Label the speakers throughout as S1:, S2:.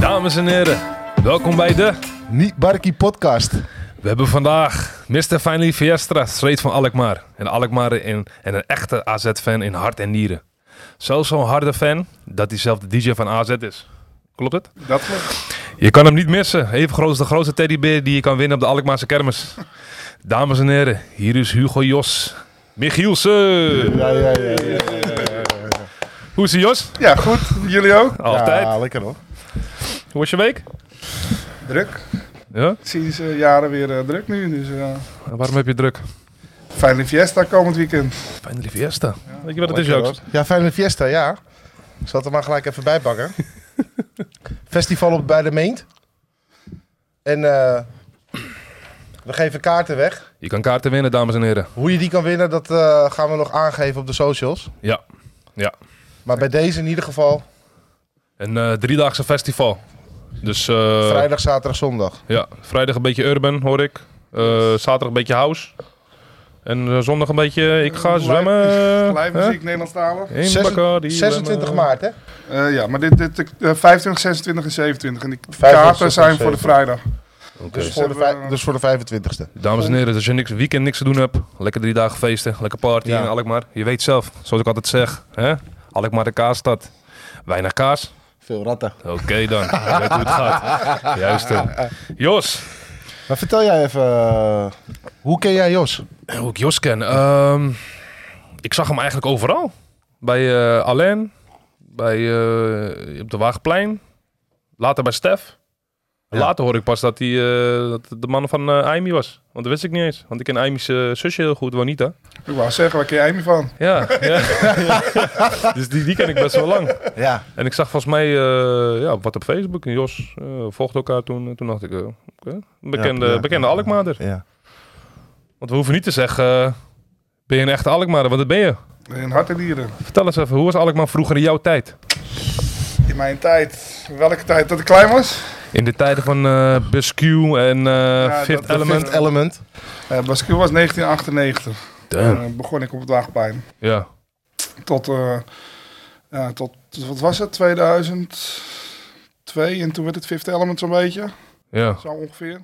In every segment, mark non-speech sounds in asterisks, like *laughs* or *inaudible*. S1: dames en heren. Welkom bij de...
S2: Niet Barkie podcast.
S1: We hebben vandaag Mr. Finally Fiestra, straight van Alkmaar. En Alkmaar in, en een echte AZ-fan in hart en nieren. Zelfs zo'n harde fan dat hij zelf de DJ van AZ is. Klopt het?
S2: Dat klopt.
S1: Je kan hem niet missen. Even groot als de grootste teddybeer die je kan winnen op de Alkmaarse kermis. Dames en heren, hier is Hugo Jos. Michielsen!
S2: Ja, ja, ja. ja.
S1: Hoe is ie, Jos?
S3: Ja, goed. Jullie ook?
S1: Altijd.
S2: Ja, lekker hoor.
S1: Hoe was je week?
S3: Druk.
S1: Ja?
S3: Sinds eh, jaren weer eh, druk nu. Dus eh
S1: En waarom heb je druk?
S3: fijne fiesta komend weekend.
S1: Finally Fiesta. Weet je wat het is,
S2: Lekker,
S1: Joost?
S2: hoor. Ja, fijne fiesta, ja. Ik zal het er maar gelijk even bij
S1: *laughs*
S2: pakken. Festival op bij de Meent. En eh, we geven kaarten weg.
S1: Je kan kaarten winnen, dames en heren.
S2: Hoe je die kan winnen, dat eh, gaan we nog aangeven op de socials.
S1: Ja.
S2: Maar bij deze in ieder geval
S1: Een eh, driedaagse festival. Dus eh,
S2: vrijdag, zaterdag, zondag.
S1: Ja, vrijdag een beetje urban, hoor ik. Eh, zaterdag een beetje house. En eh, zondag een beetje ik ga
S3: Live-
S1: zwemmen.
S3: Live
S1: hè?
S3: muziek, Nederlandstalig.
S1: In
S2: Zes-
S1: Bacardi,
S2: 26
S1: zwemmen.
S2: maart, hè?
S3: Eh ja, maar dit, dit, eh, 25, 26 en 27. En die
S2: 25,
S3: kaarten zijn voor de
S2: 27.
S3: vrijdag.
S1: Oké.
S2: Dus, voor de, vij- dus voor de 25ste.
S1: Dames en heren, als je niks, weekend niks te doen hebt, lekker drie dagen feesten, lekker party
S2: Ja.
S1: in Alkmaar. Je weet zelf, zoals ik altijd zeg, hè? Alkmaar de kaasstad. Weinig kaas.
S2: Veel ratten.
S1: Oké dan, *laughs* je weet hoe het gaat. Juist. hè. Jos,
S2: Maar vertel jij even, eh, hoe ken jij Jos?
S1: Hoe ik Jos ken? Ehm, ik zag hem eigenlijk overal. Bij eh Alain, bij, eh, op de Waagplein, later bij Stef.
S2: Ja.
S1: Later hoor ik pas dat hij eh, dat het de man van eh Aimee was. Want dat wist ik niet eens. Want ik ken Aimee's eh, zusje heel goed, Juanita.
S3: Ik wou zeggen, waar ken jij me van?
S1: Ja, *laughs* ja. dus die, die ken ik best wel lang.
S2: Ja,
S1: En ik zag volgens mij eh, ja, wat op Facebook. En Jos eh volgde elkaar toen. En toen dacht ik, eh, oké. bekende,
S2: ja.
S1: bekende dus. Alkmaarder.
S2: ja.
S1: Want we hoeven niet te zeggen, eh, ben je een echte Alkmaarder? Want dat ben je.
S3: In hart en dieren.
S1: Vertel eens even, hoe was Alkmaar vroeger in jouw tijd?
S3: In mijn tijd. Welke tijd? Dat ik klein was?
S1: In de tijden van eh Biscu en eh,
S3: dat-
S1: Fifth
S3: dat
S1: Element.
S2: Fifth Element.
S3: Eh Basque was 1998.
S1: Damn.
S3: Eh, begon ik op het Waagplein.
S1: Ja,
S3: Tot, eh, ja, tot, wat was het? 2002. En toen werd het Fifth Element zo'n beetje.
S1: ja.
S3: Zo ongeveer.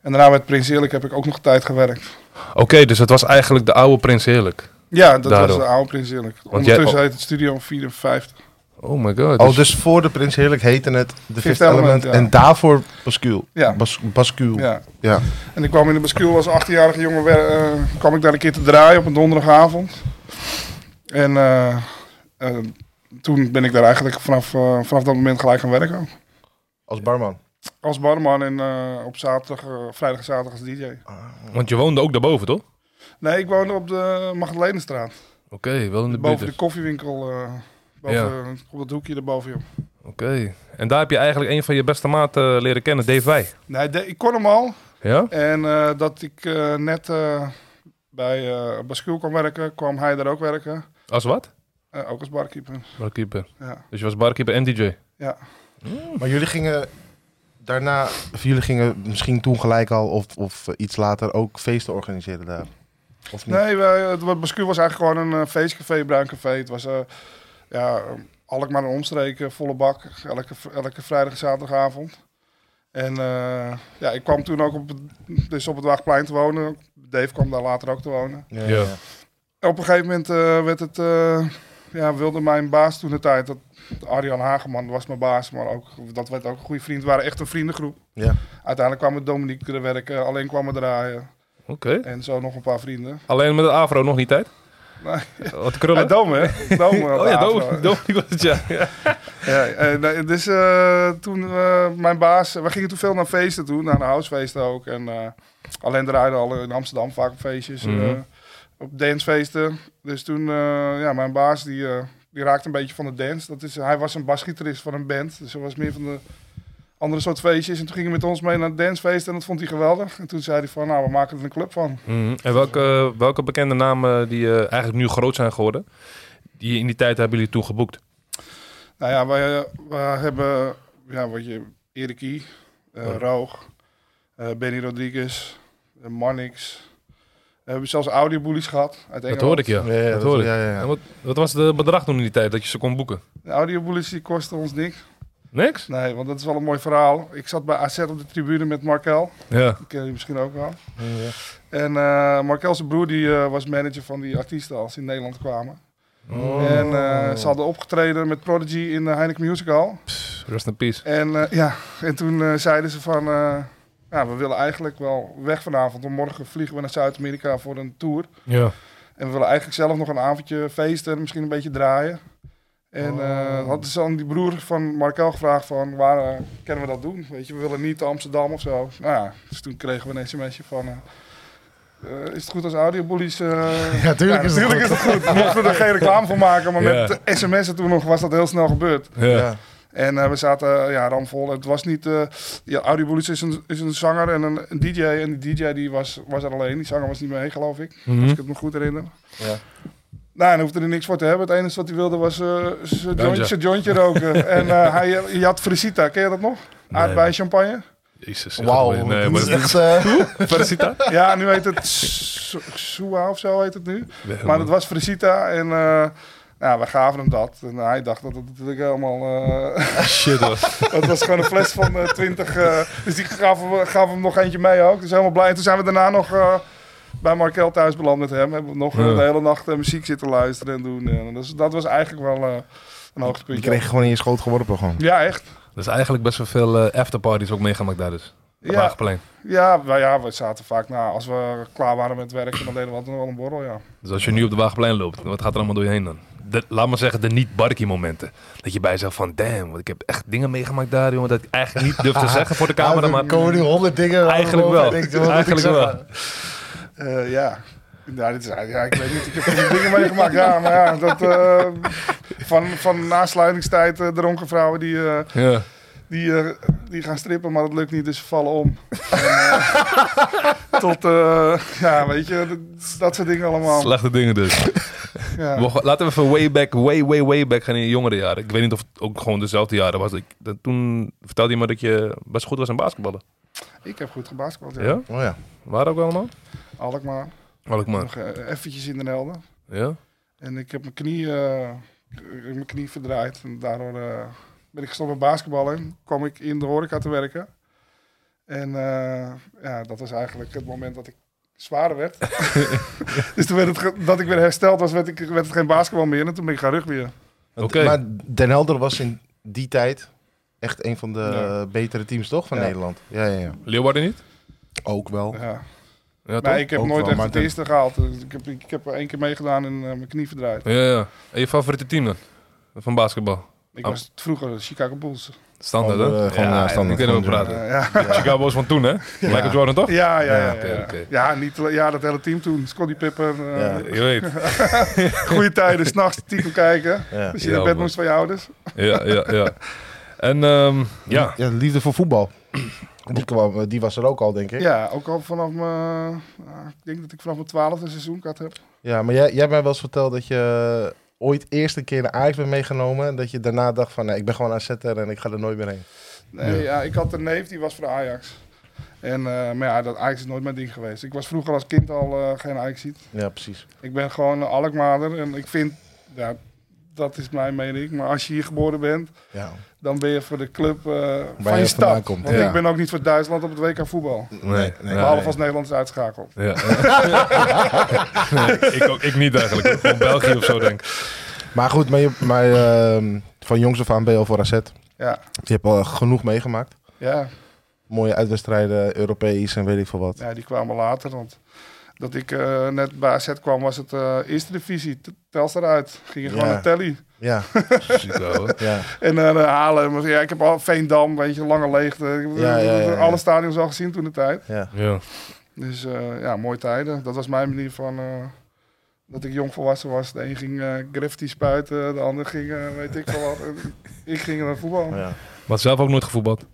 S3: En daarna met Prins Eerlijk heb ik ook nog tijd gewerkt.
S1: Oké, dus het was eigenlijk de oude Prins Heerlijk.
S3: Ja, dat
S1: Daardoor.
S3: was de oude Prins Eerlijk.
S1: jij-
S3: Ondertussen heet het Studio 54.
S1: Oh my god.
S2: Oh, dus voor de Prins Heerlijk heette het de Fifth Element.
S3: Element, ja.
S2: En daarvoor Bascule.
S3: Ja.
S2: Bas, Bascule. Ja.
S3: Ja. En ik kwam in de bascule als 18-jarige jongen. wer- eh, kwam ik daar een keer te draaien op een donderdagavond. En eh, eh, toen ben ik daar eigenlijk vanaf, eh, vanaf dat moment gelijk gaan werken.
S2: Als barman.
S3: Als barman en eh, op zaterdag, eh, vrijdag en zaterdag als DJ.
S1: Want je woonde ook daarboven, toch? Oké,
S3: Nee, ik woonde op de Magdalenenstraat.
S1: wel in de buurt.
S3: Boven de
S1: dus.
S3: koffiewinkel. eh, boven, Op dat hoekje erboven, joh.
S1: Oké. En daar heb je eigenlijk een van je beste maten eh, leren kennen, Dave Wij.
S3: Nee, de- ik kon hem al.
S1: Ja?
S3: En eh, dat ik eh, net eh, bij eh Bascule kwam werken, kwam hij daar ook werken.
S1: Als wat?
S3: Eh, ook als barkeeper.
S1: Barkeeper.
S3: Ja.
S1: Dus je was barkeeper en DJ.
S3: ja.
S2: Maar jullie gingen daarna, of jullie gingen misschien toen gelijk al of, of eh, iets later ook feesten organiseren daar. Of niet?
S3: Nee, wij, eh, het wa- Bascule was eigenlijk gewoon een eh, feestcafé, bruin café. Het was eh ja, eh, Alkmaar en omstreken, volle bak, elke, v- elke vrijdag en zaterdagavond. En eh, ja, ik kwam toen ook op het, dus op het Waagplein te wonen. Dave kwam daar later ook te wonen.
S2: Ja,
S1: Ja.
S2: ja.
S3: En op een gegeven moment eh, werd het, eh, ja, wilde mijn baas toen de tijd, dat Arjan Hageman was mijn baas, maar ook, dat werd ook een goede vriend, we waren echt een vriendengroep.
S2: Ja.
S3: Uiteindelijk kwamen Dominique er werken, alleen kwamen draaien
S1: Oké.
S3: en zo nog een paar vrienden.
S1: Alleen met de afro nog niet tijd?
S3: Nee.
S1: Wat
S3: Ja,
S1: krullen?
S3: Dom hè? Dom, eh,
S1: *laughs* oh ja,
S3: Afro.
S1: Dome. Dome, die was het, ja. ja.
S3: Ja, eh, nee, dus eh, toen eh, mijn baas, we gingen toen veel naar feesten toe, naar de housefeesten ook. En eh, alleen draaiden al in Amsterdam vaak op feestjes, eh,
S1: Mhm.
S3: op dancefeesten. Dus toen, eh, ja, mijn baas die, eh, die raakte een beetje van de dance. Dat is, hij was een basgitarist van een band, dus hij was meer van de andere soort feestjes. En toen ging hij met ons mee naar dancefeesten en dat vond hij geweldig. En toen zei hij van, nou, we maken er een club van.
S1: Mhm. En welke, welke bekende namen die eh, eigenlijk nu groot zijn geworden, die in die tijd hebben jullie toen geboekt?
S3: Nou ja, wij, eh, we hebben ja, wat je, Erikie, eh,
S1: Ja.
S3: Roog, eh, Benny Rodriguez, eh, Mannix. We hebben zelfs audioboelies gehad uit Engeland.
S1: Dat hoorde ik, ja.
S2: Ja, ja,
S1: dat hoor ik.
S2: ja, ja, ja.
S1: En wat, wat was de bedrag toen in die tijd dat je ze kon boeken?
S3: De audioboelies die kosten ons niks.
S1: Niks?
S3: Nee, want dat is wel een mooi verhaal. Ik zat bij AZ op de tribune met Markel.
S1: Ja.
S3: Die ken je misschien ook wel.
S2: Ja.
S3: En eh Markel zijn broer die, eh, was manager van die artiesten als ze in Nederland kwamen.
S1: Oh,
S3: En eh, ze hadden opgetreden met Prodigy in de Heineken Musical.
S1: Rest in peace.
S3: En eh, ja, en toen eh, zeiden ze van... eh, ja, we willen eigenlijk wel weg vanavond. Want morgen vliegen we naar Zuid-Amerika voor een tour.
S1: Ja.
S3: En we willen eigenlijk zelf nog een avondje feesten en misschien een beetje draaien. En
S2: Oh.
S3: eh hadden ze aan die broer van Markel gevraagd van waar eh, kunnen we dat doen? Weet je, we willen niet Amsterdam of zo. Nou ja, dus toen kregen we een sms'je van... eh, eh, is het goed als audiobullies? eh,
S2: *laughs* Ja, tuurlijk is het
S3: natuurlijk
S2: goed.
S3: is het goed. We mochten er geen reclame van maken, maar
S1: Ja.
S3: met de sms'en toen nog was dat heel snel gebeurd.
S1: Ja.
S2: Ja.
S3: En eh, we zaten eh, ja, ramvol. Het was niet... eh ja, Audi Bullis is een, is een zanger en een, een DJ. En die DJ die was, was er alleen. Die zanger was niet mee, geloof ik.
S1: Mhm. Hm.
S3: Als ik het me goed herinner.
S2: Ja.
S3: Nou, dan hoefde er niks voor te hebben. Het enige wat hij wilde was eh, zijn
S1: Jointje.
S3: jointje, zijn jointje
S1: *laughs*
S3: roken. en eh, hij, je had Frisita, ken je dat nog?
S1: Nee.
S3: Aardbei champagne?
S1: Jezus. ik
S2: Wauw,
S1: ga er weer- Nee,
S2: dat
S1: maar
S2: is echt... *laughs* eh,
S1: Felicita?
S3: *laughs* Ja, nu heet het Su- Sua of zo heet het nu. *laughs* Maar dat was Frisita en eh nou, we gaven hem dat. En hij dacht dat het natuurlijk helemaal... eh,
S1: shit was.
S3: Het was gewoon een fles van eh, 20. eh, dus die gaven, we- gaven hem nog eentje mee ook. Dus helemaal blij. En toen zijn we daarna nog eh, bij Markel thuis beland met hem. Hebben we nog eh,
S1: Ja.
S3: de hele nacht eh, muziek zitten luisteren en doen. En dus dat was eigenlijk wel eh, een
S2: Die
S3: hoogtepuntje.
S2: kreeg je gewoon in je schoot geworpen gewoon.
S3: Ja, echt.
S1: Dus eigenlijk best wel veel eh, afterparties ook meegemaakt daar dus. Op
S3: Ja,
S1: Haagplein.
S3: ja, wij- ja, we zaten vaak na. Als we klaar waren met werken, dan deden we altijd nog wel een borrel, ja.
S1: Dus als je nu op de Wagenplein loopt, wat gaat er allemaal door je heen dan? De, laat maar zeggen, de niet-barkie momenten. Dat je bij jezelf van, damn, want ik heb echt dingen meegemaakt daar, jongen, dat ik eigenlijk niet durf te zeggen voor de camera,
S2: Ah,
S1: maar
S2: er komen nu honderd dingen.
S1: eigenlijk
S2: waarvan
S1: wel.
S2: ik denk, wat moet ik
S1: Eigenlijk
S2: zeggen?
S1: wel.
S3: Eh, ja. Ja, dit is, ja, ik weet niet. Ik heb van die dingen meegemaakt. Ja, maar ja, dat, eh, van, van nasluitingstijd, eh, dronken vrouwen die... eh,
S1: Ja.
S3: Die, eh, die gaan strippen, maar dat lukt niet, dus ze vallen om. En, eh, tot, eh, ja, weet je, dat, dat soort dingen allemaal.
S1: Slechte dingen dus.
S3: Ja.
S1: We gaan- Laten we even way back, way, way, way back gaan in je jongere jaren. Ik weet niet of het ook gewoon dezelfde jaren was. Ik, dat, toen vertelde je me dat je best goed was aan basketballen.
S3: Ik heb goed gebasketbald, ja.
S1: Ja?
S2: Oh ja.
S1: Waar ook allemaal?
S3: Alkmaar,
S1: Alkmaar.
S3: nog eh, eventjes in de Nelde.
S1: Ja?
S3: En ik heb mijn knie, eh, ik heb mijn knie verdraaid en daardoor eh, ben ik gestopt met basketballen. Kwam ik in de horeca te werken. En eh, ja, dat was eigenlijk het moment dat ik zwaarder werd. *laughs* dus toen werd het ge- dat ik weer hersteld was, werd, ik, werd het geen basketbal meer. En toen ben ik gaan rugbieren.
S1: Oké.
S2: Maar Den Helder was in die tijd echt een van de
S3: Ja.
S2: eh, betere teams toch van
S3: Ja.
S2: Nederland. Ja, ja, ja.
S1: Leeuwarden niet?
S2: Ook wel.
S3: Ja.
S1: Ja, toch?
S3: Maar ik heb
S2: Ook
S3: nooit
S2: wel,
S3: echt
S2: maar
S3: het
S2: dat-
S3: eerste gehaald. Dus ik, heb, ik heb er één keer meegedaan en eh, mijn knie verdraaid.
S1: Ja, ja. En je favoriete team dan? Van basketbal?
S3: Ik
S1: Oh.
S3: was vroeger de Chicago Bulls.
S1: Standaard, hè?
S2: Oh, eh, gewoon, eh, standaard.
S1: Ik
S2: Gewoon
S1: kan
S2: doen.
S1: praten.
S3: Eh, ja. *laughs*
S1: Chicago was van toen, hè? Michael Jordan, toch?
S3: Ja, ja, ja. Ja,
S2: Ja,
S3: ja,
S1: oké, oké.
S3: Ja, niet, ja, dat hele team toen. Scottie Pippen. eh,
S2: Ja.
S1: Je weet.
S3: Goede tijden, s'nachts titel kijken.
S2: Ja.
S3: Als je
S1: Ja,
S3: in bed
S1: man.
S3: moest van je ouders.
S1: Ja, ja, ja. En ehm, *laughs* ja,
S2: de liefde voor voetbal. Die, kwam, eh, die was er ook al, denk ik. Ja,
S3: Ja, ook al vanaf mijn... ah, ik denk dat ik vanaf mijn twaalfde seizoen kat heb.
S2: maar jij, jij hebt mij wel eens verteld dat je ooit eerst een keer naar Ajax bent meegenomen. En dat je daarna dacht van, nee, ik ben gewoon AZ'er en ik ga er nooit meer heen.
S3: Nee, ja. ik had een neef die was voor Ajax. En, eh, maar ja, dat Ajax is nooit mijn ding geweest. Ik was vroeger als kind al eh, geen ajax
S2: Ja, precies.
S3: Ik ben gewoon een Alkmaarder en ik vind, ja, dat is mijn mening, maar als je hier geboren bent,
S2: Ja.
S3: dan ben je voor de club eh, van
S2: vandaan
S3: je stad.
S2: komt,
S3: Want
S2: ja.
S3: ik ben ook niet voor Duitsland op het WK voetbal.
S1: nee.
S2: nee.
S1: Ja,
S3: Behalve
S1: nee.
S3: als Nederland is uitschakeld. *laughs*
S1: Ja. nee, ik, ook, ik niet eigenlijk. Van België of zo, denk ik.
S2: Maar goed, maar je, maar, ehm, van jongs af aan ben je al voor AZ.
S3: Ja,
S2: Je hebt al genoeg meegemaakt.
S3: ja.
S2: Mooie uitwedstrijden, Europees en weet ik veel wat.
S3: ja die kwamen later. Want dat ik eh, net bij AZ kwam, was het eh, eerste divisie. T- Telstar uit. Ging je gewoon
S2: Ja.
S3: naar Telly.
S2: Ja,
S1: Ziek wel, hoor.
S2: ja.
S3: En dan Halen. Ja, ik heb al Veendam, weet je, lange leegte. Ik-
S2: Ja, ja, ja, ja.
S3: Alle stadions al gezien toen de tijd.
S2: ja.
S1: Ja.
S3: Dus eh, ja, mooie tijden. Dat was mijn manier van eh, dat ik jong volwassen was. De een ging eh graffiti spuiten, de ander ging eh, weet ik veel wat. En ik ging naar voetbal.
S2: ja.
S1: Maar zelf ook nooit gevoetbald.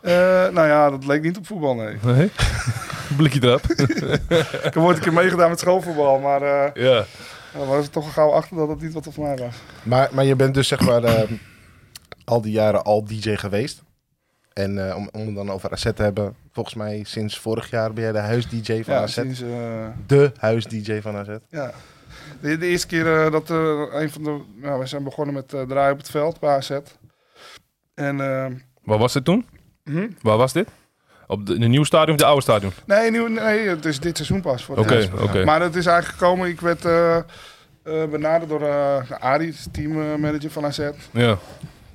S3: Eh, nou ja, dat leek niet op voetbal, nee.
S1: Nee? *laughs* Blikje erop.
S3: Ik heb ooit een keer meegedaan met schoolvoetbal, maar eh
S1: Ja.
S3: we waren er toch gauw achter dat dat niet wat er voor mij was.
S2: Maar, maar je bent dus zeg maar ehm, al die jaren al DJ geweest. En eh, om, om het dan over AZ te hebben. Volgens mij sinds vorig jaar ben jij de huis-DJ van
S3: Ja,
S2: AZ.
S3: sinds, eh,
S2: De huis-DJ van AZ.
S3: ja. De, de eerste keer eh, dat eh, een van de... Nou, we zijn begonnen met eh draaien op het veld bij AZ. En, eh,
S1: Waar was dit toen?
S3: hm?
S1: Waar was dit? Op de, de nieuwe stadion of de oude stadion?
S3: nee, nieuw, nee, het is dit seizoen pas. voor het
S1: Oké,
S3: eerst.
S1: oké.
S3: Maar het is eigenlijk gekomen, ik werd eh, eh, benaderd door eh Ari, teammanager van AZ.
S1: Ja.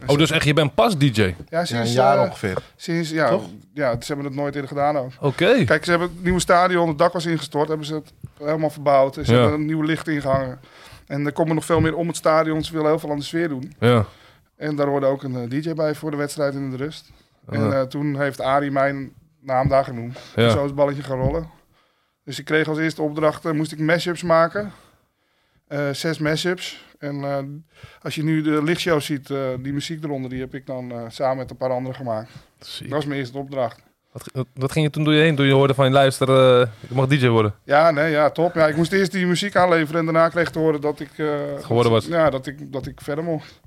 S1: Oh, dus echt, je bent pas DJ? Oké.
S3: Ja,
S2: Ja,
S3: sinds,
S2: een
S3: eh,
S2: jaar ongeveer.
S3: sinds, ja,
S2: Toch?
S3: ja, ze hebben het nooit eerder gedaan ook. Kijk, ze hebben het nieuwe stadion, het dak was ingestort, hebben ze het helemaal verbouwd. Ze
S1: Ja.
S3: hebben er een nieuw licht ingehangen. En er komen nog veel meer om het stadion, ze willen heel veel aan de sfeer doen.
S1: Ja.
S3: En daar hoorde ook een eh, DJ bij voor de wedstrijd in de rust. En
S1: Ja.
S3: eh, toen heeft Arie mijn naam daar genoemd. En zo
S1: Ja.
S3: is het balletje gaan rollen. Dus ik kreeg als eerste opdracht, eh, moest ik mashups maken. Eh, zes mashups. En eh, als je nu de lichtshow ziet, eh, die muziek eronder, die heb ik dan eh, samen met een paar anderen gemaakt.
S1: Zie.
S3: Dat was mijn eerste opdracht.
S1: Wat, wat- wat ging je toen door je heen? Toen je hoorde van, luister, eh je mag DJ worden.
S3: Ja, nee, ja, top. Ja, ik moest eerst die muziek aanleveren en daarna kreeg ik te horen dat ik... eh,
S1: Geworden was.
S3: Ja, dat ik, dat ik verder mocht.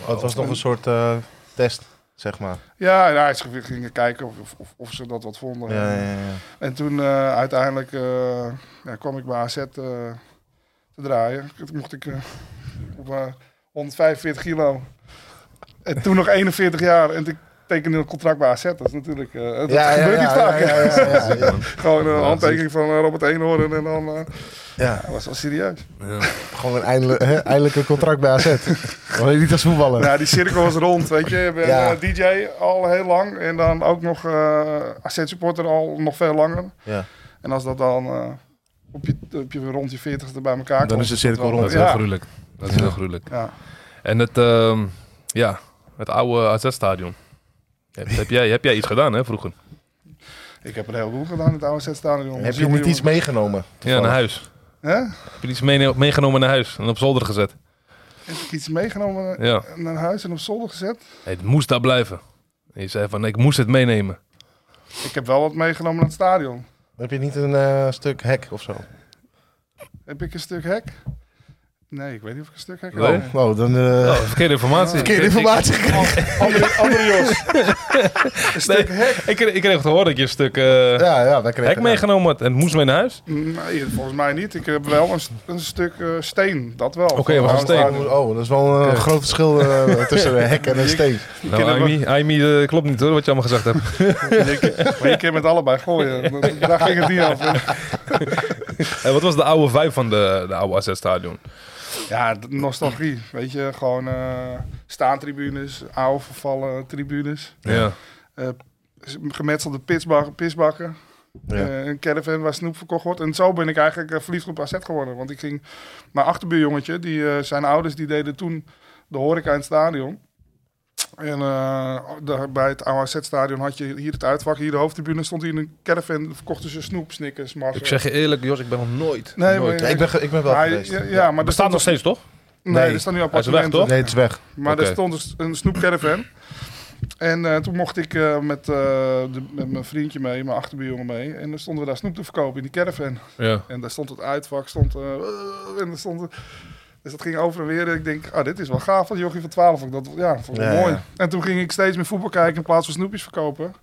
S2: Oh, het was nog een soort eh, test, zeg maar.
S3: Ja, ja, ze gingen kijken of, of- of, of ze dat wat vonden.
S2: Ja, ja, ja. ja.
S3: En toen eh, uiteindelijk eh, ja, kwam ik bij AZ eh, te draaien. Toen mocht ik eh, op eh, 145 kilo. En toen nog 41 jaar. En ik tekende een contract bij AZ. Dat is natuurlijk... eh, dat
S2: Ja, ja,
S3: gebeurt
S2: ja,
S3: niet vaak.
S2: ja, ja, ja, ja, ja, ja.
S3: *laughs* Gewoon een
S1: Ja,
S3: handtekening van eh, Robert Eenhoorn. En dan... eh,
S2: Ja,
S3: dat was wel serieus.
S2: gewoon een eindelijk, hè, eindelijk een contract *laughs* bij AZ. Wil je niet als voetballer?
S3: Nou, die cirkel was rond, weet je. Ik ben
S2: Ja.
S3: eh, DJ al heel lang. En dan ook nog eh AZ-supporter al nog veel langer.
S2: Ja.
S3: En als dat dan eh, op je, op je, rond je 40ste bij elkaar komt...
S2: Dan is de cirkel
S1: Dat
S2: rond.
S1: is heel
S3: Ja.
S1: gruwelijk. Dat is heel gruwelijk.
S3: Ja.
S1: En het, ehm, ja, het oude AZ-stadion. Heb, heb jij, heb jij iets gedaan, hè, vroeger?
S3: Ik heb een heleboel gedaan in het oude Z-stadion.
S2: Heb je niet iets meegenomen?
S1: Ja, nou, naar huis.
S3: Hè?
S1: Heb je iets meene- meegenomen naar huis en op zolder gezet?
S3: Heb ik iets meegenomen
S1: Ja.
S3: naar huis en op zolder gezet?
S1: Het moest daar blijven. En je zei van, ik moest het meenemen.
S3: Ik heb wel wat meegenomen naar het stadion.
S2: Heb je niet een eh, stuk hek of zo?
S3: Heb ik een stuk hek? Nee, ik weet niet of ik een stuk hek
S1: Nee.
S3: heb.
S2: Oh, dan... eh
S1: Oh,
S2: *laughs*
S1: verkeerde informatie.
S2: Verkeerde
S1: Ik- ik-
S2: informatie gekregen.
S3: Andere, andere Jos. een stuk
S1: Nee.
S3: hek?
S1: Ik, kreeg- ik kreeg te horen dat je een stuk eh
S2: Ja, ja, wij kregen...
S1: hek meegenomen had en het moest mee naar huis.
S3: Nee, volgens mij niet. Ik heb wel een, st- een stuk eh, steen. Dat wel.
S1: Oké,
S3: Van
S1: maar
S3: het oude
S1: een steen.
S3: stadion.
S2: Oh, dat is wel een
S1: Oké.
S2: groot verschil eh, tussen een hek en een steen.
S3: Die
S1: Nou,
S3: kennen we-
S1: Aimee, Aimee, eh, klopt niet hoor, wat je allemaal gezegd hebt.
S3: Maar je kan met allebei gooien.
S1: *laughs*
S3: Dat- Daar ging het niet over.
S1: Eh, wat was de oude vibe van de, de oude AZ-stadion?
S3: Ja, d- nostalgie. Weet je, gewoon eh, staantribunes, oude vervallen tribunes.
S1: Ja.
S3: gemetselde pisbak, pisbakken.
S2: Ja.
S3: Eh, een caravan waar snoep verkocht wordt. En zo ben ik eigenlijk eh, verliefd op AZ geworden. Want ik ging... Mijn achterbuurjongetje, die, eh, zijn ouders, die deden toen de horeca in het stadion. En eh, daar- bij het oude AZ-stadion had je hier het uitvak, hier de hoofdtribune. Stond hier een caravan, verkochten ze snoep, snickers, marsen.
S1: Ik zeg je eerlijk, Jos, ik ben nog nooit.
S3: Nee,
S1: nooit.
S3: maar-
S2: Ja, ik, ben, ge- ik ben wel
S3: Maar-
S2: geweest.
S3: ja, ja, maar
S1: Er staat
S3: er stond
S1: nog steeds, toch?
S3: Nee,
S2: Nee.
S3: er staan nu
S1: Hij is weg,
S3: appartementen.
S1: toch?
S2: Nee, het is weg.
S3: Maar
S1: Oké.
S3: er stond een s- een snoepcaravan. En eh, toen mocht ik eh, met, eh, de- met mijn vriendje mee, mijn achterbuurjongen mee. En dan stonden we daar snoep te verkopen in die caravan.
S1: Ja.
S3: En daar stond het uitvak, stond... eh, en daar stond dus dat ging over en weer. En ik denk, ah, dit is wel gaaf, dat jochie van 12. vond Ik dat, ja, vond ik
S2: Ja,
S3: mooi.
S2: ja.
S3: En toen ging ik steeds meer voetbal kijken in plaats van snoepjes verkopen.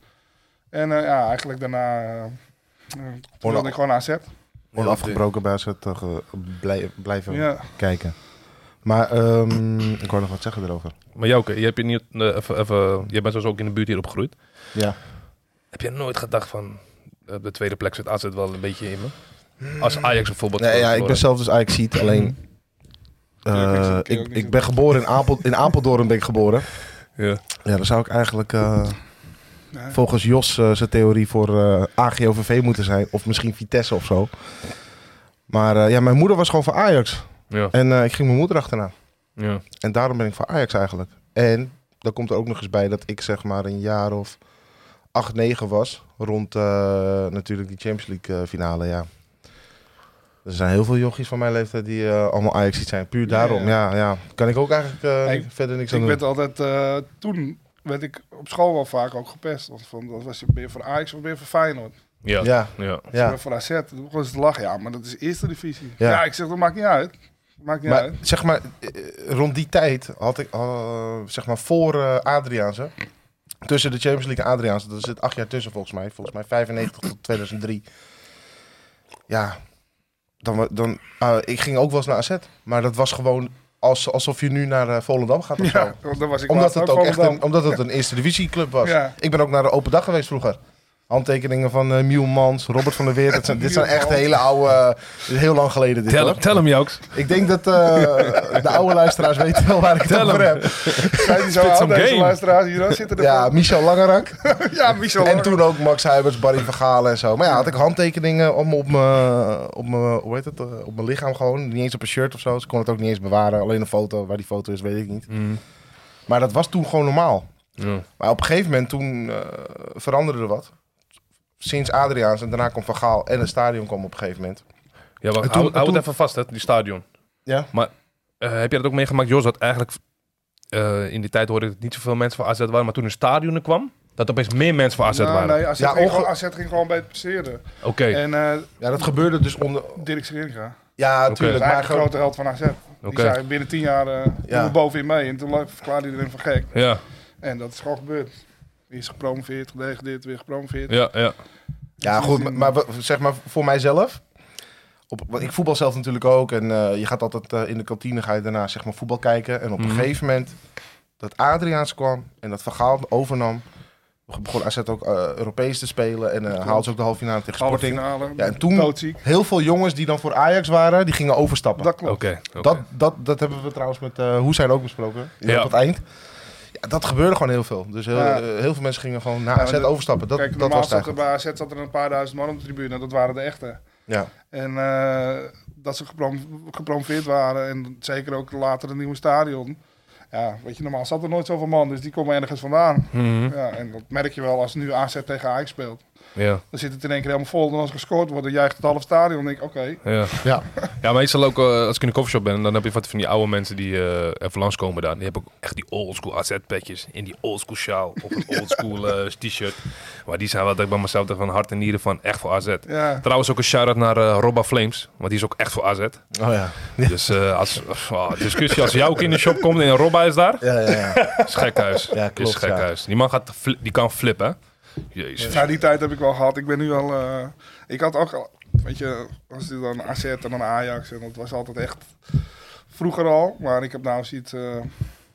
S3: En eh, ja, eigenlijk daarna... eh, eh, toen
S2: nou-
S3: wilde ik gewoon AZ.
S2: Onafgebroken bij ze toch eh, blij- blijven
S3: Ja.
S2: kijken. Maar ehm, ik wou nog wat zeggen erover.
S1: Maar Jouke, je, hebt je, niet, eh, even, even, je bent zoals ook in de buurt hier opgegroeid.
S2: Ja.
S1: Heb je nooit gedacht van, eh, op de tweede plek zit AZ wel een beetje in me? Als Ajax bijvoorbeeld.
S2: Hmm. Nee, ja, ik
S1: verloren.
S2: ben zelf dus eigenlijk ziet. Alleen, eh,
S3: Ja, ik zie het ook
S2: ik,
S3: niet
S2: ik
S3: zo.
S2: ben geboren in, Apel, in Apeldoorn ben ik geboren.
S1: Ja.
S2: Ja, dan zou ik eigenlijk eh,
S3: Ja.
S2: volgens Jos eh, zijn theorie voor eh, AGOVV moeten zijn. Of misschien Vitesse of zo. Maar eh, ja, mijn moeder was gewoon voor Ajax.
S1: Ja.
S2: En eh, ik ging mijn moeder achterna.
S1: ja.
S2: En daarom ben ik voor Ajax eigenlijk. En dan komt er ook nog eens bij dat ik zeg maar een jaar of 8, 9 was. Rond eh, natuurlijk die Champions League eh, finale, ja. Er zijn heel veel jochies van mijn leeftijd die eh, allemaal Ajax zijn. Puur daarom, ja. ja, Kan ik ook eigenlijk eh,
S3: Nee,
S2: verder niks aan
S3: Dus Ik
S2: doen.
S3: werd altijd, eh, toen werd ik op school wel vaak ook gepest. Want van, dat was je, ben je voor Ajax of ben je voor Feyenoord?
S1: Ja. ja.
S2: Ja,
S3: Ja.
S2: ja.
S3: voor AZ. Toen begonnen ze te lachen. Ja, maar dat is eerste divisie.
S2: Ja.
S3: Ja, ik zeg, dat maakt niet uit. Maakt niet
S2: Maar
S3: uit.
S2: zeg maar, eh, eh, rond die tijd had ik, eh, zeg maar voor eh Adriaanse, tussen de Champions League en Adriaanse, daar zit acht jaar tussen volgens mij, volgens mij 95 tot 2003. ah, Ja, dan, wa- dan, eh, ik ging ook wel eens naar AZ, maar dat was gewoon, al- als, alsof je nu naar eh, Volendam gaat of zo.
S3: Ja, want daar was ik
S2: Omdat
S3: laatst
S2: het ook echt
S3: Volendam.
S2: een, omdat het een eerste divisieclub was.
S3: Ja.
S2: Ik ben ook naar de open dag geweest vroeger. Handtekeningen van eh Miel Mans, Robert van der Weer. Dat zijn, dit zijn echt
S3: Mans.
S2: hele oude... eh, dit is heel lang geleden dit
S1: Tel,
S2: hoor.
S1: tel hem, Jooks.
S2: Ik denk dat eh, de oude luisteraars weten wel waar ik het
S1: Tel
S2: over
S1: hem.
S2: heb.
S3: Zijn
S2: *laughs*
S3: die zo
S1: Spits
S3: oud,
S1: om
S3: deze
S1: game.
S3: luisteraars hier? dan Zitten er
S2: Ja, Michel Langerak.
S3: *laughs* ja Michel.
S2: En toen ook Max Huibers, Barry van Galen en zo. Maar ja, had ik handtekeningen om, op mijn op mijn- hoe heet het, eh, op mijn lichaam gewoon. Niet eens op een shirt of zo. Ze kon het ook niet eens bewaren. Alleen een foto. Waar die foto is, weet ik niet.
S1: Mm.
S2: Maar dat was toen gewoon normaal.
S1: Ja.
S2: Maar op een gegeven moment toen eh, veranderde er wat. Sinds Adriaans en daarna kwam Van Gaal en het stadion kwam op een gegeven moment.
S1: Ja,
S2: En
S1: wacht,
S2: toen-
S1: hou, hou
S2: toen-
S1: het even vast, hè, die stadion.
S2: Ja.
S1: Maar eh, heb jij dat ook meegemaakt, Jos? Dat eigenlijk eh, in die tijd hoorde ik dat niet zoveel mensen van AZ waren, maar toen een stadion er kwam, dat opeens meer mensen van AZ
S2: Nou,
S1: waren.
S3: Nou, Nee, AZ,
S2: Ja,
S3: ging
S2: onge-
S3: gewoon, AZ ging gewoon bij het passeren.
S1: Oké,
S3: En eh
S2: Ja, dat gebeurde dus onder...
S3: Dirk Scheringa.
S2: Ja,
S1: Oké.
S3: Dat
S2: tuurlijk.
S3: is
S2: Maar
S3: eigenlijk de
S2: gewoon...
S3: grote held van AZ. Die
S1: Oké.
S3: zei binnen tien jaar eh
S2: Ja.
S3: doen we bovenin mee. En toen la- verklaarde iedereen van gek.
S1: ja,
S3: En dat is gewoon gebeurd. Die is gepromoveerd, gedegradeerd, weer gepromoveerd.
S1: ja, ja.
S2: Ja,
S3: Dus
S2: goed. maar- Maar wat- zeg maar voor mijzelf. Op, want ik voetbal zelf natuurlijk ook. En eh, je gaat altijd eh, in de kantine ga je daarna zeg maar, voetbal kijken. En op
S1: Mhm.
S2: een gegeven moment dat Adriaans kwam en dat Van Gaal overnam. Begon AZ ook eh, Europees te spelen. En eh haalde ze ook de halve finale tegen
S3: Halve
S2: Sporting.
S3: finale,
S2: Ja, en toen-
S3: doodziek.
S2: Heel veel jongens die dan voor Ajax waren, die gingen overstappen.
S3: Dat klopt.
S1: Oké. oké.
S2: Dat, dat, dat hebben we trouwens met eh Hoe zijn ook besproken.
S1: Ja.
S2: Ja. Op het eind. Ja, dat gebeurde gewoon heel veel. Dus heel,
S3: Ja.
S2: eh, heel veel mensen gingen gewoon naar
S3: Ja,
S2: AZ
S3: maar dat-
S2: overstappen. Dat,
S3: Kijk,
S2: dat
S3: normaal
S2: was het
S3: zat er
S2: eigenlijk.
S3: bij AZ zat er een paar duizend man op de tribune. Dat waren de echte.
S2: Ja.
S3: En eh, dat ze geprom gepromoveerd waren. En zeker ook later het nieuwe stadion. Ja, weet je, normaal zat er nooit zoveel man. Dus die komen ergens vandaan.
S1: Mhm,
S3: Ja, en dat merk je wel als nu AZ tegen Ajax speelt.
S1: ja,
S3: Dan zit het in één keer helemaal vol. En als er gescoord wordt, dan juicht het half stadion. En denk ik, oké.
S1: ja.
S2: Ja.
S1: Ja, meestal ook eh, als ik in de coffeeshop ben, dan heb je wat van die oude mensen die eh even langskomen daar. Die hebben ook echt die oldschool AZ-petjes in die oldschool sjaal of
S2: *laughs*
S1: een oldschool eh, t-shirt. Maar die zijn wel dat ik bij mezelf denk van hart en nieren van echt voor AZ.
S3: Ja,
S1: Trouwens ook een shout-out naar eh, Robba Flames, want die is ook echt voor AZ.
S2: Oh ja.
S1: Dus eh, als, oh, discussie als jou ook in de shop komt en Robba is daar,
S2: Ja, ja, ja. *laughs*
S1: is gekhuis.
S2: Ja, klopt,
S1: is gekhuis. Die man gaat fli- die kan flippen. hè? Jezus.
S3: Ja, die tijd heb ik wel gehad. Ik ben nu al. eh, ik had ook al. Weet je, was dit dan AZ en dan Ajax. En dat was altijd echt. Vroeger al. Maar ik heb nou zoiets. eh,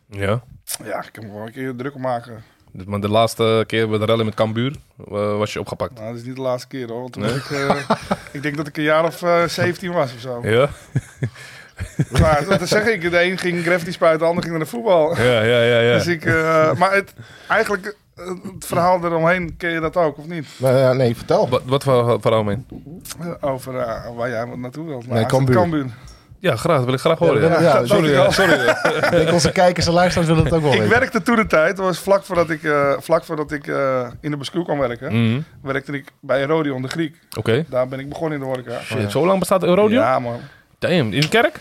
S1: Ja.
S3: ja, ik kan me wel een keer druk om maken.
S1: Dus, Maar de laatste keer bij de rellen met Cambuur eh, was je opgepakt.
S3: Nou, dat is niet de laatste keer hoor. Want toen
S1: Nee?
S3: was ik, eh, ik denk dat ik een jaar of eh, 17 was of zo.
S1: Ja?
S3: Maar dat zeg ik. De een ging graffiti spuiten, de ander ging naar de voetbal.
S1: Ja, ja, ja.
S2: *laughs*
S3: Dus
S1: ja.
S3: ik, eh, maar het, eigenlijk, eh, het verhaal eromheen ken je dat ook, of niet?
S2: Nou ja, nee, vertel.
S1: Wat, wat voor verhaal, man?
S3: Over eh, waar jij naartoe wilt. Maar
S2: Nee,
S3: als het
S2: Cambuur.
S1: Ja, graag. Dat wil ik graag horen. Ja,
S2: Ja, *laughs* ja,
S1: sorry.
S3: dankjewel.
S1: eh, sorry. eh.
S2: Ik denk onze kijkers en luisteraars willen het ook wel
S3: Ik
S2: weten.
S3: werkte toen de tijd, dat was vlak voordat ik, eh, vlak voordat ik eh, in de Bascoe kwam werken,
S1: Mhm.
S3: werkte ik bij Rodion de Griek.
S1: Oké.
S3: Daar ben ik begonnen in de horeca.
S1: Shit, Zo lang bestaat Erodion?
S3: Ja, man.
S1: Damn. In de kerk?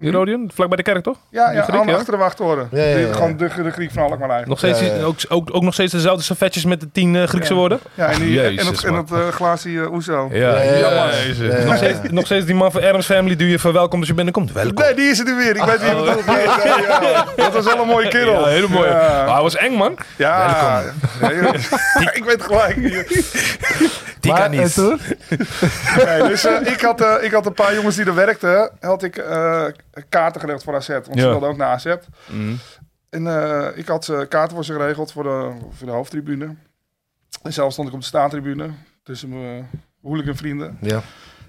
S1: Erodion? Vlak bij de kerk, toch?
S3: Ja,
S1: De
S3: ja,
S1: Griek,
S3: aan de
S1: ja?
S3: achterwachttoren.
S2: Ja, ja, ja,
S3: Die-
S2: ja.
S3: Gewoon de, de Griek van Alkmaar eigenlijk.
S1: Nog steeds,
S2: Ja, ja, ja.
S1: Ook, ook, ook nog steeds dezelfde servetjes met de tien eh, Griekse
S3: Ja.
S1: woorden?
S3: Ja, en, die,
S1: Jezus,
S3: en het, en
S1: man.
S3: het eh, glaasje eh, Oezo.
S1: Ja,
S2: Ja, ja,
S1: ja,
S2: ja.
S1: jezus.
S2: Ja, ja.
S1: Nog, steeds, nog steeds die man van Adams Family die je verwelkomt als je binnenkomt. Welkom.
S3: Nee, die is het weer. Ik weet wie je
S1: Oh.
S3: bedoelt. Ja, ja, ja. Dat was wel een mooie kerel.
S1: Ja, hele mooie. Ah,
S3: Ja.
S1: Maar hij was eng, man.
S3: Ja, Nee, *laughs* ik weet gelijk.
S1: Die kan
S2: eh,
S1: niet.
S3: Nee, dus eh, ik, had, eh, ik had een paar jongens die er werkten, had ik eh, kaarten geregeld voor AZ. Want ze
S1: Ja.
S3: wilden ook naar AZ.
S1: Mm.
S3: En eh, ik had eh, kaarten voor ze geregeld voor de, voor de hoofdtribune. En zelf stond ik op de staantribune tussen eh, mijn hooligan vrienden.
S2: Ja.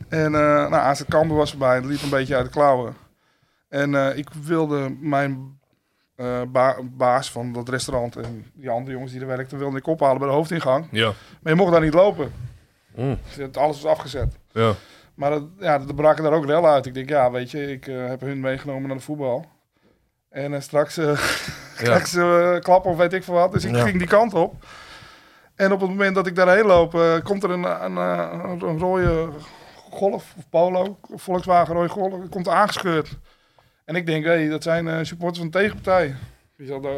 S3: En eh nou, AZ Cambuur was voorbij. Het liep een beetje uit de klauwen. En eh, ik wilde mijn eh, ba- baas van dat restaurant en die andere jongens die er werkten, wilde ik ophalen bij de hoofdingang.
S1: Ja.
S3: Maar je mocht daar niet lopen.
S1: Mm.
S3: Dus het- Alles was afgezet.
S1: Ja.
S3: Maar dat, ja, er braken daar ook wel uit. Ik denk, ja, weet je, ik eh, heb hun meegenomen naar de voetbal. En eh, straks eh, *laughs*
S1: Ja.
S3: krijgen ze eh, klap of weet ik veel wat. Dus ik
S2: Ja.
S3: ging die kant op. En op het moment dat ik daarheen loop, eh, komt er een, een, eh, een, een rode golf of polo, Volkswagen rode golf, komt aangescheurd. En ik denk, hé, dat zijn eh, supporters van de tegenpartij. Die zal, eh,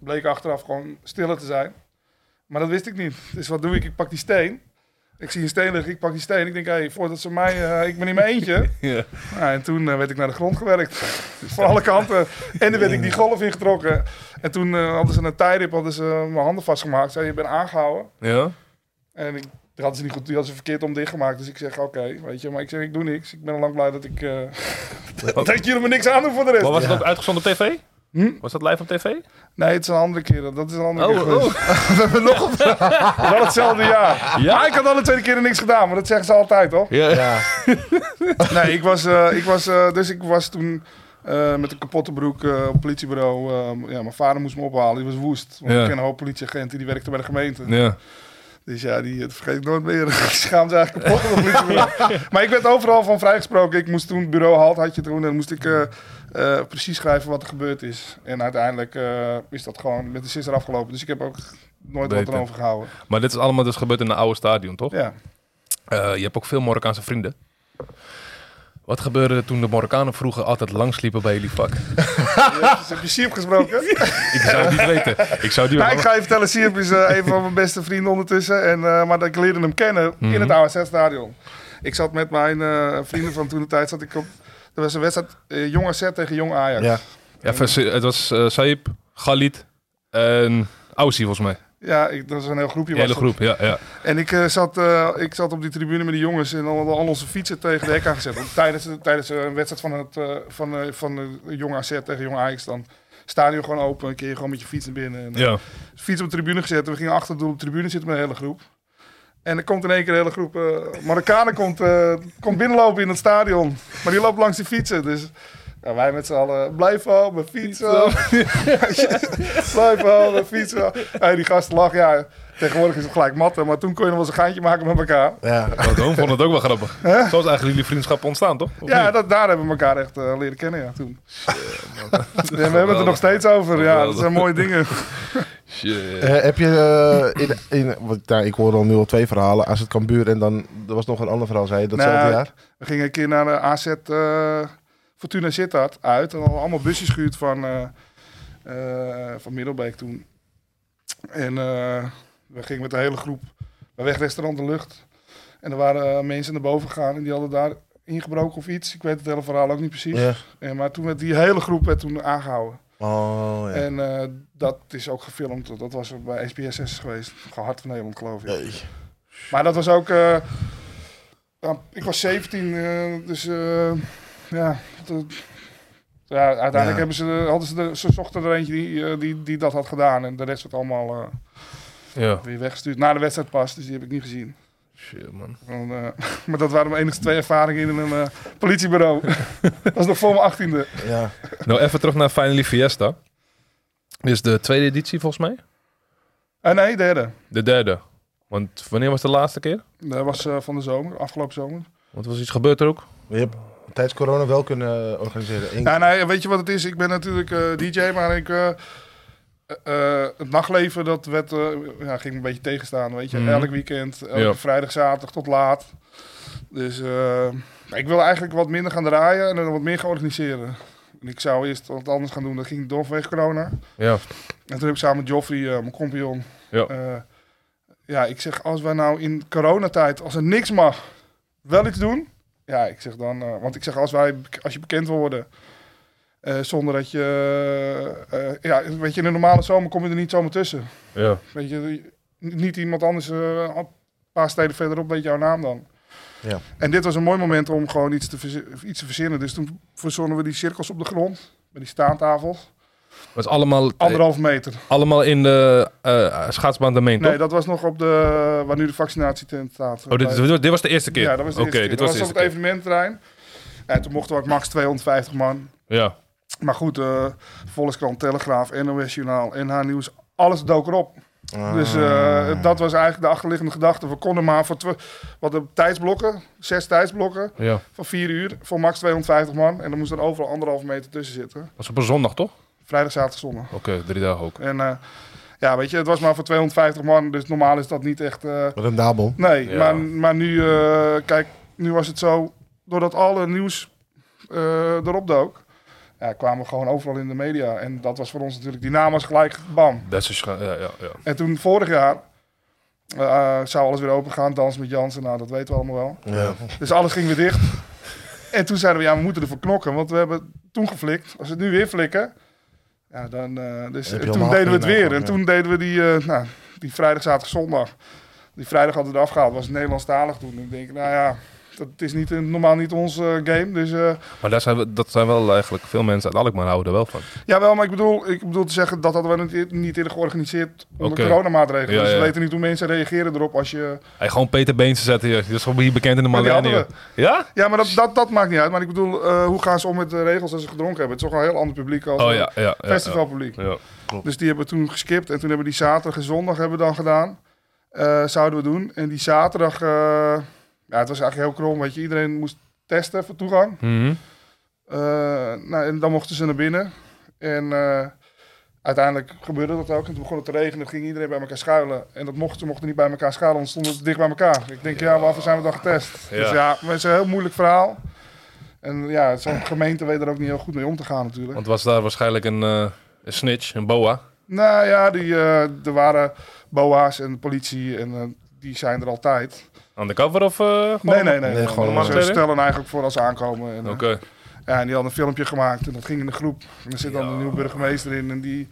S3: bleek achteraf gewoon stiller te zijn. Maar dat wist ik niet. Dus wat doe ik? Ik pak die steen. Ik zie een steen liggen, ik pak die steen. Ik denk, hé, voordat ze mij... eh, ik ben in mijn
S1: *laughs*
S3: eentje.
S1: Ja.
S3: Nou, en toen eh, werd ik naar de grond gewerkt. *laughs* Van alle kanten. En dan werd ik die golf ingetrokken. En toen eh, hadden ze een tijdrip, hadden ze eh, mijn handen vastgemaakt. Zeiden, je bent aangehouden.
S1: Ja.
S3: En ik Die hadden ze niet goed, die hadden ze verkeerd om dichtgemaakt. Dus ik zeg, oké, weet je. Maar ik zeg, ik doe niks. Ik ben al lang blij dat ik... eh, *laughs* dat jullie me niks aan doen voor de
S1: Maar
S3: rest.
S1: was het
S2: Ja.
S1: ook uitgezonden op tv?
S3: Hm?
S1: Was dat live op tv?
S3: Nee, het is een andere keer. Dat is een andere keer
S1: Oh,
S3: geweest.
S1: oh.
S3: *laughs* Wel hetzelfde jaar.
S1: Ja?
S3: Maar ik had alle tweede keer niks gedaan. Maar dat zeggen ze altijd, hoor.
S2: Ja.
S3: Nee, ik was, eh, ik was, eh, dus ik was toen eh, met een kapotte broek eh, op het politiebureau. eh, ja, mijn vader moest me ophalen, die was woest. Want
S1: Ja.
S3: ik ken een hoop politieagenten, die werkte bij de gemeente.
S1: Ja.
S3: Dus ja, die dat vergeet ik nooit meer. *laughs* Die schaamde ze eigenlijk kapot op het politiebureau.
S1: *laughs*
S3: maar ik werd overal van vrijgesproken. Ik moest toen, bureau halt had je toen, en dan moest ik eh, eh, precies schrijven wat er gebeurd is. En uiteindelijk eh, is dat gewoon met de sisser afgelopen. Dus ik heb ook nooit wat
S1: Beter.
S3: aan overgehouden.
S1: Maar dit is allemaal dus gebeurd in een oude stadion, toch?
S3: Ja. *laughs*
S1: Eh, je hebt ook veel Marokkaanse vrienden. Wat gebeurde er toen de Marokkanen vroeger altijd langsliepen bij jullie vak?
S3: Dus heb je Sierp gesproken?
S1: Ik zou het
S3: *laughs*
S1: niet weten. Ik zou die
S3: Nou, ik ga je vertellen, Sierp is eh, een van mijn beste vrienden ondertussen. En, eh, maar ik leerde hem kennen in het ASS-stadion. Ik zat met mijn eh, vrienden van toen de tijd, zat ik op, er was een wedstrijd, eh, Jong AZ tegen Jong Ajax.
S2: Ja.
S3: Ja,
S1: Ja, vers- het was eh Saïb, Galit en Aussie volgens mij.
S3: ik, dat was een heel groepje.
S1: De
S3: was
S1: hele
S3: dat.
S1: groep, ja. ja.
S3: En ik, eh, zat, eh, ik zat op die tribune met die jongens en al, al onze fietsen tegen de hek aangezet. Want tijdens, tijdens een wedstrijd van, het, eh, van, eh, van eh, Jong AZ tegen Jong Ajax dan... Stadion gewoon open, kun je gewoon met je fiets naar binnen. En, eh,
S1: ja.
S3: fiets op de tribune gezet. En we gingen achter het doel op de tribune zitten met een hele groep. En er komt in één keer een hele groep eh, Marokkanen komt, eh, komt binnenlopen in het stadion. Maar die loopt langs die fietsen. Dus ja, wij met z'n allen, blijf wel, mijn fiets wel. blijf wel, mijn fiets wel. Hey, die gast lag, ja, tegenwoordig is het gelijk matten. Maar toen kon je nog wel eens een geintje maken met elkaar.
S2: Ja.
S1: Want Oom vond het ook wel
S3: *laughs*
S1: grappig. Zo is eigenlijk jullie vriendschap ontstaan, toch? Of
S3: Ja,
S1: niet?
S3: dat, daar hebben we elkaar echt eh, leren kennen, ja, toen. Ja, we hebben het er nog steeds over. Ja, dat zijn mooie dingen.
S1: Shit.
S2: Eh, heb je, eh, in, in, want, nou, ik hoor al nu al twee verhalen. Als het Cambuur en dan, er was nog een ander verhaal, zei je, datzelfde
S3: Nou,
S2: jaar?
S3: We gingen een keer naar de AZ eh, Fortuna Sittard uit. En hadden allemaal busjes gehuurd van, eh, eh, van Middelbeek toen. En eh, we gingen met de hele groep bij wegrestaurant De Lucht. En er waren eh, mensen naar boven gegaan en die hadden daar ingebroken of iets. Ik weet het hele verhaal ook niet precies.
S2: Ja.
S3: En, maar toen werd die hele groep werd toen aangehouden.
S2: Oh, ja.
S3: En eh, dat is ook gefilmd. Dat was bij SBS6 geweest. Gehard van Nederland geloof ik.
S2: Nee.
S3: Maar dat was ook. eh, nou, ik was 17, eh, dus eh, ja. dat- ja, uiteindelijk
S2: Ja.
S3: Hebben ze, de- hadden ze, de, ze zochten er eentje die, eh, die, die dat had gedaan. En de rest werd allemaal eh,
S1: Ja.
S3: weer weggestuurd. Na de wedstrijd pas, dus die heb ik niet gezien.
S1: Shit, man.
S3: En, eh, *laughs* maar dat waren mijn enige twee ervaringen in een eh, politiebureau. *laughs* dat was nog voor mijn achttiende.
S2: Ja.
S1: Nou, even terug naar Finally Fiesta. Dit is de tweede editie, volgens mij.
S3: Eh nee, derde.
S1: De derde. Want wanneer was de laatste keer?
S3: Dat was eh, van de zomer, afgelopen zomer.
S1: Want er was iets gebeurd er ook.
S2: Je hebt tijdens corona wel kunnen eh, organiseren. Eén-
S3: Ja, nee, weet je wat het is? Ik ben natuurlijk eh, DJ, maar ik, eh, eh, het nachtleven dat werd, eh, ja, ging me een beetje tegenstaan. Weet je,
S1: Mhm.
S3: elk weekend, elke
S1: Ja.
S3: vrijdag, zaterdag tot laat. Dus eh, ik wil eigenlijk wat minder gaan draaien en dan wat meer gaan organiseren. En ik zou eerst wat anders gaan doen. Dat ging door vanwege corona.
S1: Ja.
S3: En toen heb ik samen met Joffrey, eh, mijn compagnon.
S1: Ja.
S3: eh, ja, ik zeg, als wij nou in coronatijd, als er niks mag, wel iets doen. Ja, ik zeg dan, eh, want ik zeg, als, wij, als je bekend wil worden, eh, zonder dat je, eh, eh, ja, weet je, in een normale zomer kom je er niet zomaar tussen.
S1: Ja.
S3: Weet je, niet iemand anders, eh, een paar steden verderop weet jouw naam dan.
S2: Ja.
S3: En dit was een mooi moment om gewoon iets te, verzi- iets te verzinnen. Dus toen verzonnen we die cirkels op de grond, met die staantafels.
S1: Het was allemaal,
S3: Anderhalf meter.
S1: allemaal in de eh, schaatsbaan de main, toch?
S3: Nee, dat was nog op de waar nu de vaccinatietent staat. eh,
S1: Oh, dit, dit, dit was de eerste keer?
S3: ja, dat was de
S1: Oké,
S3: eerste keer.
S1: dit
S3: Dat
S1: was
S3: was
S1: de
S3: op het
S1: eerste keer.
S3: evenementterrein. En toen mochten we ook max 250 man.
S1: Ja.
S3: Maar goed, eh Volkskrant, Telegraaf, NOS Journaal, NH Nieuws, alles dook erop.
S2: Ah.
S3: Dus eh, dat was eigenlijk de achterliggende gedachte. We konden maar voor twe- wat de tijdsblokken, zes tijdsblokken
S1: ja.
S3: van vier uur voor max 250 man. En dan moest er overal anderhalve meter tussen zitten.
S1: was op een zondag, toch?
S3: Vrijdag, zaterdag, zondag.
S1: Oké, drie dagen ook.
S3: En eh, ja, weet je, het was maar voor 250 man. Dus normaal is dat niet echt... eh,
S2: Rendabel.
S3: Nee,
S1: Ja.
S3: maar, maar nu, eh, kijk, nu was het zo, doordat alle nieuws eh, erop dook, ja, kwamen we gewoon overal in de media. En dat was voor ons natuurlijk, die naam was gelijk bam.
S1: Dat is ja, ja, ja.
S3: En toen vorig jaar eh, zou alles weer open gaan, dans met Jansen, nou dat weten we allemaal wel.
S2: Ja.
S3: Dus alles ging weer dicht. En toen zeiden we, ja, we moeten ervoor knokken, want we hebben toen geflikt. Als we het nu weer flikken, ja, dan... eh, dus,
S2: Heb je
S3: en toen
S2: allemaal
S3: deden we het
S2: afgenomen,
S3: weer. En
S2: ja.
S3: toen deden we die, eh, nou, die vrijdag, zaterdag, zondag. Die vrijdag hadden we eraf gehaald, was Nederlandstalig toen. Ik denk, nou ja, dat is niet, een- normaal niet ons eh, game. Dus eh,
S1: Maar daar zijn, we- dat zijn wel eigenlijk veel mensen uit Alkmaar houden er wel van.
S3: Jawel, maar ik bedoel, ik bedoel te zeggen dat hadden we niet- niet eerder georganiseerd onder
S1: Oké.
S3: coronamaatregelen.
S1: Ja,
S3: dus
S1: ja.
S3: we weten niet hoe mensen reageren erop als je...
S1: Hey, gewoon Peter Been te zetten, joh. Dat is gewoon hier bekend in de
S3: Maar die
S1: Marianne.
S3: hadden
S1: joh. Ja?
S3: Ja, maar dat, dat, dat maakt niet uit. Maar ik bedoel, eh, hoe gaan ze om met de regels als ze gedronken hebben? Het is toch een heel ander publiek als
S1: Oh
S3: een
S1: ja, ja. ja,
S3: festivalpubliek.
S1: Ja. Ja.
S3: Dus die hebben we toen geskipt. En toen hebben we die zaterdag en zondag hebben we dan gedaan. Eh, zouden we doen. En die zaterdag, eh, ja, het was eigenlijk heel krom. Weet je, iedereen moest testen voor toegang.
S1: Mhm.
S3: Eh, nou, en dan mochten ze naar binnen. En eh, uiteindelijk gebeurde dat ook. En toen begon het te regenen, toen ging iedereen bij elkaar schuilen. En dat mochten ze mochten niet bij elkaar schuilen, want stonden ze dicht bij elkaar. Ik denk, ja, waarvoor zijn we dan getest?
S1: Ja.
S3: Dus ja, maar het is een heel moeilijk verhaal. En ja, zo'n gemeente weet er ook niet heel goed mee om te gaan natuurlijk.
S1: Want was daar waarschijnlijk een, eh, een snitch, een boa.
S3: Nou ja, die, eh, er waren boa's en politie en eh, die zijn er altijd.
S1: Undercover of eh,
S3: Nee,
S1: gewoon-
S3: nee, nee.
S2: Nee, gewoon
S3: ze
S1: normaal.
S3: stellen eigenlijk voor als ze aankomen. En, eh,
S1: Oké.
S3: Ja, en die had een filmpje gemaakt en dat ging in de groep. En er zit dan
S1: Ja.
S3: de nieuwe burgemeester in en die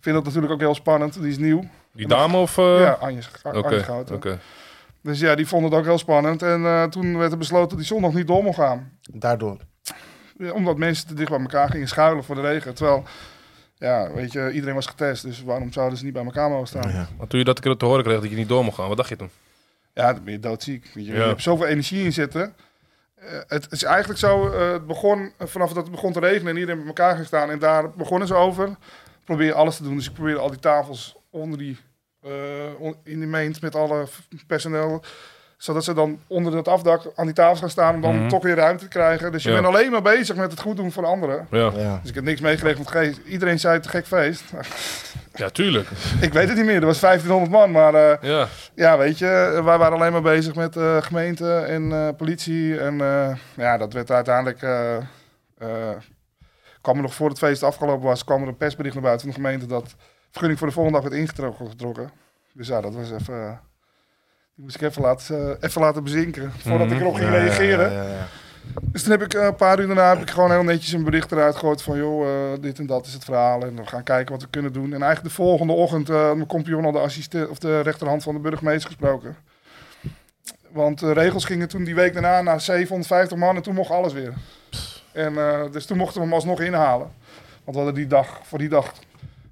S3: vindt dat natuurlijk ook heel spannend. Die is nieuw.
S1: Die dame of... eh,
S3: ja, Anje, Sch- Anje
S1: Oké,
S3: Schouten.
S1: oké.
S3: Dus ja, die vond het ook heel spannend. En eh, toen werd er besloten dat die zondag niet door mocht gaan.
S2: Daardoor.
S3: Ja, Omdat mensen te dicht bij elkaar gingen schuilen voor de regen. Terwijl, ja, weet je, iedereen was getest. Dus waarom zouden ze niet bij elkaar mogen staan? Ja,
S2: Ja.
S1: Maar toen je dat een keer te horen kreeg dat je niet door mocht gaan, wat dacht je toen?
S3: dan ben je doodziek. Weet je,
S1: Ja.
S3: je hebt zoveel energie in zitten. Eh, het, is eigenlijk zo, eh, het begon, vanaf dat het begon te regenen en iedereen bij elkaar ging staan. En daar begonnen ze over. probeer je alles te doen. Dus ik probeer al die tafels onder die, eh, on- in die meent met alle f- personeel. Zodat ze dan onder dat afdak aan die tafels gaan staan om dan
S1: Mhm.
S3: toch weer ruimte te krijgen. Dus je
S1: Ja.
S3: bent alleen maar bezig met het goed doen voor de anderen.
S1: Ja,
S2: Ja.
S3: Dus ik heb niks meegekregen van het ge- Iedereen zei te gek feest. *laughs*
S1: ja tuurlijk.
S3: ik weet het niet meer. Er was 1500 man. Maar eh,
S1: Ja.
S3: ja, weet je, eh, wij waren alleen maar bezig met eh, gemeente en eh, politie. En eh, ja, dat werd uiteindelijk. eh, eh, kwam er nog voor het feest afgelopen was, kwam er een persbericht naar buiten van de gemeente dat vergunning voor de volgende dag werd ingetrokken. getrokken. Dus ja, dat was even. eh, die moest ik even laten, eh, even laten bezinken voordat
S1: Mhm.
S3: ik erop ging
S2: Mm, Ja, ja,
S3: reageren.
S2: ja, ja, ja.
S3: Dus toen heb ik eh, een paar uur daarna heb ik gewoon heel netjes een bericht eruit gegooid van joh, eh, dit en dat is het verhaal. En we gaan kijken wat we kunnen doen. En eigenlijk de volgende ochtend eh, had mijn compagnon al de, assistent, of de rechterhand van de burgemeester gesproken. Want de regels gingen toen die week daarna naar 750 man en toen mocht alles weer. En eh, dus toen mochten we hem alsnog inhalen. Want we hadden die dag, voor die dag, voor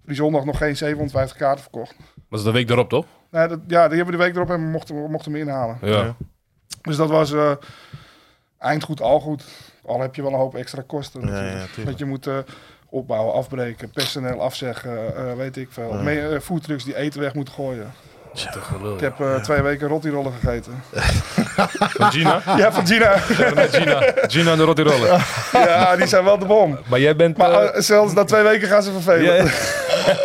S3: die zondag nog geen 750 kaarten verkocht.
S1: Dat is de week daarop, toch?
S3: Nee, dat, ja, die hebben we de week erop en we mochten, we mochten hem inhalen.
S1: Ja.
S2: Ja.
S3: Dus dat was eh, eind goed, al goed. Al heb je wel een hoop extra kosten.
S2: Ja,
S3: natuurlijk.
S2: ja, tuurlijk.
S3: Want je moet eh, opbouwen, afbreken, personeel afzeggen, eh, weet ik veel.
S2: Ja.
S3: Me- eh, foodtrucks die eten weg moeten gooien.
S1: Te gelul.
S3: Ik heb eh, twee weken rottirollen gegeten.
S1: Van Gina?
S3: ja, van Gina.
S1: Ja, met Gina. Gina de Rotterdammer.
S3: ja, die zijn wel de bom.
S1: Maar jij bent...
S3: Maar
S1: eh,
S3: eh, zelfs na twee weken gaan ze vervelen.
S1: jij-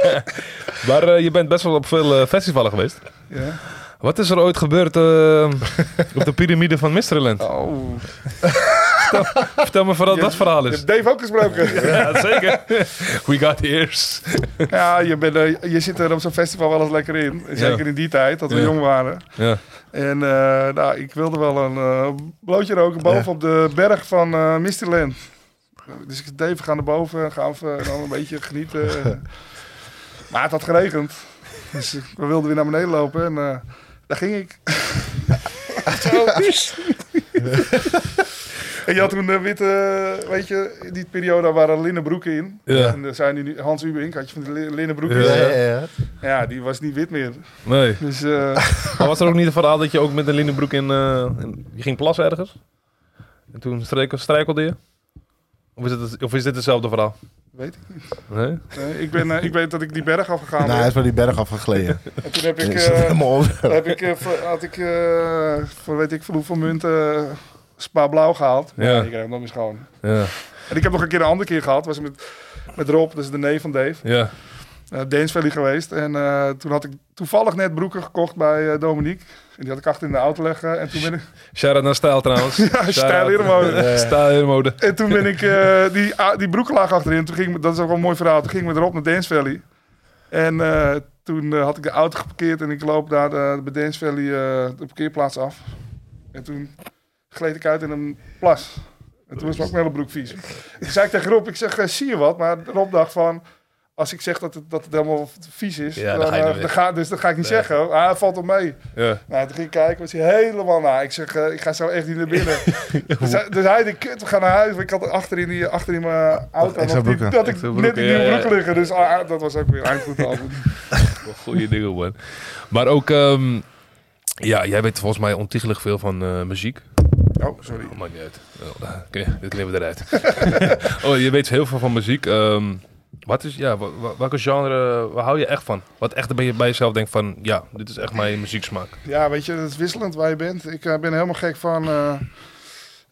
S1: *laughs* maar eh, je bent best wel op veel eh, festivalen geweest.
S3: Ja.
S1: Wat is er ooit gebeurd eh, op de piramide van Mysteryland?
S3: Oh.
S1: Vertel me vooral
S3: Je-
S1: dat dat verhaal
S3: Je
S1: is.
S3: hebt Dave ook gesproken.
S1: Ja, zeker. *laughs* We got the ears.
S3: ja, je, bent, eh, je zit er op zo'n festival wel eens lekker in. Zeker in die tijd, dat we
S1: Ja.
S3: jong waren.
S1: Ja.
S3: En eh, nou, ik wilde wel een eh, blootje roken boven op de berg van eh Mysteryland. Dus ik zei, Dave, we gaan naar boven, gaan we eh, dan een beetje genieten. maar het had geregend. Dus ik- we wilden weer naar beneden lopen en eh, daar ging ik. Zo. *laughs* en je had toen de witte, weet je, in die periode waren linnen broeken in.
S1: Ja.
S3: En er zijn nu Hans Uberink, had je van die li- linnen broeken.
S2: Ja,
S3: Ja.
S2: ja, ja.
S3: die was niet wit meer.
S1: Nee.
S3: Dus eh,
S1: Maar was er ook niet het verhaal dat je ook met een linnenbroek in, eh, in- Je ging plassen ergens? En toen strekel, strijkelde je? Of is, het, of is dit hetzelfde verhaal?
S3: weet ik
S1: Nee?
S3: Nee, ik, ben, eh, ik weet dat ik die berg afgegaan
S2: Nou,
S3: ben.
S2: hij is van die berg afgegleden.
S3: en toen
S2: *laughs*
S3: heb ik,
S2: Je zit
S3: eh,
S2: helemaal op.
S3: heb ik, eh, voor- had ik eh, voor weet ik veel hoeveel munten eh, spa blauw gehaald.
S1: Ja.
S3: Ik heb hem nog eens schoon.
S1: Ja.
S3: En ik heb nog een keer een andere keer gehad. Was met, met Rob, dat is de neef van Dave.
S1: Ja.
S3: eh Dance Valley geweest. En eh, toen had ik toevallig net broeken gekocht bij eh, Dominique. En die had ik achter in de auto leggen. En toen ben ik,
S1: Shout-out naar Stijl
S3: *laughs*
S1: trouwens. Shout-out.
S3: Stijl Herenmode.
S1: Ja. Stijl Herenmode.
S3: *laughs* en toen ben ik eh, die, a- die broeken lagen achterin. Toen ging, ik- dat is ook wel een mooi verhaal. Toen ging ik met Rob naar Dance Valley. En eh, toen eh, had ik de auto geparkeerd en ik loop daar de, bij Dance Valley eh, de parkeerplaats af. En toen gleed ik uit in een plas. En toen was mijn hele broek vies. Toen zei ik tegen Rob, ik zeg, eh, zie je wat? Maar Rob dacht van, Als ik zeg dat het, dat het helemaal vies is,
S1: Ja, dan
S3: dan,
S1: ga je er
S3: eh,
S1: weer.
S3: dan ga, dus dat ga ik niet
S1: Nee.
S3: zeggen. hoor. Ah, valt wel mee.
S1: Ja.
S3: Nou, toen ging ik kijken, was hij helemaal na. Ik zeg, eh, ik ga zo echt niet naar binnen. dus, hij- dus hij, de kut, we gaan naar huis. Maar ik had achterin, die, achterin mijn auto
S2: extra
S3: nog die,
S2: broeken.
S3: dat ik
S1: Extra
S3: net
S1: broeken,
S3: in die
S1: ja, ja.
S3: broek liggen. Dus ah, dat was ook weer eindgoed al.
S1: Goeie dingen, man. Maar ook, ehm, ja, jij weet volgens mij ontiegelijk veel van eh, muziek.
S3: Oh, sorry.
S1: Oh, maakt niet uit. Oh, eh, kn- dit knippen we eruit. *laughs* oh, je weet heel veel van muziek. Ehm, wat is, ja, wa- wa- welke genre, waar hou je echt van? Wat echt ben je bij jezelf denkt van, ja, dit is echt mijn muzieksmaak.
S3: *laughs* Ja, weet je, dat is wisselend waar je bent. Ik eh, ben helemaal gek van eh,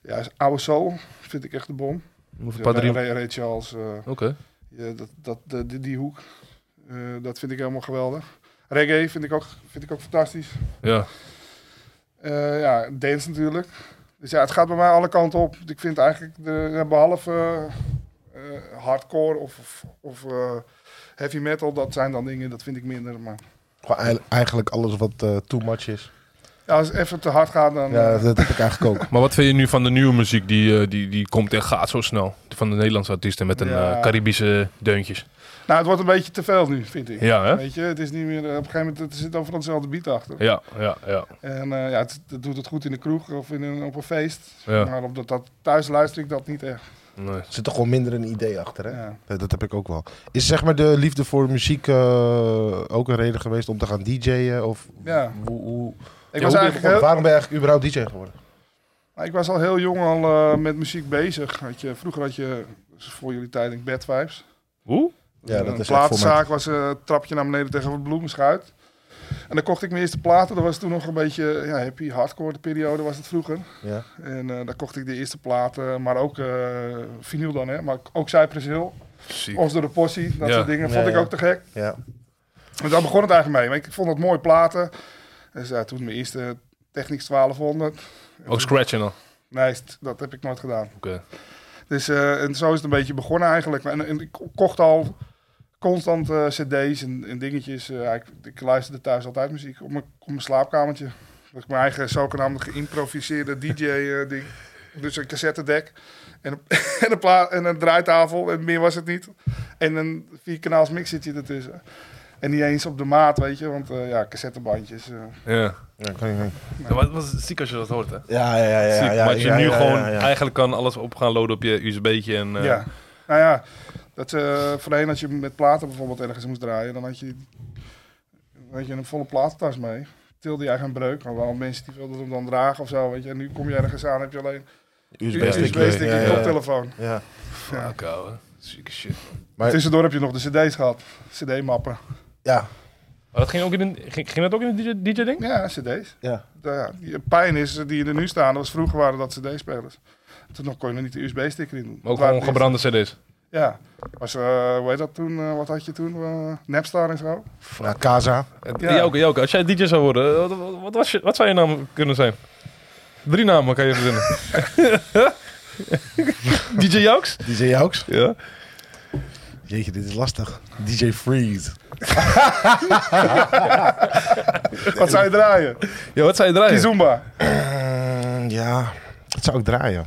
S3: ja, oude soul. Vind ik echt de bom.
S1: Of een
S3: Ja,
S1: paar drie-
S3: Ray, Ray Charles, eh,
S1: Oké.
S3: ja, dat, dat, de- die, die hoek. Eh, dat vind ik helemaal geweldig. Reggae vind ik ook, vind ik ook fantastisch.
S1: Ja.
S3: Eh, ja, dance natuurlijk. Dus ja, het gaat bij mij alle kanten op. Ik vind eigenlijk, de, behalve eh, eh, hardcore of, of, of, eh, heavy metal, dat zijn dan dingen, dat vind ik minder. Maar
S2: Gewoon eil- eigenlijk alles wat eh, too much is.
S3: ja, als het even te hard gaat, dan...
S2: Ja,
S3: eh,
S2: dat heb ik eigenlijk ook.
S1: Maar wat vind je nu van de nieuwe muziek die, eh, die, die komt en gaat zo snel? Van de Nederlandse artiesten met een
S3: Ja.
S1: eh, Caribische deuntjes.
S3: nou, het wordt een beetje te veel nu, vind ik.
S1: Ja, hè?
S3: Weet je, het is niet meer, eh, op een gegeven moment het zit overal hetzelfde beat achter.
S1: Ja, ja, ja.
S3: En eh, ja, het, het doet het goed in de kroeg of in een, op een feest.
S1: ja.
S3: Maar op dat, dat, thuis luister ik dat niet echt.
S1: Nice.
S2: Er zit toch gewoon minder een idee achter, hè? Eh,
S3: Ja.
S2: Dat, dat heb ik ook wel. Is zeg maar de liefde voor muziek eh, ook een reden geweest om te gaan DJ'en? Of
S3: Ja.
S2: hoe, hoe,
S3: Ik,
S1: Ja,
S3: was
S1: hoe
S3: eigenlijk
S2: want
S3: heel,
S2: waarom ben je eigenlijk überhaupt DJ geworden?
S3: Nou, ik was al heel jong al eh, met muziek bezig. Had je, vroeger had je, voor jullie tijd, denk ik, bad vibes.
S1: Hoe?
S2: Ja, dat is
S3: een
S2: echt
S3: platenzaak was eh, een trapje naar beneden tegen een bloemenschuit. En dan kocht ik mijn eerste platen. Dat was toen nog een beetje ja, happy, hardcore periode was het vroeger.
S2: Ja.
S3: En eh daar kocht ik de eerste platen, maar ook eh vinyl dan, hè. Maar ook Cypress Hill,
S1: Ziek.
S3: Ons door de Possie, dat
S1: Ja.
S3: soort dingen.
S2: Ja,
S3: Vond ik
S2: ja.
S3: ook te gek.
S2: Ja.
S3: Dus daar begon het eigenlijk mee. Maar ik vond het mooie platen. Dus ja, toen mijn eerste Technics 1200.
S1: Ook scratchen al.
S3: Nee, st- dat heb ik nooit gedaan.
S1: Oké.
S3: Dus eh, en zo is het een beetje begonnen eigenlijk. En, en ik ko- kocht al constant eh, cd's en, en dingetjes. Eh, ja, ik, ik luisterde thuis altijd muziek op mijn, op mijn slaapkamertje. Dat is mijn eigen zogenaamde geïmproviseerde DJ-ding. dus een cassettedek en een, *laughs* en, een pla- en een draaitafel. En meer was het niet. En een vierkanaals mixertje ertussen. En niet eens op de maat, weet je. Want eh, ja, cassettebandjes. eh.
S1: Ja.
S2: Ja, kan je-
S1: Ja, maar het was ziek als je dat hoort, hè?
S2: ja, ja, ja. ja,
S1: Ziek,
S2: ja,
S1: maar als je
S2: ja,
S1: nu
S2: ja,
S1: gewoon
S2: ja, ja.
S1: eigenlijk kan alles op gaan loaden op je USB'tje en... eh,
S3: Ja. Nou ja, dat, eh voorheen als je met platen bijvoorbeeld ergens moest draaien, dan had je, dan had je een volle platentas mee. Tilde je eigen breuk, want wel mensen die wilden hem dan dragen of zo, weet je. En nu kom je ergens aan, heb je alleen
S2: USB-stick.
S3: USB-stick
S2: eh, Ja,
S3: en
S2: ja, ja.
S3: eh, koptelefoon.
S2: Ja.
S3: Ja.
S1: Fuck, ouwe. Zieke shit.
S2: Maar-
S3: Tussendoor heb je nog de cd's gehad, cd-mappen.
S2: Ja.
S1: Maar dat ging, ook in een, ging, ging dat ook in een DJ-ding?
S3: Ja, cd's.
S2: Ja.
S3: Nou ja, die pijn is eh, die er nu staan, dat was vroeger waren dat cd-spelers. Toen nog kon je er niet de USB-stick in doen.
S1: Maar ook
S3: Dat
S1: gewoon
S3: waren
S1: gebrande cd's.
S3: eerst- Ja. Was, eh, hoe heet dat toen? eh, wat had je toen? Eh, Napstar en zo?
S2: Ja, Kaza.
S1: Ja. Jouke, Jouke, als jij DJ zou worden, eh, wat, wat, was je, wat zou je naam kunnen zijn? Drie namen kan je verzinnen.
S2: *laughs*
S1: *laughs* DJ Jouks?
S2: DJ Jouks.
S1: Ja.
S2: Jeetje, dit is lastig. DJ Freeze.
S3: Wat zou je draaien?
S1: Ja, wat zou je draaien?
S3: Kizumba,
S2: Eh, ja, dat zou ik draaien.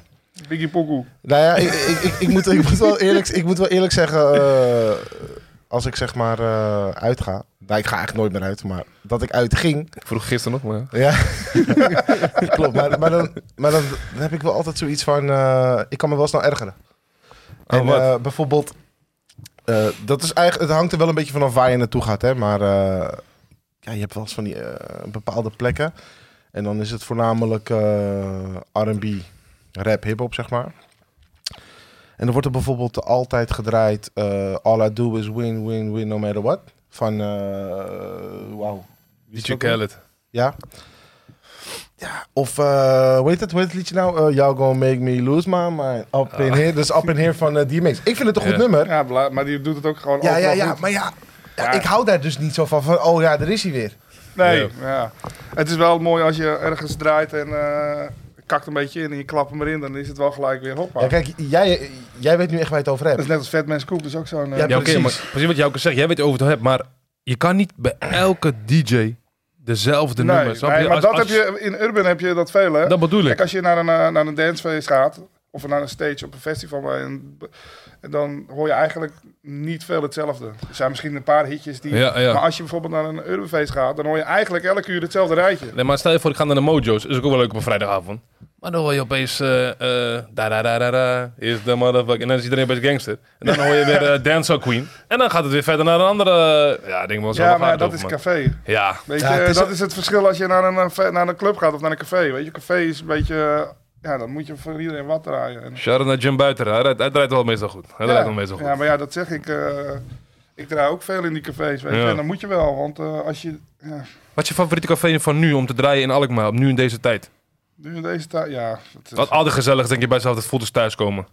S3: Biggie Poku.
S2: Nou ja, ik, ik, ik, ik moet, ik, moet wel eerlijk, ik moet wel eerlijk zeggen, eh, als ik zeg maar eh, uitga. Nou, ik ga eigenlijk nooit meer uit, maar dat ik uitging.
S1: Ik vroeg gisteren nog, maar... ja. *laughs*
S2: Ja, klopt. Maar, maar, dan, maar dan, dan heb ik wel altijd zoiets van, eh, ik kan me wel snel ergeren.
S1: Oh,
S2: en
S1: wat?
S2: eh, bijvoorbeeld, eh, dat is eigenlijk, het hangt er wel een beetje vanaf waar je naartoe gaat, hè. Maar eh, ja, je hebt wel eens van die eh, bepaalde plekken. En dan is het voornamelijk eh, R&B, rap, hip-hop, zeg maar. En dan wordt er bijvoorbeeld altijd gedraaid... eh, All I do is win, win, win, no matter what. Van, eh wauw. Wie is
S1: DJ
S2: dat dan?
S1: Khaled.
S2: Ja. Ja, of eh hoe heet het, hoe heet het liedje nou? Eh, Y'all gonna make me lose my mind. Up in here. Dus Up in here van eh, DMX. Ik vind het een goed
S1: Ja.
S2: nummer.
S3: Ja, bla- maar die doet het ook gewoon
S2: Ja, ja,
S3: overal
S2: ja.
S3: goed.
S2: Maar ja, ja,
S3: Ja.
S2: ik hou daar dus niet zo van. Van, oh ja, er is hij weer.
S3: Nee, ja. Het is wel mooi als je ergens draait en eh, kakt een beetje in en je klapt hem erin, dan is het wel gelijk weer hoppa.
S2: Ja, kijk, jij, jij weet nu echt waar je het over
S3: dat *laughs* is
S2: hebt.
S3: net als Fatman Scoop, dat is ook zo'n... eh,
S2: Ja,
S1: Ja, oké,
S2: precies.
S1: maar precies wat Jouke zegt. Jij weet over het hebt, maar je kan niet bij elke DJ dezelfde
S3: nee,
S1: nummers. snap
S3: nee,
S1: je?
S3: maar
S1: Als-
S3: dat
S1: als-
S3: heb je, in Urban heb je dat veel, hè.
S1: Dat bedoel
S3: Kijk,
S1: ik.
S3: als je naar een, eh, naar een dancefeest gaat, of naar een stage op een festival. bij een- en dan hoor je eigenlijk niet veel hetzelfde. Er zijn misschien een paar hitjes die...
S1: Ja, ja.
S3: Maar als je bijvoorbeeld naar een Eurofeest gaat, dan hoor je eigenlijk elke uur hetzelfde rijtje.
S1: Nee, maar stel je voor, ik ga naar de Mojo's. Is ook wel leuk op een vrijdagavond. Maar dan hoor je opeens... eh eh, da da da da da, is de motherfucker. En dan is iedereen best gangster. En dan hoor je weer eh, Dancehall Queen. En dan gaat het weer verder naar een andere... eh, Ja, ik denk wel zo
S3: Ja, maar dat is café.
S1: Ja,
S3: Weet je,
S2: Ja, het is
S3: dat
S2: ook-
S3: is het verschil als je naar een, eh, fe- naar een club gaat of naar een café. Weet je, café is een beetje... eh, Ja, dan moet je voor iedereen wat draaien. En-
S1: shout-out naar Jim Buiter. Hij rijdt, hij draait wel meestal goed. Hij draait wel meestal goed.
S3: Ja, maar ja, dat zeg ik. eh, ik draai ook veel in die cafés, weet je.
S1: Ja.
S3: En dan moet je wel, want eh, als je... Ja,
S1: Wat is je favoriete café van nu om te draaien in Alkmaar? Op nu in deze tijd?
S3: nu in deze tijd... Ja, dat is-
S1: Wat al die gezellig denk je bij zelf het voelt dus thuiskomen.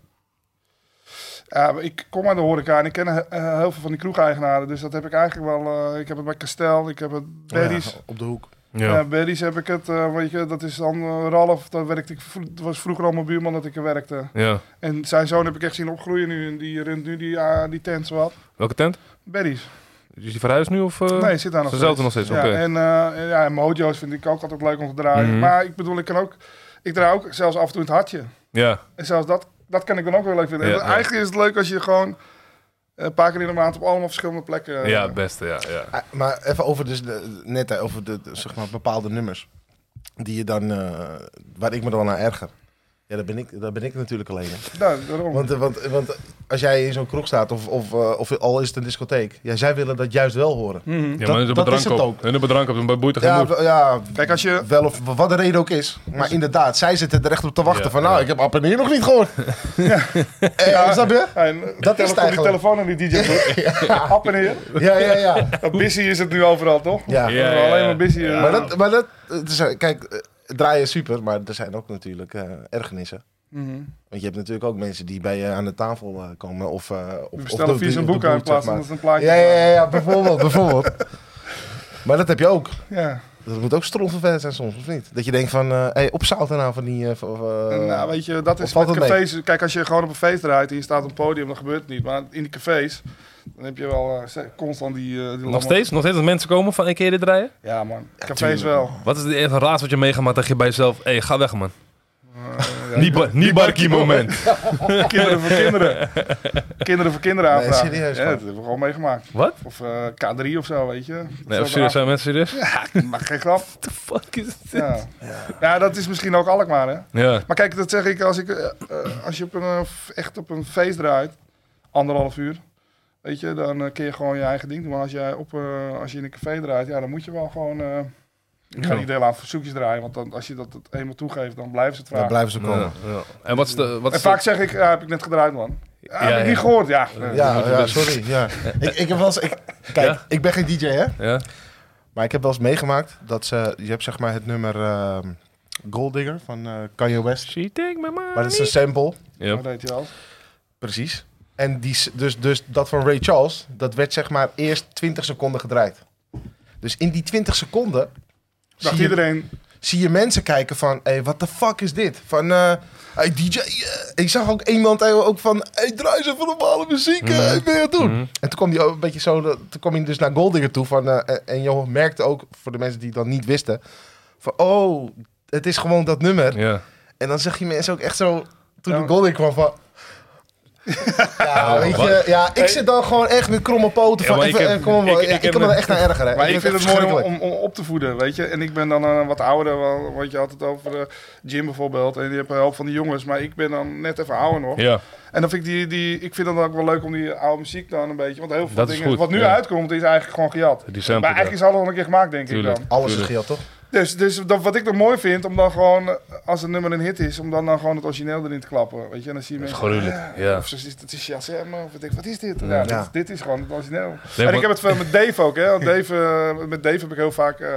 S3: ja, maar ik kom uit de horeca en ik ken eh, heel veel van die kroegeigenaren. Dus dat heb ik eigenlijk wel... eh, ik heb het bij Castel, ik heb het Berries.
S2: Ja, op de hoek.
S1: Ja.
S3: Ja. Berries heb ik het, eh, weet je, dat is dan eh, Ralf. Daar werkte ik, vro- het was vroeger al mijn buurman dat ik er werkte.
S1: ja.
S3: En zijn zoon heb ik echt zien opgroeien nu. En die runt nu die, eh, die tent wat.
S1: Welke tent?
S3: Berries.
S1: Is die verhuisd nu? Of, eh?
S3: Nee, zit daar nog
S1: ze zelden nog steeds,
S3: Ja,
S1: oké.
S3: En eh, en ja, en mojo's vind ik ook altijd leuk om te draaien.
S1: Mhm.
S3: Maar ik bedoel, ik kan ook... Ik draai ook zelfs af en toe het hartje.
S1: Ja.
S3: En zelfs dat, dat kan ik dan ook wel leuk vinden.
S1: Ja,
S3: En
S1: ja.
S3: Eigenlijk is het leuk als je gewoon eh, een paar keer in de maand op allemaal verschillende plekken... eh,
S1: ja, het beste. Ja, ja.
S2: Ah, maar even over dus de, net hè, over de, de, zeg maar bepaalde nummers die je dan eh, waar ik me dan aan erger. Ja, daar ben ik, daar ben ik natuurlijk alleen. in.
S3: nou, daarom.
S2: Want, eh, want, want als jij in zo'n kroeg staat of, of, eh, of al is het een discotheek, ja, zij willen dat juist wel horen.
S3: Mhm.
S1: Ja, maar
S2: Dat-
S1: dat,
S2: dat
S1: bedrank
S2: is het
S1: op.
S2: ook.
S1: En de bedrank op, dan boeit er geen
S2: Ja,
S1: moed.
S2: w- ja,
S3: Kijk, als je... eh,
S2: wel of wat de reden ook is. Maar inderdaad, zij zitten er echt op te wachten
S1: Ja,
S2: van, nou,
S1: ja.
S2: ik heb Appen hier nog niet gehoord. *laughs* ja. Eh, snap je?
S3: Ja, en,
S2: Dat is het
S3: die
S2: eigenlijk.
S3: telefoon en die
S2: *laughs*
S3: DJ. App en heer.
S2: Ja, ja, ja.
S3: Dat busy is het nu overal, toch?
S2: ja.
S1: Ja.
S3: Alleen maar busy. eh.
S2: Maar dat, maar dat het is, eh, kijk, eh, draaien is super, maar er zijn ook natuurlijk eh, ergernissen.
S3: Mhm.
S2: Want je hebt natuurlijk ook mensen die bij je aan de tafel eh, komen. Of, eh of,
S3: We
S2: of
S3: bestellen
S2: de-
S3: vies een
S2: de- de
S3: boek aan in
S2: boot, zeg
S3: plaats van
S2: maar.
S3: dat het een plaatje
S2: Ja,
S3: is.
S2: ja, ja, ja, bijvoorbeeld, bijvoorbeeld. Maar dat heb je ook.
S3: Ja.
S2: Dat moet ook strontvervelend zijn soms, of niet? Dat je denkt van, eh hey, opzouten nou van die... eh, van- van-
S3: En, nou, weet je, dat is
S2: valt
S3: met
S2: het mee?
S3: cafés. Kijk, als je gewoon op een feest draait en je staat op een podium, dan gebeurt het niet. Maar in die cafés, dan heb je wel eh, ze- constant die... eh, die lamme-
S1: Nog steeds? Nog steeds dat mensen komen van, ik keer dit draaien?
S3: Ja, man. Cafés
S2: tuurlijk.
S3: wel.
S1: Wat is het eerste raad wat je meegemaakt dat je bij jezelf... Hé, hey, ga weg man.
S3: Eh, ja,
S1: niet ba- niet barkie
S3: *laughs*
S1: moment.
S2: *laughs*
S3: kinderen voor
S1: *laughs*
S3: kinderen. kinderen voor kinderen
S2: Nee,
S3: aanvragen.
S2: serieus,
S3: Ja,
S2: man.
S3: dat hebben we gewoon meegemaakt.
S1: Wat?
S3: Of eh, K3 of zo, weet je. Dat
S1: Nee,
S3: is wel
S1: of serieus,
S3: raar.
S1: zijn mensen serieus? What
S3: Ja, maar geen grap.
S1: the fuck is dit? Ja.
S2: *laughs*
S3: Ja. ja, dat is misschien ook Alkmaar, hè.
S1: Ja.
S3: Maar kijk, dat zeg ik als, ik, eh, eh, als je op een, eh, f- echt op een feest draait, anderhalf uur, weet je, dan eh, kun je gewoon je eigen ding doen. Maar als, jij op, eh, als je in een café draait, ja, dan moet je wel gewoon... eh, ik ga
S1: Ja.
S3: niet heel aan verzoekjes draaien, want dan, als je dat, dat eenmaal toegeeft, dan blijven ze het
S2: Dan
S3: vragen.
S2: blijven ze komen.
S1: ja. En wat is de... Wat
S3: en
S1: is
S3: vaak zeg ik, ja, heb ik net gedraaid, man. Ja, heb
S1: Ja,
S3: ik
S1: ja.
S3: niet gehoord, ja. Eh,
S2: Ja, ja, sorry. Ja. Ik, ik heb wel eens... Ik, kijk,
S1: Ja?
S2: ik ben geen DJ, hè?
S1: de... Ja?
S2: Maar ik heb wel eens meegemaakt dat ze... Je hebt zeg maar het nummer ehm Gold Digger van eh, Kanye West.
S1: She take my money.
S2: Maar dat is een sample.
S1: Ja.
S3: Oh, Dat weet je wel.
S2: Precies. En die, s- dus, dus dat van Ray Charles, dat werd zeg maar eerst 20 seconden gedraaid. Dus in die 20 seconden zie
S3: Dacht
S2: je,
S3: iedereen,
S2: zie je mensen kijken van, hé, hey, what the fuck is dit? Van, eh hey, DJ, eh, ik zag ook iemand eh, ook van, hey, draai ze van normale muziek, eh,
S1: Mhm.
S2: ik ben je aan het doen.
S1: Mhm.
S2: En toen kwam hij ook een beetje zo, dat- toen kwam hij dus naar Goldinger toe van, eh, en- en joh, merkte ook, voor de mensen die dat niet wisten, van, oh, het is gewoon dat nummer.
S1: Ja.
S2: En dan zag je mensen ook echt zo, toen
S3: Ja.
S2: de goal in kwam
S1: *laughs*
S2: van... Ja,
S1: Ja,
S2: weet
S1: Oh, wat?
S2: je, ja, ik zit dan gewoon echt met kromme poten
S1: Ja,
S2: van,
S1: maar ik
S2: even,
S1: heb-
S2: eh, kom maar,
S1: ik-
S2: ik,
S1: ik
S2: ik,
S1: heb
S2: kan me
S1: een-
S2: er echt naar ergeren. hè.
S3: Maar ik vind
S2: echt
S3: het mooi om,
S2: verschrikkelijk.
S3: om, om op te voeden, weet je. En ik ben dan een wat ouder, wel, want je had het over eh, Jim bijvoorbeeld. En die hebt hulp van de jongens, maar ik ben dan net even ouder nog.
S1: Ja.
S3: En dan vind ik, die, die, ik vind dan ook wel leuk om die oude muziek dan een beetje... Want heel veel
S1: Dat is
S3: dingen,
S1: goed,
S3: wat nu
S1: ja.
S3: uitkomt, is eigenlijk gewoon gejat.
S1: Die
S3: Maar
S1: sample.
S3: eigenlijk is alles al een keer gemaakt, denk
S1: Tuurlijk.
S3: ik dan.
S2: Alles is
S1: Tuurlijk.
S2: gejat, toch?
S3: Dus, dus dat, wat ik dan mooi vind, om dan gewoon, eh, als een nummer een hit is, om dan, dan gewoon het origineel erin te klappen. Weet je, en dan zie je
S1: Dat is
S3: mensen...
S1: gruwelijk.
S3: ja.
S1: Ja.
S3: Of zo, is het is Shazam, of ik denk, wat is dit?
S1: Ja.
S3: Ja, Dit, dit is gewoon het origineel.
S1: Nee,
S3: en
S1: want-
S3: ik heb het veel met Dave ook, hè?
S1: *laughs*
S3: Want Dave, eh, met Dave heb ik heel vaak. eh,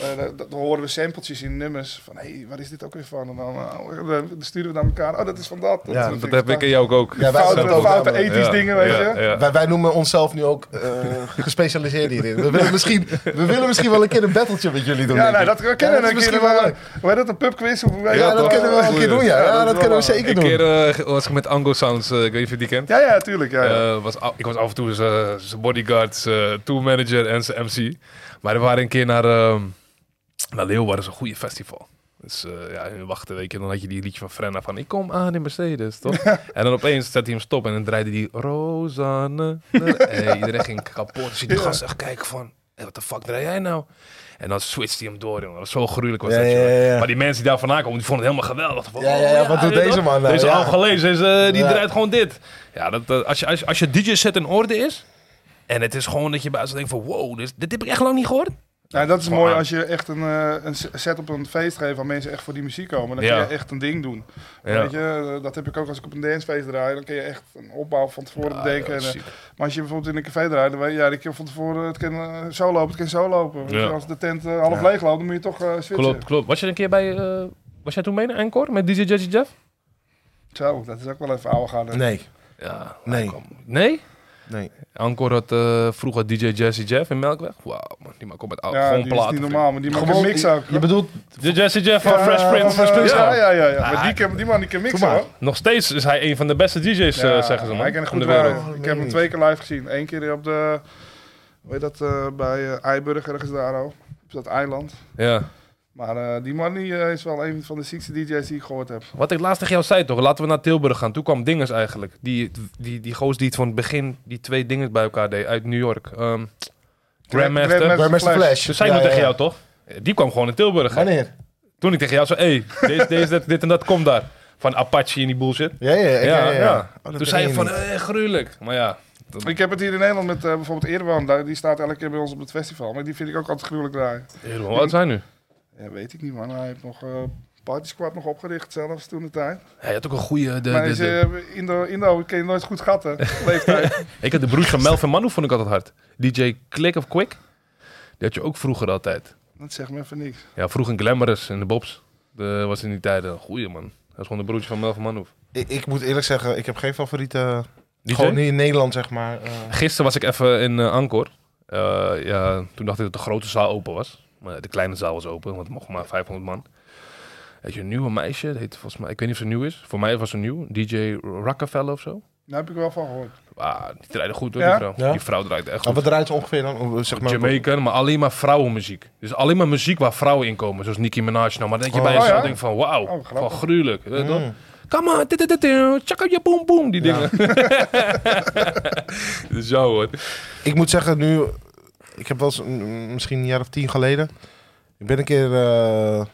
S3: eh, dat- dat- dan horen we sampletjes in nummers van hé, hey, waar is dit ook weer van? En dan, eh, oh, dan sturen we naar elkaar. Oh, dat is van dat.
S2: Ja,
S3: is
S1: Dat heb ik en jou ook. ook.
S2: Ja, wij
S3: Foute,
S2: zijn het ook
S3: foute
S2: allemaal.
S3: ethisch
S1: Ja,
S3: dingen, weet
S1: ja,
S3: je.
S1: ja.
S2: Wij, wij noemen onszelf nu ook eh, gespecialiseerd hierin. We willen, misschien, we willen misschien wel een keer een battletje met jullie doen.
S3: Ja,
S2: denk
S3: nou,
S2: ik.
S3: dat we
S2: Ja,
S3: kennen
S2: dat is
S3: een keer.
S2: misschien wel
S3: eh,
S2: leuk.
S3: Hoe heet dat? Een pubquiz? Of, hoe-
S2: Ja, dat
S1: toch?
S2: kunnen we wel een
S1: Goeie.
S2: keer doen, ja.
S3: Ja,
S2: Ja,
S3: dat
S2: dat
S3: is
S2: kunnen we
S3: wel
S2: zeker
S1: Een keer
S2: doen.
S1: eh, was ik met Ango Sounds, eh, ik weet niet of je die kent.
S3: Ja, ja, tuurlijk. Ja, ja.
S1: Eh, was af- ik was af en toe zijn- zijn eh, bodyguard, zijn tourmanager en zijn MC. Maar we waren een keer naar, ehm naar Leeuwarden, dat is een goede festival. Dus eh, ja, en wachten, weet je, dan had je die liedje van Frenna van ik kom aan in Mercedes, toch? en dan opeens zette hij hem stop en dan draaide die Rosanne. en iedereen ging kapot. Dus die
S3: Ja.
S1: gast echt kijken van, hey, wat de fuck draai jij nou? En dan switcht hij hem door, jongen. Dat was zo gruwelijk was
S2: Ja,
S1: dat,
S2: ja,
S1: jongen.
S2: ja, ja.
S1: Maar die mensen die daar vandaan komen, die vonden het helemaal geweldig. Van,
S2: Ja,
S1: oh,
S2: ja, ja, wat doet
S1: weet je
S2: deze
S1: toch?
S2: man nou?
S1: Deze
S2: Ja.
S1: Angolees, deze, eh, die
S2: Ja.
S1: draait gewoon dit. Ja, dat, eh, als, je, als, je- als je DJ set in orde is, en het is gewoon dat je bij zo denkt van, wow, dit, dit heb ik echt lang niet gehoord.
S3: Ja, Nou, dat is
S1: Gewoon
S3: mooi
S1: aan.
S3: als je echt een, eh, een set op een feest geeft waar mensen echt voor die muziek komen. Dan
S1: Ja.
S3: kun je echt een ding doen. Weet je, eh, dat heb ik ook als ik op een dancefeest draai. Dan kun je echt een opbouw van tevoren
S2: Ah,
S3: bedenken.
S1: Ja,
S3: en, eh,
S1: ziek.
S3: maar als je bijvoorbeeld in een café draait, dan weet je, ja, dat kan van tevoren, het kan eh, zo lopen, het kan zo lopen. Weet je,
S1: Ja.
S3: Als de tent eh, half
S2: Ja.
S3: leeg loopt, dan moet je toch eh switchen.
S1: Klopt, klopt. Was je een keer bij, eh, was jij toen mee naar Encore met DJ Jazzy Jeff?
S3: Zo, dat is ook wel even oude gaan.
S2: Nee,
S1: Ja.
S2: nee,
S1: Nee?
S2: nee.
S1: Encore had eh, vroeger DJ Jazzy Jeff in Melkweg. Wauw, man, die maakt op met oude,
S3: Ja,
S1: gewoon
S3: die is
S1: platen.
S3: niet normaal, maar die maakt een mix ook.
S2: Je bedoelt,
S1: De Jazzy Jeff van
S3: Ja,
S1: Fresh Prince.
S3: van, eh, Ja, ja, ja. ja.
S1: Ah,
S3: Maar die, kan, die man die kan mixen
S2: Doe maar.
S3: hoor.
S1: Nog steeds is hij een van de beste DJ's, eh,
S3: Ja,
S1: zeggen ze man.
S3: Hij kan
S1: van
S3: goed
S1: de wereld.
S3: draaien.
S2: wereld.
S3: Ik heb hem twee keer live gezien. Eén keer op de, hoe heet dat, eh, bij eh Eiburg ergens daar al. Op dat eiland.
S1: Ja.
S3: Maar eh, die man die, eh, is wel een van de ziekste DJ's die ik gehoord heb.
S1: Wat ik laatst tegen jou zei toch, laten we naar Tilburg gaan. Toen kwam Dinges eigenlijk. Die, die, die goos die het van het begin, die twee dingen bij elkaar deed uit New York. Ehm Grandmaster.
S3: Grandmaster.
S2: bij Master
S3: Flash.
S2: Flash.
S1: Toen zei ik
S2: Ja,
S1: nog
S2: ja,
S1: tegen
S2: ja.
S1: jou toch? Die kwam gewoon in Tilburg.
S2: Wanneer?
S1: Toen ik tegen jou zei, hé, hey, deze, deze, dat, dit en dat komt daar. Van Apache en die bullshit.
S2: Ja, ja, ja.
S1: ja, ja.
S2: Oh, dat
S1: Toen zei
S2: weet
S1: je
S2: ik
S1: van,
S2: niet.
S1: eh, gruwelijk. Maar ja.
S3: Ik heb het hier in Nederland met eh, bijvoorbeeld Erwan. daar- Die staat elke keer bij ons op het festival. Maar die vind ik ook altijd gruwelijk draaien.
S1: Hoe oud zijn nu?
S3: Ja, weet ik niet man. Hij heeft nog... eh Party Squad nog opgericht zelfs toen de tijd.
S1: Hij had ook een goede... De,
S3: maar
S1: de,
S3: is,
S1: de-
S3: eh, Indo, Indo kan je nooit goed schatten.
S1: *laughs*
S3: Leeftijd.
S1: ik had de broers van Melvin Manu, vond ik altijd hard. DJ Click of Quick. Die had je ook vroeger altijd.
S3: dat zegt me even niks.
S1: Ja, vroeg een Glamorous in de Bobs. De, was in die tijden een goeie man. Dat is gewoon de broertje van Melvin Manu.
S2: eh, Ik, ik moet eerlijk zeggen, ik heb geen favoriete...
S1: DJ?
S2: Gewoon niet in Nederland, zeg maar. eh.
S1: Gisteren was ik even in eh, Angkor. Eh, ja, toen dacht ik dat de grote zaal open was. Maar de kleine zaal was open, want er mochten maar 500 man. Weet je, een nieuwe meisje, dat heet volgens mij, ik weet niet of ze nieuw is. Voor mij was ze nieuw, DJ Rockefeller of zo.
S3: Daar heb ik wel van gehoord.
S1: Ah, die draaide goed hoor,
S3: Ja?
S1: die vrouw.
S2: Ja?
S1: Die vrouw draait echt
S2: Maar
S1: goed.
S2: wat draait ze ongeveer dan? Of, Zeg maar,
S1: Jamaican, maar alleen maar vrouwenmuziek. Dus alleen maar muziek waar vrouwen in komen, zoals Nicki Minaj. Nou, maar dan denk je
S2: Oh.
S1: bij
S3: Oh,
S1: jezelf,
S3: ja?
S1: denk van wauw,
S3: Oh, grappig.
S1: van gruwelijk. Eh, Weet
S3: eh,
S1: je
S2: Mm.
S1: toch? Come on, dit, dit, dit, dit, tjaka, ja, boom, boom, die
S2: Ja.
S1: dingen. *laughs* Zo hoor.
S2: Ik moet zeggen, nu... Ik heb wel eens, mm, misschien een jaar of tien geleden... Ik ben een keer eh,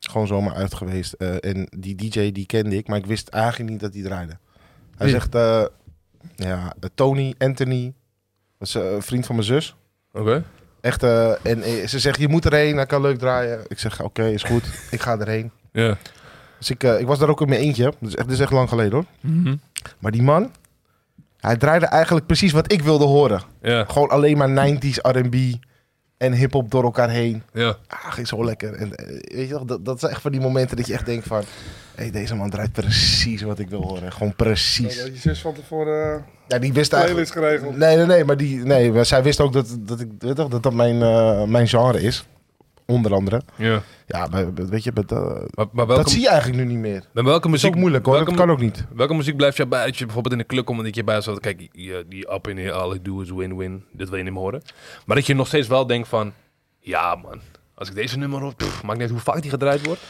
S2: gewoon zomaar uit geweest. eh, en die DJ, die kende ik. Maar ik wist eigenlijk niet dat die draaide. Hij
S1: Wie?
S2: zegt... eh, ja, eh, Tony, Anthony. Dat is eh, een vriend van mijn zus.
S1: Oké.
S2: Echt, eh, en eh, ze zegt, je moet erheen, hij kan leuk draaien. Ik zeg, oké, is goed. *laughs* ik ga erheen.
S1: Ja.
S2: Dus ik, eh, ik was daar ook in mijn eentje. Dat is echt, dit is echt lang geleden hoor. Maar die man, hij draaide eigenlijk precies wat ik wilde horen.
S1: Ja,
S2: Gewoon alleen maar 90s R&B en hip-hop door elkaar heen.
S1: ja.
S2: Ah, ging zo lekker. En eh, weet je wel, dat, dat zijn echt van die momenten dat je echt denkt van... Hé, hey, deze man draait precies wat ik wil horen. Gewoon
S3: Dat
S2: precies.
S3: je zus van tevoren eh
S2: Ja, die wist eigenlijk...
S3: playlist geregeld.
S2: Nee, nee, nee, maar die, nee, maar zij wist ook dat dat, ik, weet toch, dat, dat mijn, eh, mijn genre is. Onder andere.
S1: ja.
S2: Ja, maar, maar weet je, maar dat,
S1: Maar, maar welke,
S2: dat zie je eigenlijk nu niet meer. Dat
S1: maar welke
S2: is ook
S1: muziek,
S2: moeilijk hoor,
S1: welke,
S2: dat kan ook niet.
S1: welke muziek blijft jou bij als je bijvoorbeeld in de club komt en dat je bij zo kijk, je, die up in here, all I do is win-win, dat wil je niet meer horen. Maar dat je nog steeds wel denkt van, ja man, als ik deze nummer hoor, pff, maakt niet uit hoe vaak die gedraaid wordt.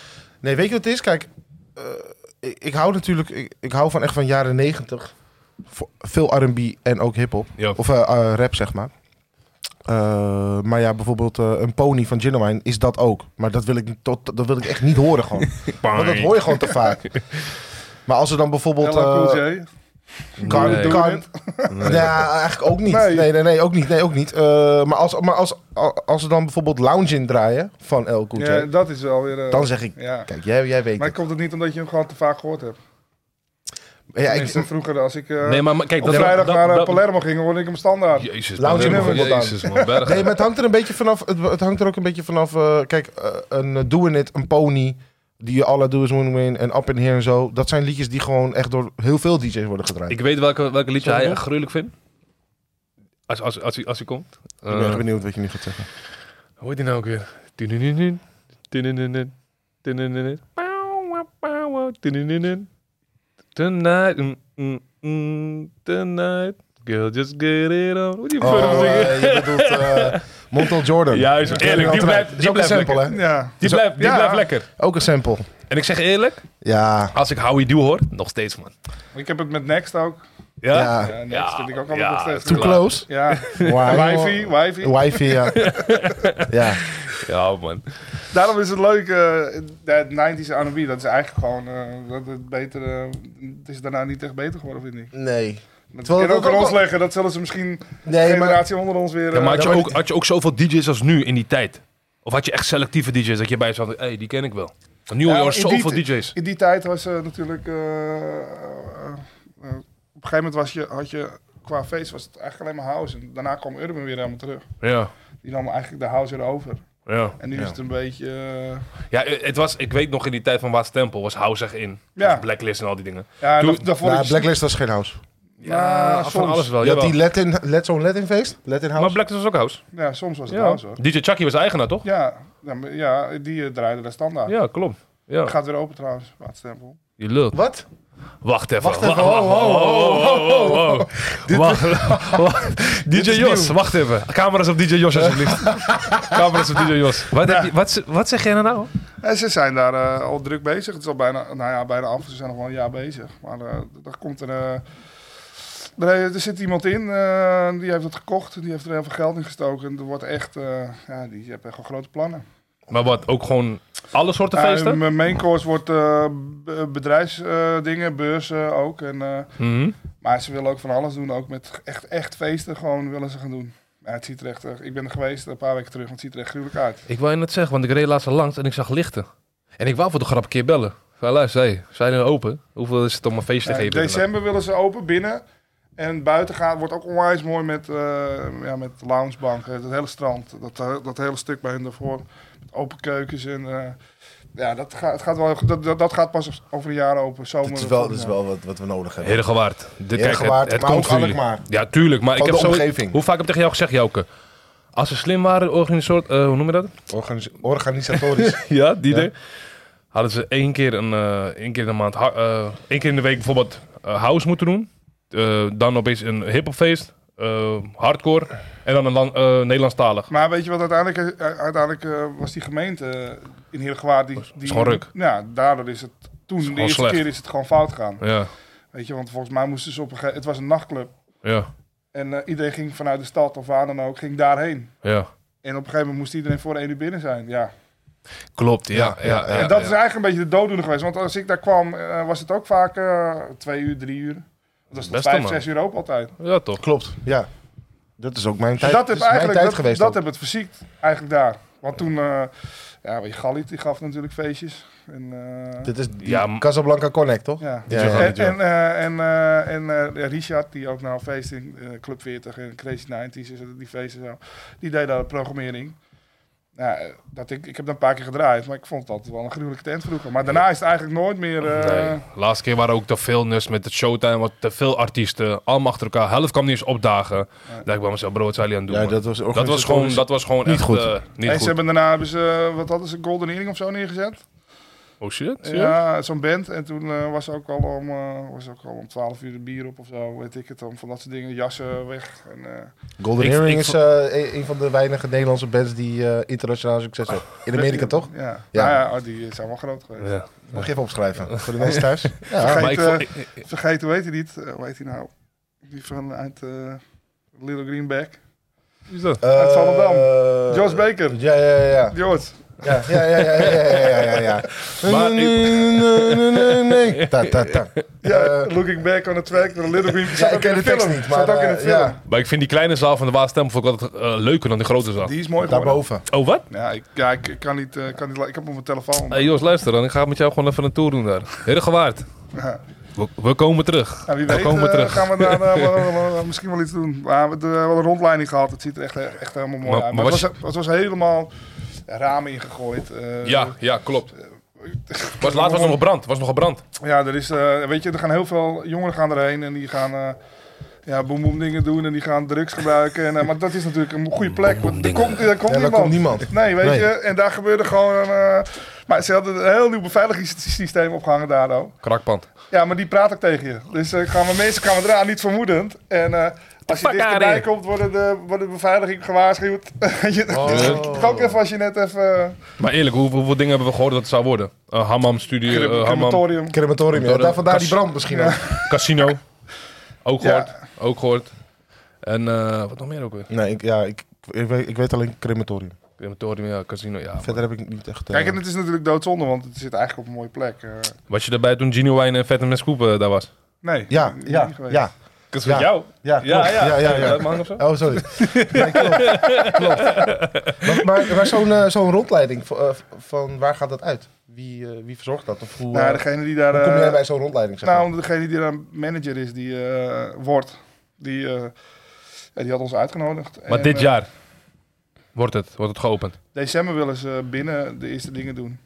S2: Nee, weet je wat het is? Kijk, eh, ik, ik hou natuurlijk, ik, ik hou van echt van jaren negentig. Veel R&B en ook hip-hop.
S1: Ja.
S2: Of eh, eh, rap, zeg maar. Eh, maar ja, bijvoorbeeld eh, een pony van Genuine is dat ook. Maar dat wil ik, niet- tot, dat wil ik echt niet horen gewoon. Want dat hoor je gewoon te vaak. Maar als er dan bijvoorbeeld...
S3: LL Cool
S2: eh,
S3: J.
S2: kan,
S1: Nee.
S2: kan,
S1: Nee.
S2: Ja, eigenlijk ook niet. Nee,
S3: Nee.
S2: nee, nee, ook niet. Nee, ook niet. Eh, maar als, maar als, als ze dan bijvoorbeeld Lounge in draaien van El Cool J,
S3: Ja, dat is wel weer... eh,
S2: dan zeg ik,
S3: ja.
S2: kijk, jij, jij weet
S3: Maar
S2: het.
S3: komt het niet omdat je hem gewoon te vaak gehoord hebt?
S2: Ja, ik,
S3: Tenminste, vroeger als ik eh,
S1: Nee, maar, maar kijk,
S3: op
S1: dat,
S3: vrijdag
S1: dat-
S3: naar eh,
S1: dat-
S3: Palermo ging, hoorde ik hem standaard.
S1: Jezus,
S2: Lounge
S1: Palermo,
S2: nummer wordt
S1: Jezus man, bergen.
S2: nee, maar het hangt er een beetje vanaf. Het, het hangt er ook een beetje vanaf. eh, kijk, eh, een eh, Doing It, een Pony, die je alle Do Is Win Win en Up In Here en zo. Dat zijn liedjes die gewoon echt door heel veel DJ's worden gedraaid. Ik
S1: Ik weet welke, welke liedje
S2: Sorry,
S1: hij
S2: hoor.
S1: echt gruwelijk vindt. Als, als, als, hij, als hij komt.
S2: ben
S1: Eh,
S2: echt benieuwd wat je nu gaat
S1: *laughs*
S2: zeggen.
S1: Hoe heet die nou ook weer? Tudununun, tudununun, tudununun. Pauw, wauw, pauw, wauw, tudununun. Tonight, mm, mm, mm, tonight, girl, just get it on. Hoe die
S2: Oh,
S1: verder
S2: eh,
S1: zingen? *laughs*
S2: je bedoelt... eh, Montel Jordan.
S1: Juist,
S2: Dat
S1: eerlijk,
S2: ken je
S1: die
S2: altijd.
S1: blijft- die
S2: Dat is ook een
S1: blijft
S2: sample, hè?
S3: Ja.
S1: Die,
S2: Zo-
S1: blijft, die
S3: ja.
S1: blijft lekker.
S2: Ook een sample.
S1: En ik zeg eerlijk,
S2: Ja.
S1: als ik Howie Dew hoor, nog steeds, man.
S3: Ik heb het met Next ook.
S1: Ja?
S2: Ja.
S3: Ja, Next
S1: Ja,
S3: vind ik ook altijd
S1: ja,
S3: nog steeds.
S1: too
S2: Too
S3: leuk.
S1: Klaar. *laughs*
S2: close. *laughs*
S3: Ja,
S2: Why?
S3: wifi, wifi.
S2: Wifi, ja. ja.
S1: Ja, man.
S3: Daarom is het leuk, eh, dat 90s R&B, dat is eigenlijk gewoon, eh, dat het beter, eh, het is daarna niet echt beter geworden, vind ik.
S2: Nee.
S3: Dat
S2: Terwijl
S3: kan
S2: dat
S3: ook aan
S2: ook
S3: ons
S2: wel-
S3: leggen, dat zullen ze misschien
S2: Nee,
S3: de
S2: maar...
S3: generatie onder ons weer...
S1: Ja, maar
S3: eh,
S1: had je,
S2: maar
S1: ook, had je ook zoveel DJ's als nu in die tijd? Of had je echt selectieve DJ's dat je bij jezelf dacht, hey, die ken ik wel? Want nu hoor
S3: Ja,
S1: je al
S3: in die
S1: zoveel
S3: ti-
S1: DJ's.
S3: In die tijd was eh, natuurlijk. eh, eh, eh, op een gegeven moment was je, had je. Qua feest was het eigenlijk alleen maar house. En daarna kwam Urban weer helemaal terug.
S1: Ja,
S3: Die nam eigenlijk de house erover.
S1: ja.
S3: En nu
S2: Ja.
S3: is het een beetje. eh,
S1: Ja, het was, ik weet nog in die tijd van Waas Tempel was House echt in.
S3: Ja.
S1: Was Blacklist en al die dingen.
S3: ja,
S1: Doe-
S3: dat daarvoor
S2: Nou,
S3: is-
S2: Blacklist was geen house.
S3: Ja,
S1: van
S3: soms.
S1: alles wel.
S2: Je had
S1: Oh, jawel.
S2: die Latin, let, zo'n Latin feest. Latin
S1: Maar
S2: house.
S1: Blacklist was ook House.
S3: ja, soms was het
S1: Ja.
S3: house hoor.
S1: DJ Chucky was eigenaar, toch?
S3: Ja, ja, maar- ja die eh, draaide de standaard.
S1: Ja, klopt. Ja.
S3: Gaat weer open trouwens, Waardstempel.
S1: Je lult.
S2: Wat?
S1: Wacht even.
S2: Wacht even,
S1: Wa- wa-
S2: ho,
S3: Oh,
S2: ho,
S1: ho,
S2: ho,
S1: ho, ho, ho. Wacht.
S3: *laughs*
S1: wacht. DJ
S2: is
S1: Jos,
S2: nieuw.
S1: wacht even. Camera's op DJ Jos,
S3: *laughs*
S1: alsjeblieft. Camera's op DJ Jos. Wat, heb je, wat, z- wat zeg jij nou nou?
S3: En ze zijn daar eh, al druk bezig. Het is al bijna, nou ja, bijna af. Ze zijn nog wel een jaar bezig. Maar eh er komt een... eh, er, er zit iemand in, eh, die heeft het gekocht. Die heeft er heel veel geld in gestoken. En er wordt echt... eh, ja, die hebben echt wel grote plannen.
S1: Maar wat, ook gewoon alle soorten
S2: Ehm,
S3: Ja,
S1: feesten?
S3: mijn main course wordt eh, b- bedrijfsdingen, beurzen ook. En, eh,
S1: Mhm.
S3: maar ze willen ook van alles doen. Ook met echt, echt feesten gewoon willen ze gaan doen. Ja, het ziet er echt... eh, ik ben er geweest een paar weken terug. Maar het ziet er echt gruwelijk uit.
S1: Ik wou je net zeggen, want ik reed laatst al langs en ik zag lichten. En ik wou voor de grap een keer bellen. Van luister, hey, zijn er open? Hoeveel is het om een feest te
S2: Eh,
S3: Ja, in
S1: geven?
S3: Eh, december willen ze open binnen. En buiten gaat, wordt ook onwijs mooi met, eh ja, met loungebanken. Het hele strand, dat, eh, dat hele stuk bij hun daarvoor. Met open keukens en... eh, ja, dat gaat, het gaat wel, dat, dat, dat gaat pas over een jaar open. Zomer,
S2: Dit is wel,
S3: of-
S2: dit is
S3: ja.
S2: wel wat, wat we nodig hebben.
S1: Herengewaard. De, kijk, het-
S2: Herengewaard,
S1: het,
S2: maar
S1: komt
S2: ook
S1: voor jullie.
S2: Alkmaar.
S1: Ja, tuurlijk. Maar ik
S2: Ook
S1: heb
S2: de
S1: zo,
S2: omgeving.
S1: Hoe vaak heb ik tegen jou gezegd, Jouke? Als ze slim waren, organisator, eh, hoe noem je dat? *laughs*
S2: Organis- organisatorisch.
S1: Ja, die
S2: Ja.
S1: idee. Hadden ze één keer, een, eh, één keer in de maand, ha- eh, één keer in de week bijvoorbeeld eh, house moeten doen. Eh, dan opeens een hiphopfeest, eh hardcore en dan een lan- eh, Nederlandstalig.
S3: Maar weet je wat, uiteindelijk, eh, uiteindelijk eh, was die gemeente eh, in Heergewaard... Die, die,
S1: gewoon ruk.
S3: Ja, daardoor is het... Toen, de
S1: gewoon
S3: eerste
S1: slecht.
S3: keer is het gewoon fout gegaan.
S1: Ja,
S3: Weet je, want volgens mij moesten ze op een gegeven... Het was een nachtclub.
S1: ja,
S3: En eh, iedereen ging vanuit de stad of waar dan ook, ging daarheen.
S1: ja.
S3: En op een gegeven moment moest iedereen voor één uur binnen zijn. Ja.
S1: Klopt, ja. ja,
S2: Ja, ja,
S1: ja,
S2: ja.
S3: en dat
S1: ja.
S3: is eigenlijk een beetje de dooddoener geweest. Want als ik daar kwam, eh, was het ook vaak eh, twee uur, drie uur. Dat is tot
S1: Best
S3: vijf,
S1: wel, man.
S3: zes uur open altijd.
S1: Ja, toch.
S2: *laughs* Klopt, ja. Dat is ook mijn
S3: En
S2: tijd,
S3: dat
S2: dat
S3: heb
S2: is mijn tijd
S3: eigenlijk dat,
S2: geweest.
S3: dat
S2: ook.
S3: heb het verziekt eigenlijk daar. Want toen, eh, ja, weet je, Galit die gaf natuurlijk feestjes. En, eh,
S2: Dit is die
S1: Ja, m-
S2: Casablanca Connect, toch?
S3: ja.
S2: Ja,
S1: ja.
S3: En, en, eh, en, eh, en eh, Richard, die ook nou feest in eh, Club 40 en Crazy 90s, is het, die feesten zo, die deed daar de programmering. Nou, eh, dat ik, ik heb dat een paar keer gedraaid, maar ik vond dat wel een gruwelijke tent vroeger. Maar daarna is het eigenlijk nooit meer... eh,
S1: Nee. Laatste keer waren ook te veel nus met het showtime, wat te veel artiesten, allemaal achter elkaar. Helft kwam niet eens opdagen. Daar ik bij mezelf, bro, wat zijn jullie aan het doen?
S2: Ja,
S1: man?
S2: dat was
S1: dat, was gewoon, dat was gewoon
S2: Niet
S1: echt,
S2: goed.
S1: eh, niet
S3: en
S1: goed.
S3: ze hebben daarna hebben ze, eh, wat hadden ze, Golden Earring of zo neergezet.
S1: Oh shit, serieus?
S3: Ja, zo'n band. En toen eh, was ook al om, eh, was ook al om 12 uur de bier op of zo, weet ik het dan. Van dat soort dingen, jassen weg. En, eh,
S2: Golden
S1: Ik-
S2: Earring
S1: ik
S2: is
S1: vo-
S2: eh, een- een van de weinige Nederlandse bands die eh, internationaal succes hebben. In Amerika,
S3: weet-
S2: toch?
S3: Ja,
S2: Ja.
S3: ja. Nou, ja oh, die zijn wel groot geweest.
S1: Ja.
S2: Mag je even opschrijven voor de mensen *laughs* thuis? Ja.
S3: Vergeet-
S1: Maar ik,
S3: eh,
S1: vond- ik- ik-
S3: Vergeet, hoe heet hij niet? Eh, hoe heet hij nou? Die van uit eh, Little Greenback.
S1: wie is dat?
S2: Eh,
S3: Uit Volendam. George Baker.
S2: Ja, ja, ja, Eh, ja.
S3: George.
S2: Ja, ja, ja, ja, ja, ja, ja, ja, ja.
S1: Maar ik-
S2: Nee, nee, nee, nee, *laughs* nee. Ta, ta, ta.
S3: Ja,
S2: Eh,
S3: looking back on the track. The Little Greenback.
S2: Ja,
S3: Zat
S2: ik
S3: ook in
S2: ken de tekst
S3: film.
S2: niet,
S3: Zat
S2: maar,
S3: ook in de
S2: eh,
S3: film.
S2: ja.
S1: Maar ik vind die kleine zaal van de Waastem vond ik altijd eh, leuker dan die grote zaal.
S3: Die is mooi geworden.
S2: Daarboven.
S1: Oh, wat?
S3: Ja, ik, ja, ik ik kan niet... eh, kan niet la- ik heb hem op mijn telefoon.
S1: Hé hey, Jos, luister dan. Ik ga met jou gewoon even een tour doen daar. Heel gewaard.
S3: Ja.
S1: We, we komen terug.
S3: Nou, wie
S1: Dan
S3: weet
S1: komen we
S3: eh,
S1: terug.
S3: gaan we
S1: *laughs*
S3: daar eh, wel- wel- wel- wel misschien wel iets doen. Maar we hebben er wel een rondleiding gehad. Het ziet er echt, echt helemaal mooi
S1: Maar-
S3: uit.
S1: maar
S3: Maar het,
S1: was
S3: was, het was helemaal ramen ingegooid. eh,
S1: Ja, ja, klopt. Was, laatst was er nog een brand. Was nog een brand.
S3: Ja, er is, eh, weet je, er gaan heel veel jongeren gaan erheen en die gaan eh ja, boem boem dingen doen en die gaan drugs gebruiken. En, eh, maar dat is natuurlijk een goede plek. want er
S1: dingen.
S3: komt, er komt
S2: Ja, daar
S3: niemand.
S2: komt niemand.
S3: Nee, weet
S2: Nee.
S3: je, en daar gebeurde gewoon. eh, maar ze hadden een heel nieuw beveiligingssysteem opgehangen daar ook.
S1: Krakpand.
S3: Ja, maar die praat ook tegen je. Dus eh, gaan we, mensen gaan we eraan niet vermoedend. En eh, Als je
S1: fuck out
S3: dichterbij
S1: here.
S3: komt, wordt de, wordt de beveiliging gewaarschuwd. *laughs* je, *laughs*
S2: Oh.
S3: Ook even als je net even... eh,
S1: Maar eerlijk, hoe- hoeveel dingen hebben we gehoord dat het zou worden? Eh, hammam, studio, eh,
S3: Uh,
S1: hammam,
S3: crematorium.
S2: Crematorium, ja. Daar vandaar die brand misschien ook.
S1: casino. Ook
S3: Ja.
S1: gehoord, ook gehoord. En eh, wat nog meer ook weer?
S2: Nee, ik, ja, ik, ik, weet, ik weet alleen crematorium.
S1: Crematorium, ja, casino, ja.
S2: Verder heb ik niet echt... eh,
S3: Kijk, en het is natuurlijk doodzonde, want het zit eigenlijk op een mooie plek. eh.
S1: Was je erbij toen Gino Wijn en Vet en Scoop eh, daar was?
S3: nee,
S2: ja,
S3: niet
S2: ja,
S3: geweest.
S2: ja,
S1: Dat is
S2: Ja.
S1: met jou?
S2: ja, klopt. ja, ja, ja.
S1: Leuk man of zo?
S2: Oh, *laughs* sorry. Nee, klopt. klopt. Maar, maar, maar zo'n eh, zo'n rondleiding, v- eh, van waar gaat dat uit? Wie, eh, wie verzorgt dat? Of hoe,
S3: Nou,
S2: eh,
S3: degene die daar...
S2: hoe kom jij
S3: eh,
S2: bij zo'n rondleiding? Zeg maar?
S3: Nou, degene die daar manager is, die eh, wordt, die, eh, ja, die had ons uitgenodigd.
S1: Maar
S3: En,
S1: dit
S3: eh,
S1: jaar wordt het, wordt het geopend.
S3: december willen ze binnen de eerste dingen doen.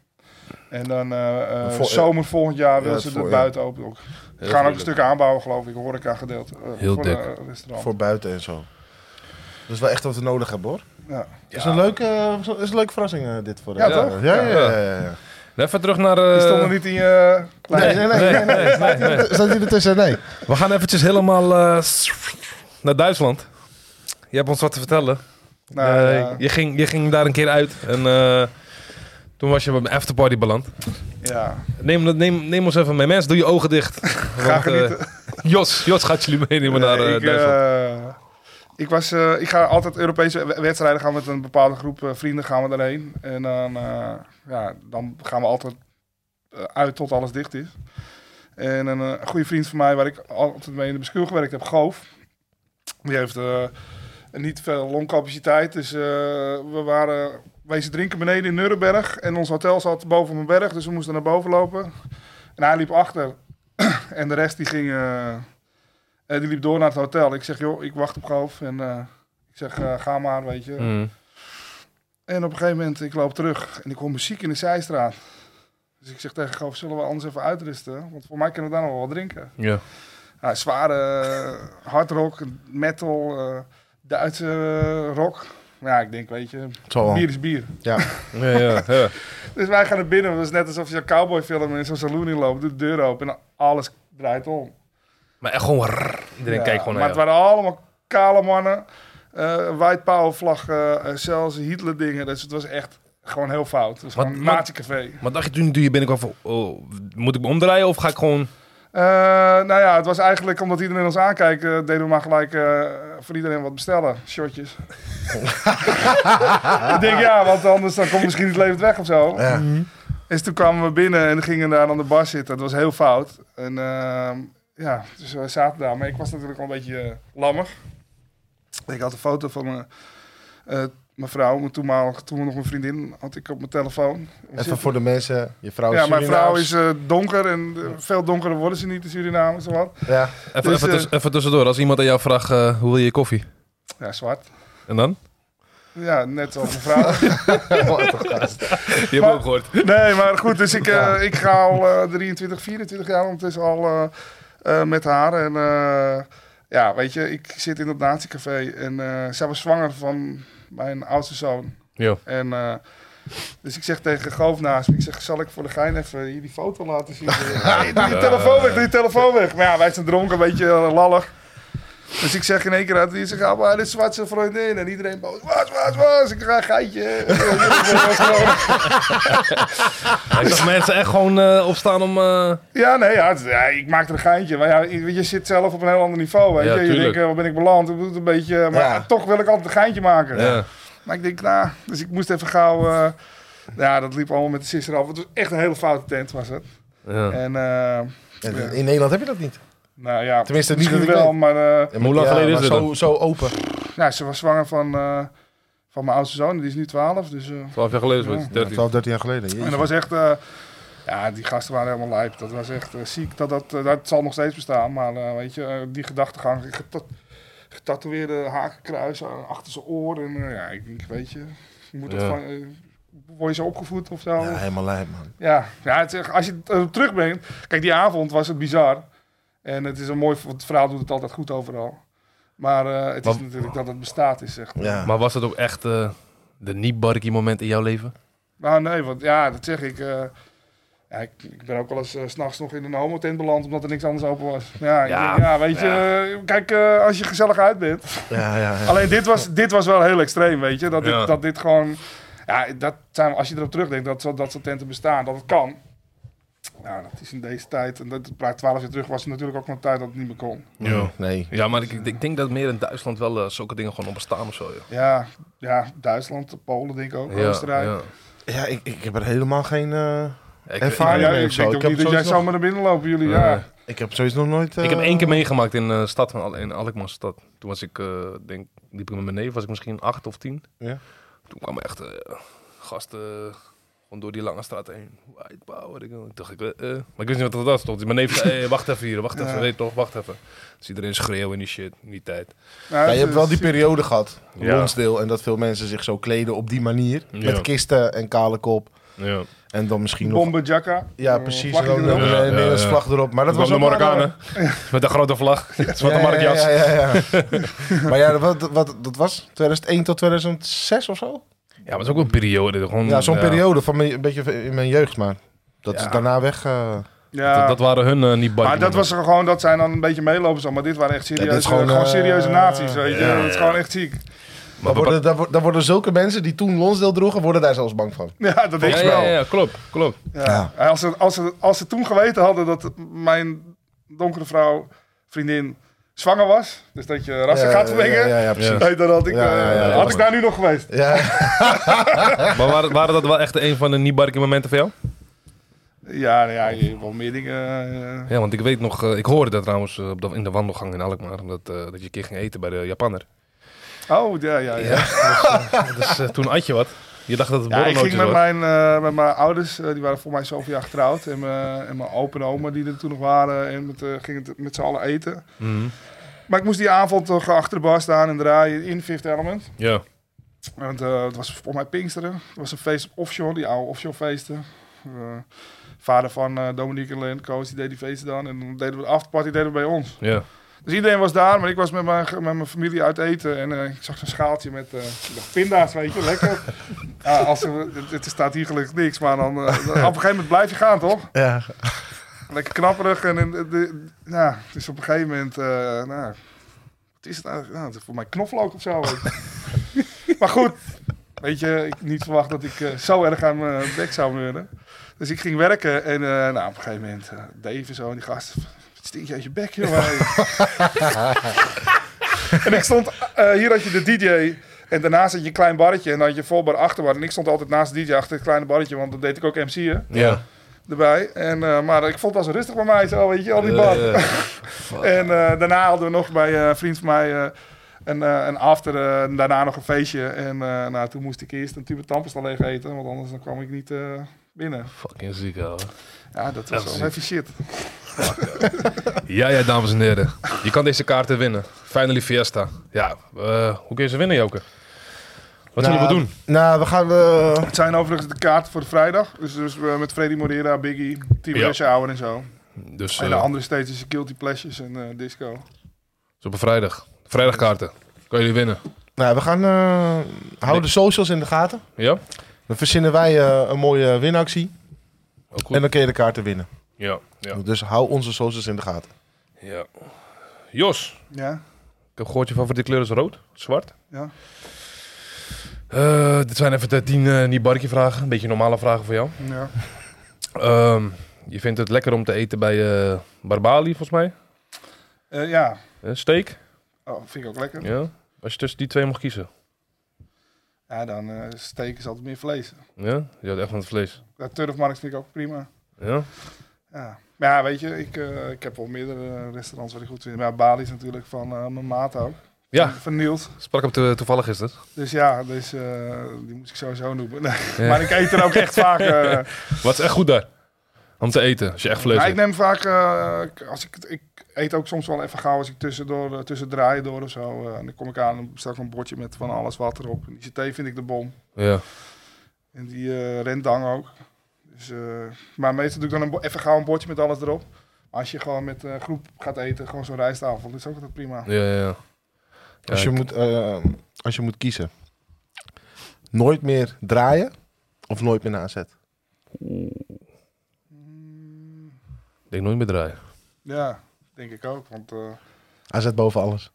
S3: En dan eh, eh,
S2: Vol-
S3: zomer volgend jaar
S2: Ja,
S3: willen ze
S2: vol-
S3: de
S2: ja.
S3: buiten open. Ook. Ze gaan ook een stuk aanbouwen, geloof ik, horeca gedeeld. eh,
S1: Heel
S3: voor
S1: dik.
S3: een restaurant.
S2: Voor buiten en zo. Dat is wel echt wat we nodig hebben hoor.
S3: Ja.
S2: Is, een leuke, eh, is een leuke verrassing eh, dit voor
S3: Ja,
S2: eh,
S3: toch?
S2: Ja, ja, ja. ja, ja.
S1: Even terug naar... eh,
S3: Die stonden niet in je eh,
S2: Nee,
S3: kleine-
S2: nee, nee. nee, nee,
S1: nee, nee.
S2: Staat hier ertussen? Nee.
S1: We gaan eventjes helemaal eh, naar Duitsland. Je hebt ons wat te vertellen.
S3: Nou,
S1: Eh,
S3: ja.
S1: je, ging, je ging daar een keer uit en eh, toen was je bij een afterparty beland.
S3: Ja.
S1: Neem, dat- neem, neem ons even mee. Mensen, doe je ogen
S3: *laughs*
S1: dicht. Graag
S3: genieten.
S1: Jos, Jos gaat jullie meenemen naar eh,
S3: Nee, ik,
S1: Duitsland.
S3: eh, ik, was, eh, ik ga altijd Europese we- wedstrijden gaan met een bepaalde groep eh, vrienden gaan we daarheen. En dan, eh, ja, dan gaan we altijd eh, uit tot alles dicht is. En een eh, goede vriend van mij, waar ik altijd mee in de beschuw gewerkt heb, Goof. Die heeft eh, niet veel longcapaciteit. Dus eh, we waren wezen drinken beneden in Nuremberg. En ons hotel zat boven op een berg, dus we moesten naar boven lopen. En hij liep achter. *clears throat* en de rest die ging... eh, eh, die liep door naar het hotel. Ik zeg, joh, ik wacht op Goof. En eh, ik zeg, eh, ga maar, weet je.
S1: Mm.
S3: En op een gegeven moment, ik loop terug. En ik hoor muziek in de zijstraat. Dus ik zeg tegen Goof, zullen we anders even uitrusten? Want voor mij kunnen we daar nog wel wat drinken.
S1: Ja.
S3: Ja, Ah, zware eh, hardrock, metal, eh, Duitse eh, rock. Ja, ik denk, weet je,
S2: Het zal wel.
S3: bier is bier.
S1: Ja, ja, ja.
S3: Dus wij gaan naar binnen. Het was net alsof je een cowboyfilm in zo'n saloon inloopt. Doet de deur open en alles draait om.
S1: Maar echt gewoon... rrr. Iedereen
S3: Ja,
S1: kijkt gewoon
S3: Maar
S1: naar
S3: het
S1: jou.
S3: waren allemaal kale mannen. eh white power vlag, eh, eh, zelfs Hitler dingen. Dus het was echt gewoon heel fout. Het was
S1: Wat-
S3: gewoon een
S1: wat-
S3: nazi-café.
S1: Maar dacht je toen, toen je binnenkwam van... Oh, moet ik me omdraaien of ga ik gewoon...
S3: Eh, nou ja, het was eigenlijk omdat iedereen ons aankijkt, eh, deden we maar gelijk eh, voor iedereen wat bestellen.
S2: *laughs*
S3: Shotjes. ik denk ja, want anders dan komt misschien het levend weg of zo.
S2: Ja.
S3: Dus toen kwamen we binnen en gingen daar aan de bar zitten. Dat was heel fout. En ehm, ja, dus we zaten daar. Maar ik was natuurlijk al een beetje eh, lammer. Ik had een foto van mijn, eh, mijn vrouw, mijn toenmalig, toen nog mijn vriendin, had ik op mijn telefoon.
S2: Even voor de mensen. Je vrouw is
S3: ja, mijn vrouw
S2: Surinaams.
S3: is eh, donker en eh, veel donkerder worden ze niet in Suriname, zowat.
S2: Ja. *laughs*
S1: Even,
S3: Dus,
S1: even,
S3: eh,
S1: tuss- even tussendoor, als iemand aan jou vraagt... eh, hoe wil je je koffie?
S3: Ja, zwart.
S1: En
S3: *laughs*
S1: dan?
S3: Ja, net als mevrouw.
S2: Wat een gast.
S1: Je hebt
S3: Maar-
S1: ook gehoord.
S3: nee, maar goed, dus ik, eh, ik ga al eh, 23, 24 jaar ondertussen al eh, eh, met haar. En eh, ja, weet je, ik zit in dat natiecafé en eh, zij was zwanger van mijn oudste zoon.
S1: Ja.
S3: En eh, dus ik zeg tegen Goof naast me, ik zeg, zal ik voor de gein even hier die foto laten zien? nee, doe je telefoon weg, doe je telefoon weg. Maar ja, wij zijn dronken, een beetje eh, lallig. Dus ik zeg in één keer uit, die zegt, ah, maar dit is Zwartse vriendin. En iedereen boos, was, was, was, ik ga een geitje. *laughs* En, eh, jullie was gewoon-
S1: Ik zag mensen echt gewoon eh, opstaan om... eh,
S3: Ja, nee, ja, het- ja, ik maak er een geintje. Maar ja, je, je zit zelf op een heel ander niveau. Weet
S1: Ja,
S3: je? je
S1: tuurlijk.
S3: denkt, eh, waar ben ik beland? Ik bedoel, een beetje, eh, maar
S2: Ja.
S3: eh, toch wil ik altijd een geintje maken.
S1: ja.
S3: Maar ik denk, nou, dus ik moest even gauw... eh, ja, dat liep allemaal met de sisser af. Het was echt een hele foute tent, was het.
S1: Ja.
S3: En, eh,
S2: In in Nederland heb je dat niet.
S3: nou ja,
S2: Tenminste, niet
S3: misschien
S2: dat ik
S3: wel,
S2: weet.
S3: maar... eh,
S2: Ja,
S1: Hoe lang
S2: ja,
S1: geleden is
S2: maar
S1: dit
S2: zo, zo open.
S3: nou, ze was zwanger van, eh, van mijn oudste zoon. Die is nu 12, dus... eh,
S1: 12 jaar geleden was het, 13.
S2: 12, 13 jaar geleden. jezus.
S3: en dat was echt... eh, ja, die gasten waren helemaal lijp. Dat was echt eh, ziek. Dat, dat, eh, dat zal nog steeds bestaan. Maar eh, weet je, eh, die gedachtegang... geta- Getatoeëerde hakenkruis aan- achter zijn oor. En eh, ja, ik denk, weet je... je moet dat
S1: Ja.
S3: van, eh, word je zo opgevoed of zo?
S2: Ja, helemaal lijp, man.
S3: Ja, ja het is echt- als je het eh, terugbrengt. Kijk, die avond was het bizar. En het is een mooi, want het verhaal doet het altijd goed overal. Maar eh, het is
S1: Maar-
S3: natuurlijk dat het bestaat, is echt.
S2: Ja.
S1: Maar was dat ook echt eh, de niet-barkie moment in jouw leven?
S3: Nou, nee, want ja, dat zeg ik. eh, Ja, ik, ik ben ook wel eens eh, 's s'nachts nog in een homotent beland omdat er niks anders open was. Ja, ik
S1: Ja,
S3: denk, ja weet je, eh, kijk, eh, als je gezellig uit bent.
S2: Ja, ja, ja.
S3: Alleen dit was, dit was wel heel extreem, weet je. Dat dit,
S1: Ja.
S3: dat dit gewoon... Ja, dat zijn, als je erop terugdenkt dat, zo- dat soort tenten bestaan, dat het kan. Ja, dat is in deze tijd. En dat, maar 12 jaar terug was het natuurlijk ook een tijd dat het niet meer kon.
S1: Ja.
S2: Nee.
S1: Ja, maar ik, ik denk dat meer in Duitsland wel eh, zulke dingen gewoon onbestaan of zo. joh.
S3: Ja, ja Duitsland, Polen denk ik ook,
S1: Ja,
S3: Oostenrijk.
S1: ja.
S2: Ja, ik, ik heb er helemaal geen eh,
S1: Ik,
S3: Maar
S2: ervaring
S3: ja,
S2: mee of
S3: ik
S2: zo.
S3: denk
S2: Ik
S3: ook
S2: heb,
S3: niet dat
S2: sowieso
S3: jij
S2: nog,
S3: zomaar naar binnen lopen, jullie.
S1: Nee.
S3: Ja.
S2: ik heb sowieso nog nooit...
S1: ik heb
S2: eh,
S1: één keer meegemaakt in eh, stad van Al- in Alkmaar stad. Toen was ik, eh, denk, liep ik met mijn neef, was ik misschien acht of tien.
S2: Ja.
S1: Toen kwamen echt eh, gasten eh, gewoon door die lange straat heen. White power. Ik dacht, dacht ik, eh, eh. maar ik wist niet wat dat was. Tot mijn neef zei, hey, wacht even hier, wacht
S3: Ja.
S1: even, weet toch, wacht even. Dus iedereen schreeuwen en die shit, in die tijd.
S2: Ja,
S3: Nou,
S2: dus-
S3: het
S2: je hebt wel
S3: is-
S2: die periode gehad,
S1: Ja.
S2: Lonsdale, en dat veel mensen zich zo kleden op die manier.
S1: Ja.
S2: Met kisten en kale kop.
S1: Ja.
S2: En dan misschien nog...
S3: Bombe Jacka.
S2: Ja,
S3: Eh,
S2: precies.
S3: vlagje
S2: En dan
S3: erop.
S1: Ja, ja,
S2: een Nederlandse
S1: ja.
S2: vlag erop. Maar dat was
S1: de
S2: ook maar-
S1: Marokkanen. Met de grote vlag. Het zwarte
S2: Ja, ja,
S1: markjas.
S2: Ja, ja, ja.
S1: *laughs*
S2: maar ja, wat, wat, dat was 2001 tot 2006 of zo?
S1: Ja, maar het is ook een periode. Gewoon,
S2: Ja, zo'n periode van mijn, een beetje in mijn jeugd, maar dat
S1: Ja.
S2: is daarna weg. eh.
S3: Ja.
S1: Dat, dat waren hun eh, niet bang.
S3: Maar dat was er gewoon, dat zijn dan een beetje meelopers al. Maar dit waren echt serieuze,
S2: dit is gewoon,
S3: gewoon,
S2: eh,
S3: serieuze nazi's, weet je.
S1: ja, ja,
S3: Dat is
S1: ja.
S3: gewoon echt ziek.
S2: daar, worden, daar, wo- daar worden zulke mensen die toen Lonsdale droegen, worden daar zelfs bang van.
S3: Ja, dat denk
S1: ja,
S3: ik
S1: ja,
S3: wel.
S1: ja, ja, klopt, klopt.
S3: Ja. Als, ze, als, ze, als ze toen geweten hadden dat mijn donkere vrouw, vriendin, zwanger was. Dus dat je rassen gaat vermengen.
S2: Ja, ja, ja, precies.
S3: hey, dan had ik,
S2: Ja, ja, ja,
S3: eh,
S2: ja,
S3: had
S1: ja.
S3: ik daar nu nog geweest.
S2: Ja.
S1: Maar waren, waren dat wel echt een van de niet barkie momenten voor jou?
S3: Ja, nou ja, je hebt wel meer dingen. eh,
S1: Ja, want ik weet nog, eh, ik hoorde dat trouwens eh, op de- in de wandelgang in Alkmaar, omdat, eh, dat je een keer ging eten bij de Japanner.
S3: Oh, ja, ja, ja. ja.
S1: Dus eh, toen at je wat. Je dacht dat het
S3: ik ging
S1: borrelnootjes
S3: met
S1: was.
S3: mijn, eh, met mijn ouders, eh, die waren voor mij zoveel jaar getrouwd. En mijn, en mijn opa en oma die er toen nog waren. En met, eh, gingen het met z'n allen eten.
S1: Mhm.
S3: Maar ik moest die avond toch achter de bar staan en draaien in Fifth Element.
S1: Ja.
S3: Want eh, het was volgens mij Pinksteren. Het was een feest op offshore, die oude offshore feesten. Eh, vader van eh, Dominique en Len, Koos, die deed die feesten dan. En dan deden we de afterparty deden we bij ons.
S1: ja.
S3: Dus iedereen was daar, maar ik was met mijn, met mijn familie uit eten. En eh, ik zag zo'n schaaltje met eh, ik dacht, pinda's, weet je, lekker. ja, als, er- het, het staat hier gelukkig niks, maar dan, eh, op een gegeven moment blijf je gaan, toch?
S2: Ja.
S3: Lekker knapperig. En, en de, de- ja, dus op een gegeven moment, eh, nou, wat is het eigenlijk? Nou, het is voor mij knoflook of zo. *laughs* maar goed, weet je, ik niet verwacht dat ik eh, zo erg aan mijn bek zou meuren. Dus ik ging werken en eh, nou, op een gegeven moment, eh Dave en zo, en die gast, wat stink je uit je bek, joh. en ik stond, eh, hier had je de DJ. En daarnaast had je een klein barretje en dan had je voorbar achterbar. En ik stond altijd naast de DJ achter het kleine barretje, want dat deed ik ook MC'en
S1: Ja.
S3: erbij. En, eh, maar ik vond het als rustig bij mij zo, weet je, al die bar.
S1: Eh,
S3: en eh, daarna hadden we nog bij eh, een vriend van mij eh, een, eh, een after, eh, en daarna nog een feestje. En eh, nou, toen moest ik eerst een tube tampestal leeg eten, want anders dan kwam ik niet eh, binnen.
S1: fucking ziek, ouwe.
S3: Ja, dat was
S1: Ja,
S3: wel
S1: ziek.
S3: even shit.
S1: Ja, ja, dames en heren. Je kan deze kaarten winnen. Finally Fiesta. Ja, eh, hoe kun je ze winnen, Joke? Wat zullen we doen?
S2: Nou, we gaan... eh,
S3: Het zijn overigens de kaarten voor de vrijdag. Dus, dus eh, met Freddy Morera, Biggie, Team
S1: Ja.
S3: Rush Hour en zo.
S1: Dus
S3: En de
S1: eh,
S3: andere steeds is Guilty Pleasures en eh, Disco.
S1: dus op een vrijdag. Vrijdagkaarten. Kan jullie winnen.
S2: nou, we gaan... eh
S1: Nee.
S2: hou de socials in de gaten.
S1: Ja?
S2: Dan verzinnen wij eh, een mooie winactie.
S1: Ook goed.
S2: En dan kun je de kaarten winnen.
S1: Ja, ja,
S2: Dus hou onze socials in de gaten.
S1: ja. Jos,
S3: Ja?
S1: Ik heb gehoord, je favoriete kleur is rood, zwart.
S3: Ja?
S1: Eh, dit zijn even de tien eh, niet barkie vragen. Een beetje normale vragen voor jou.
S3: Ja.
S1: Ehm, je vindt het lekker om te eten bij eh, Barbali, volgens mij.
S3: Eh, ja.
S1: Eh, steak.
S3: Oh, vind ik ook lekker.
S1: Ja. Als je tussen die twee mag kiezen.
S3: Ja, dan eh steak is altijd meer vlees.
S1: Ja? Je houdt echt van het vlees.
S3: Ja, Turfmarkt vind ik ook prima.
S1: Ja?
S3: Ja, maar ja, weet je, ik, eh, ik heb wel meerdere eh, restaurants waar ik goed vind. Maar ja, Bali is natuurlijk van eh, mijn maat ook.
S1: Ja,
S3: Van Niels.
S1: sprak ik hem toevallig gisteren.
S3: Dus ja, dus, eh, die moest ik sowieso noemen. *laughs* Nee,
S1: Ja.
S3: Maar ik eet er ook echt vaak... eh,
S1: *laughs* Wat is echt goed daar? Om te eten, als je echt vlees
S3: nou, ik
S1: eet.
S3: neem vaak... eh, ik- als ik, het- ik eet ook soms wel even gauw als ik tussendoor, eh, tussen draaien door of zo. eh, en dan kom ik aan en bestel ik een bordje met van alles wat erop. En die CT vind ik de bom.
S1: Ja.
S3: En die eh, rendang ook. Dus, eh, maar meestal doe ik dan een bo- even gauw een bordje met alles erop. Maar als je gewoon met eh, groep gaat eten, gewoon zo'n rijstafel, dat is ook altijd prima.
S1: Ja, ja, ja. Ja,
S2: Als je,
S1: ik-
S2: moet, eh, als je moet kiezen. Nooit meer draaien of nooit meer naar AZ?
S1: Denk nooit meer draaien.
S3: Mm, Ja, denk ik ook. Want, eh,
S2: AZ boven alles.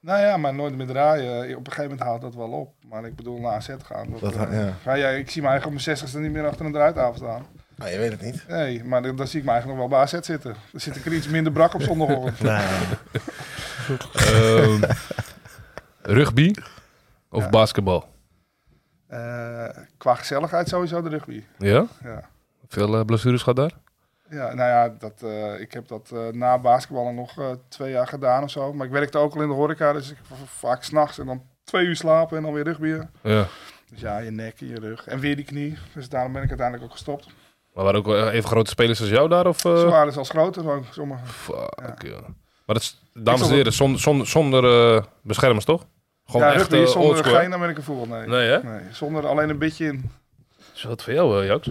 S3: nou ja, maar nooit meer draaien. Eh, Op een gegeven moment houdt dat wel op. Maar ik bedoel, naar AZ gaan. Dat,
S2: Dat,
S3: eh,
S2: ja.
S3: ga jij, ik zie me eigenlijk op mijn 60ste niet meer achter een draaidaal staan.
S2: Nou, je weet het niet.
S3: Nee, maar dan, dan zie ik me eigenlijk nog wel bij AZ zitten. Dan zit ik er iets minder brak op zondagochtend.
S2: *laughs*
S1: Ehm, *laughs* rugby of
S3: Ja.
S1: basketbal?
S3: Eh, qua gezelligheid sowieso de rugby.
S1: Ja?
S3: Ja.
S1: Veel eh, blessures gehad daar?
S3: Ja, nou ja, dat, eh, ik heb dat eh, na basketballen nog eh, twee jaar gedaan of zo. Maar ik werkte ook al in de horeca, dus ik v- v- vaak s'nachts en dan twee uur slapen en dan weer rugbyen.
S1: Ja.
S3: Dus ja, je nek en je rug. En weer die knie. Dus daarom ben ik uiteindelijk ook gestopt.
S1: Maar waren ook wel even grote spelers als jou daar? Of, eh?
S3: Ze waren zelfs groter dan sommigen.
S1: Fuck, ja. Maar dat is, dames
S3: vond
S1: en heren, zonder, zonder, zonder eh, beschermers, toch? Gewoon
S3: ja,
S1: echt
S3: rugby
S1: eh,
S3: is zonder
S1: oldschool.
S3: geen Amerika voetbal, nee. nee.
S1: Nee, hè?
S3: Zonder alleen een beetje in.
S1: Is dat voor jou, eh, Jout?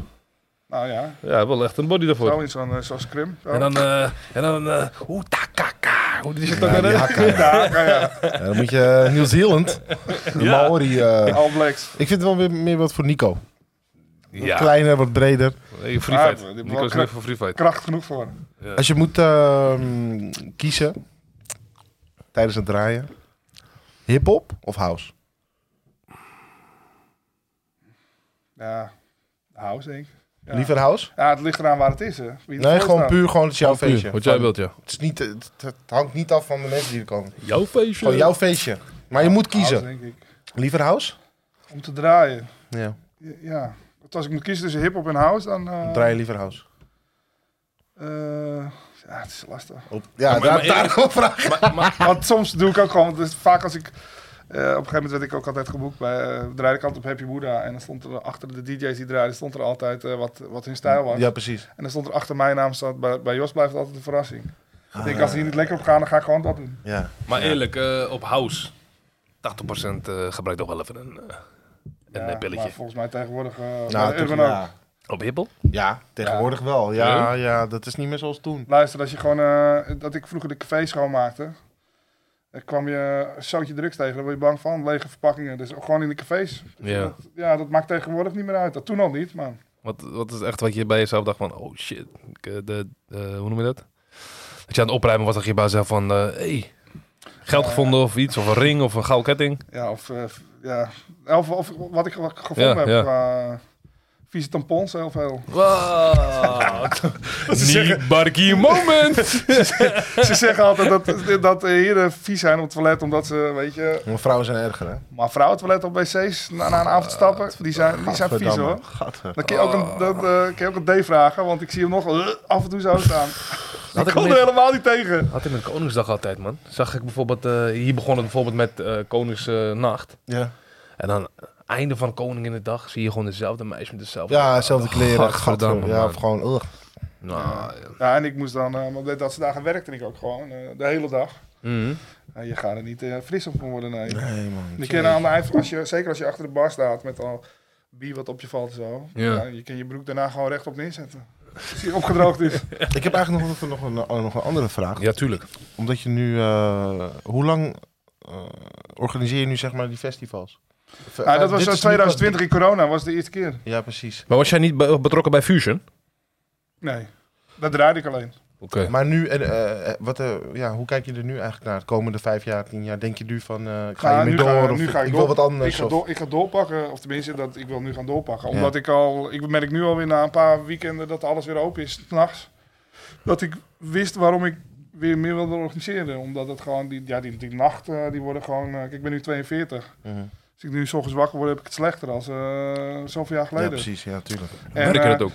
S3: Nou ja,
S1: Ja, wel echt een body daarvoor.
S3: zo in zo'n eh, zo'n scrim. Zo.
S1: En dan, eh en dan, eh, hoe takaka. Hoe is het ook weer?
S2: Ja, die
S1: hè?
S2: hakken, ja.
S3: Ja, ja, ja.
S2: Ja, dan moet je eh, New *laughs* Zealand. De
S1: Ja.
S2: Maori. eh.
S3: All Blacks.
S2: Ik vind het wel weer meer wat voor Nico. Wat
S1: Ja,
S2: Kleiner, wat breder.
S1: hey, free
S3: Ah,
S1: fight.
S3: die
S1: Nico
S3: blok-
S1: is net voor free fight.
S3: Kracht genoeg voor.
S2: Als je moet ehm, kiezen tijdens het draaien, hip-hop of house?
S3: Ja, house denk ik. Ja.
S2: Liever house?
S3: Ja, het ligt eraan waar het is, hè. Wie ervoor
S2: Nee, gewoon
S3: staat.
S2: puur gewoon het is jouw feestje.
S1: Wat jij
S2: Van-
S1: wilt, ja.
S2: Het, is niet, het, het hangt niet af van de mensen die er komen.
S1: Jouw feestje.
S2: Gewoon jouw feestje. Maar je moet
S3: House,
S2: kiezen.
S3: denk ik.
S2: Liever house?
S3: Om te draaien.
S2: Ja.
S3: Ja. Want als ik moet kiezen tussen hip-hop en house, dan. eh,
S2: Draai je liever house.
S3: eh, ja, het is lastig.
S2: Ja,
S1: maar-
S2: daar,
S1: maar-
S2: daarom vraag ik.
S1: Maar, maar,
S3: Want soms doe ik ook gewoon. Dus vaak als ik. eh, op een gegeven moment werd ik ook altijd geboekt bij. eh draaide ik altijd op Happy Buddha. En dan stond er achter de DJ's die draaiden. stond er altijd eh, wat, wat hun stijl was.
S2: Ja, precies.
S3: En dan stond er achter mijn naam. Staat, bij, bij Jos blijft altijd een verrassing. ik
S2: Ah.
S3: denk, als die niet lekker op gaan, dan ga ik gewoon dat doen.
S2: Ja.
S1: maar eerlijk, eh, op house, 80% eh, gebruikt toch wel even een, eh, een
S3: Ja,
S1: eh, pilletje.
S3: Maar volgens mij tegenwoordig. eh, bij
S2: Nou,
S3: de
S2: toch,
S3: Urban ook.
S2: ja.
S1: Op hippel?
S2: ja, tegenwoordig wel. Ja, ja, dat is niet meer zoals toen.
S3: Luister, als je gewoon, eh, dat ik vroeger de café schoonmaakte, dan kwam je een zootje drugs tegen, daar word je bang van, lege verpakkingen. Dus gewoon in de cafés.
S1: Ja.
S3: Dat, ja, dat maakt tegenwoordig niet meer uit. Dat toen al niet, man.
S1: Wat, wat is echt wat je bij jezelf dacht van, oh shit, ik, eh, de, eh, hoe noem je dat? Dat je aan het opruimen was, dat je bij jezelf van, eh, hey, geld gevonden of iets, of een ring of een gouden ketting.
S3: Ja, of, eh, ja. Of, of wat ik ge-
S1: Ja,
S3: gevonden heb.
S1: ja.
S3: qua vieze tampons, heel veel. *laughs*
S1: Wow, *laughs* niet
S3: zeggen-
S1: barkie moment.
S3: Ze zeggen altijd dat, dat eh, heren vies zijn op het toilet, omdat ze, weet je,
S2: Maar vrouwen zijn erger, hè?
S3: maar vrouwen toilet op wc's na, na een avond stappen, die zijn, die zijn vies
S2: Gadverdamme.
S3: hoor.
S2: Gadver.
S3: Dan kun je ook een, dan, eh, kun je ook een D vragen, want ik zie hem nog eh, af en toe zo *laughs* staan.
S1: Had
S3: ik
S1: ik
S3: kon
S1: niet-
S3: er helemaal niet tegen.
S1: Had ik met Koningsdag altijd, man. Zag ik bijvoorbeeld, eh, hier begon het bijvoorbeeld met eh, Koningsnacht.
S2: Ja,
S1: en dan einde van Koninginnedag zie je gewoon dezelfde meisje met dezelfde...
S2: ja dezelfde kleren.
S1: Gadverdamme,
S2: gadver. Ja,
S1: man.
S2: of gewoon... ugh.
S1: Nou, ja.
S3: Ja, en ik moest dan, eh, want dat ze dagen werkte ik ook gewoon, eh, de hele dag.
S1: Mhm.
S3: En je gaat er niet eh, fris op worden, nee.
S2: Nee, man.
S3: Je kan aan de eind, als je, zeker als je achter de bar staat met al bier wat op je valt en zo.
S1: Ja.
S3: ja, je kan je broek daarna gewoon rechtop neerzetten. Als die opgedroogd
S2: *laughs*
S3: is.
S2: Ik heb eigenlijk nog, nog, een, oh, nog een andere vraag.
S1: ja, tuurlijk.
S2: Omdat je nu... eh, hoe lang eh, organiseer je nu zeg maar die festivals? V-
S3: Nou, dat was
S2: dit
S3: zo
S2: is nu
S3: 2020 in corona, was de eerste keer.
S2: pas- Ja, precies.
S1: Maar was jij niet be- betrokken bij Fusion?
S3: Nee, dat draaide ik alleen.
S1: Oké.
S2: Maar nu, en, eh, eh, wat, eh, ja, hoe kijk je er nu eigenlijk naar? De komende vijf jaar, tien jaar, denk je nu van, eh, ik ga
S3: Ja,
S2: hiermee
S3: Nou, nu
S2: door?
S3: ga-
S2: of
S3: nu ga ik
S2: wil
S3: door.
S2: wat anders?
S3: Ik ga,
S2: of-
S3: door, ik ga doorpakken, of tenminste, dat, ik wil nu gaan doorpakken.
S2: Ja.
S3: Omdat ik al, ik merk nu alweer na een paar weekenden dat alles weer open is, 's nachts. Dat ik wist waarom ik weer meer wilde organiseren. Omdat het gewoon, die, ja, die, die nachten, die worden gewoon, eh, kijk, ik ben nu 42.
S2: Mhm.
S3: Als ik nu 's ochtends wakker word, heb ik het slechter dan eh, zoveel jaar
S2: Ja,
S3: geleden.
S2: precies. Ja, tuurlijk.
S3: En,
S1: Merk je
S3: eh,
S1: dat ook?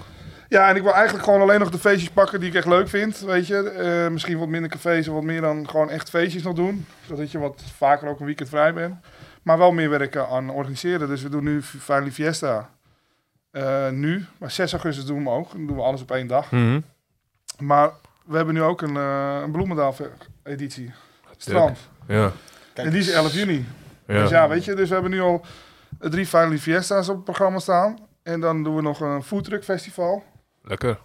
S3: Ja, en ik wil eigenlijk gewoon alleen nog de feestjes pakken die ik echt leuk vind. Weet je, Eh, misschien wat minder cafés en wat meer dan gewoon echt feestjes nog doen. Zodat je wat vaker ook een weekend vrij bent. Maar wel meer werken aan organiseren. Dus we doen nu F- Finally Fiesta. Eh, nu, maar 6 augustus doen we hem ook. Dan doen we alles op één dag.
S1: Mhm.
S3: Maar we hebben nu ook een, eh een Bloemendaal-editie. Strand.
S1: Ja.
S2: Kijk,
S3: en die is 11 juni.
S1: Ja.
S3: Dus ja, weet je, dus we hebben nu al eh, drie Finally Fiesta's op het programma staan. En dan doen we nog een foodtruck festival.
S1: Lekker.